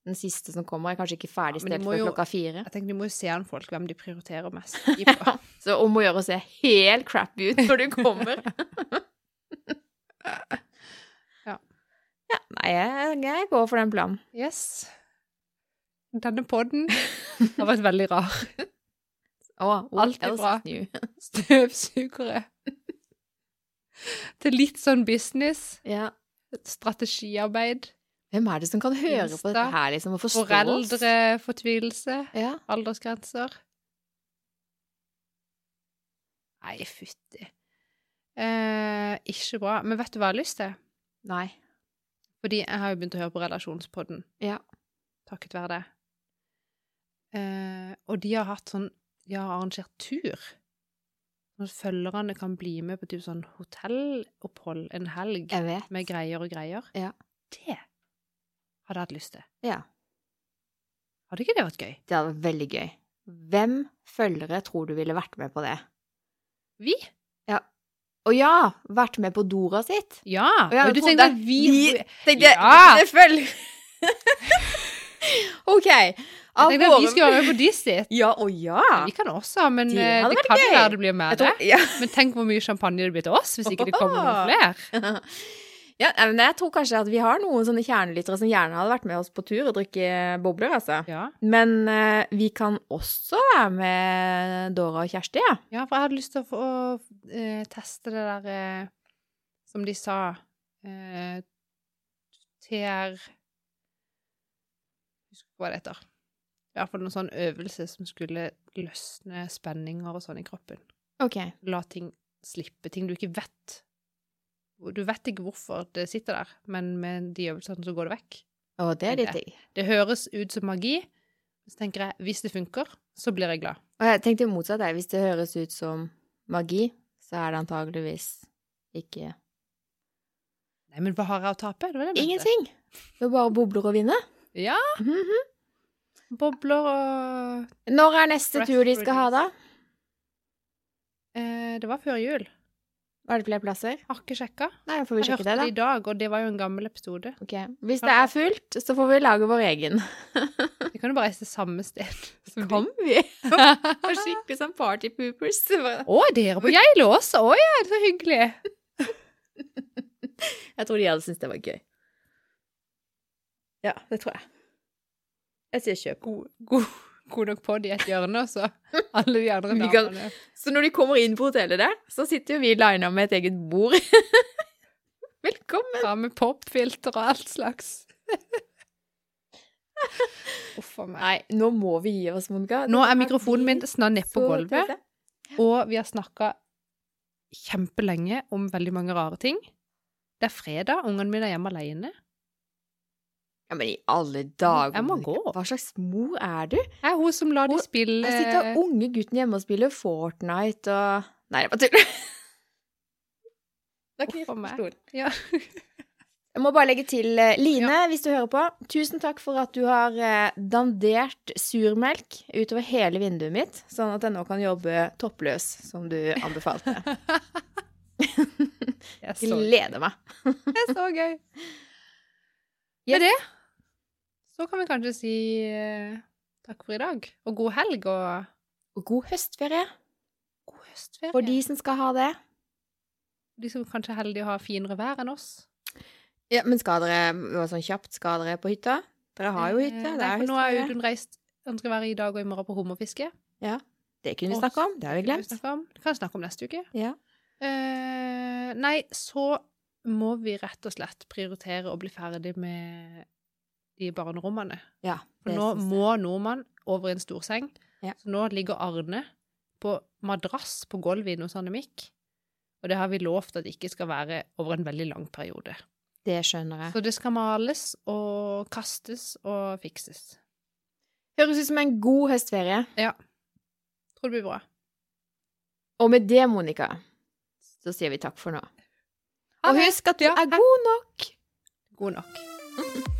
Speaker 1: Den siste som kommer, er kanskje ikke
Speaker 2: Ja, men
Speaker 1: ferdigstilt
Speaker 2: de må
Speaker 1: før
Speaker 2: jo-
Speaker 1: klokka fire.
Speaker 2: Jeg tenker De må jo se an folk hvem de prioriterer mest. i
Speaker 1: Ja,
Speaker 2: på.
Speaker 1: så om å gjøre å se helt crappy ut når du kommer.
Speaker 2: Ja.
Speaker 1: Ja, Nei, jeg, jeg går for den planen.
Speaker 2: Yes. Denne podden har vært veldig rar.
Speaker 1: Oh,
Speaker 2: Alt er bra. Støvsugere. Til litt sånn business,
Speaker 1: Ja.
Speaker 2: strategiarbeid,
Speaker 1: Hvem er det som kan høre
Speaker 2: Insta,
Speaker 1: på dette her, liksom, og forstå oss?
Speaker 2: foreldrefortvilelse,
Speaker 1: Ja.
Speaker 2: aldersgrenser. Nei, fytti. Eh, ikke bra. Men vet du hva jeg har lyst til?
Speaker 1: Nei.
Speaker 2: Fordi jeg har jo begynt å høre på relasjonspodden.
Speaker 1: Ja.
Speaker 2: Takket være det. Eh, og de har hatt sånn De har arrangert tur. Sånn at følgerne kan bli med på typ sånn hotellopphold en helg
Speaker 1: Jeg vet.
Speaker 2: med greier og greier.
Speaker 1: Ja.
Speaker 2: Det hadde jeg hatt lyst til.
Speaker 1: Ja.
Speaker 2: Hadde ikke det vært gøy?
Speaker 1: Det hadde vært veldig gøy. Hvem følgere tror du ville vært med på det?
Speaker 2: Vi?
Speaker 1: Å ja! Vært med på Dora sitt?
Speaker 2: Ja!
Speaker 1: Å ja,
Speaker 2: og du
Speaker 1: jeg
Speaker 2: tenkte
Speaker 1: trodde-
Speaker 2: at vi,
Speaker 1: vi-
Speaker 2: jeg
Speaker 1: Tenkte jeg-
Speaker 2: Ja!
Speaker 1: det følger OK. Av
Speaker 2: tenkte at vi
Speaker 1: våre-
Speaker 2: skulle være med på de sitt.
Speaker 1: Ja, å ja!
Speaker 2: Vi kan også, men
Speaker 1: Det
Speaker 2: det,
Speaker 1: hadde
Speaker 2: det
Speaker 1: vært
Speaker 2: kan
Speaker 1: gøy.
Speaker 2: være det blir mer
Speaker 1: Jeg
Speaker 2: det.
Speaker 1: tror, ja.
Speaker 2: Men tenk hvor mye champagne det blir til oss hvis ikke det kommer noen flere.
Speaker 1: ja, nei, men jeg tror kanskje at vi har noen sånne kjernelyttere som gjerne hadde vært med oss på tur og drikke bobler, altså.
Speaker 2: Ja.
Speaker 1: Men eh, vi kan også være med Dora og Kjersti, ja.
Speaker 2: Ja, for jeg hadde lyst til å, få, å eh, teste det der eh, Som de sa eh, TR Husker ikke hva det heter. I hvert fall noen sånn øvelse som skulle løsne spenninger og sånn i kroppen.
Speaker 1: Ok.
Speaker 2: La ting slippe. Ting du ikke vet. Du vet ikke hvorfor det sitter der, men med de øvelsene så går det vekk.
Speaker 1: Og det er litt digg.
Speaker 2: Det høres ut som magi, men så tenker jeg hvis det funker, så blir jeg glad.
Speaker 1: Og jeg tenkte jo motsatt, jeg. Hvis det høres ut som magi, så er det antageligvis ikke
Speaker 2: Nei, men hva har jeg å tape? Det var det jeg mente.
Speaker 1: Ingenting! Det er bare bobler å vinne.
Speaker 2: Ja.
Speaker 1: Mhm.
Speaker 2: Bobler og
Speaker 1: Når er neste
Speaker 2: Press
Speaker 1: tur de skal ha, da?
Speaker 2: Eh, det var før jul.
Speaker 1: Er det flere plasser?
Speaker 2: Har ikke sjekka.
Speaker 1: Nei, får vi
Speaker 2: Jeg
Speaker 1: sjekke
Speaker 2: hørte
Speaker 1: det,
Speaker 2: det,
Speaker 1: da.
Speaker 2: i dag, og det var jo en gammel episode.
Speaker 1: Ok. Hvis det er fullt, så får vi lage vår egen.
Speaker 2: Vi kan jo bare reise til samme sted. som de.
Speaker 1: vi?
Speaker 2: Å,
Speaker 1: Og skikkelig sånn party poopers.
Speaker 2: dere på Geilo også? Å ja, så hyggelig.
Speaker 1: Jeg tror de hadde syntes det var gøy. Ja, det tror jeg. Jeg sier kjøp.
Speaker 2: God, god, god nok podd i et hjørne, og så alle de andre
Speaker 1: Vi kan-
Speaker 2: damene.
Speaker 1: Så når de kommer inn på hotellet der, så sitter jo vi lina med et eget bord. Velkommen!
Speaker 2: Ta med popfilter og alt slags. Uff a meg.
Speaker 1: Nei, nå må vi gi oss, Monica.
Speaker 2: Nå er mikrofonen min snart ned på
Speaker 1: Så
Speaker 2: gulvet,
Speaker 1: tøft.
Speaker 2: og vi har snakka kjempelenge om veldig mange rare ting. Det er fredag, ungene mine er hjemme alene.
Speaker 1: Ja, men i alle dager
Speaker 2: Jeg må
Speaker 1: Monica.
Speaker 2: gå.
Speaker 1: Hva slags mor er du?
Speaker 2: Jeg er hun som lar de
Speaker 1: Hun-
Speaker 2: spille
Speaker 1: Jeg sitter unge gutten hjemme og spiller Fortnite og Nei, det var tull. Da
Speaker 2: Uff a
Speaker 1: knirker
Speaker 2: meg.
Speaker 1: stolen.
Speaker 2: Ja.
Speaker 1: Jeg må bare legge til eh, Line, hvis du hører på. Tusen takk for at du har eh, dandert surmelk utover hele vinduet mitt, sånn at jeg nå kan jobbe toppløs, som du anbefalte.
Speaker 2: Det er så gøy.
Speaker 1: Gleder meg.
Speaker 2: Det er så gøy.
Speaker 1: Yes.
Speaker 2: Med det så kan vi kanskje si eh, takk for i dag, og god helg, og
Speaker 1: Og god høstferie
Speaker 2: god høstferie.
Speaker 1: for de som skal ha det.
Speaker 2: de som kanskje er heldige å ha finere vær enn oss.
Speaker 1: Ja, Men skal dere det var sånn kjapt, skal dere på hytta? Dere har jo hytte.
Speaker 2: Eh,
Speaker 1: Det
Speaker 2: Nei,
Speaker 1: er
Speaker 2: for nå er
Speaker 1: høstferie.
Speaker 2: Audun reist. Han skal være i dag og i morgen på hummerfiske.
Speaker 1: Det kunne vi snakke om. Det har vi
Speaker 2: kan
Speaker 1: glemt.
Speaker 2: snakke om. Det kan vi snakke om neste uke.
Speaker 1: Ja.
Speaker 2: Eh, nei, så må vi rett og slett prioritere å bli ferdig med de barnerommene.
Speaker 1: Ja,
Speaker 2: For
Speaker 1: det
Speaker 2: nå
Speaker 1: synes jeg.
Speaker 2: må nordmann over i en stor seng.
Speaker 1: Ja.
Speaker 2: Så nå ligger Arne på madrass på gulvet inne hos Anne Mikk. Og det har vi lovt at det ikke skal være over en veldig lang periode.
Speaker 1: Det skjønner jeg.
Speaker 2: Så det skal males og kastes og fikses.
Speaker 1: Høres ut som en god høstferie.
Speaker 2: Tror det blir bra.
Speaker 1: Og med det, Monica, så sier vi takk for nå.
Speaker 2: Ha
Speaker 1: Og
Speaker 2: det.
Speaker 1: husk at du
Speaker 2: Ja,
Speaker 1: er
Speaker 2: hei.
Speaker 1: god nok.
Speaker 2: God nok.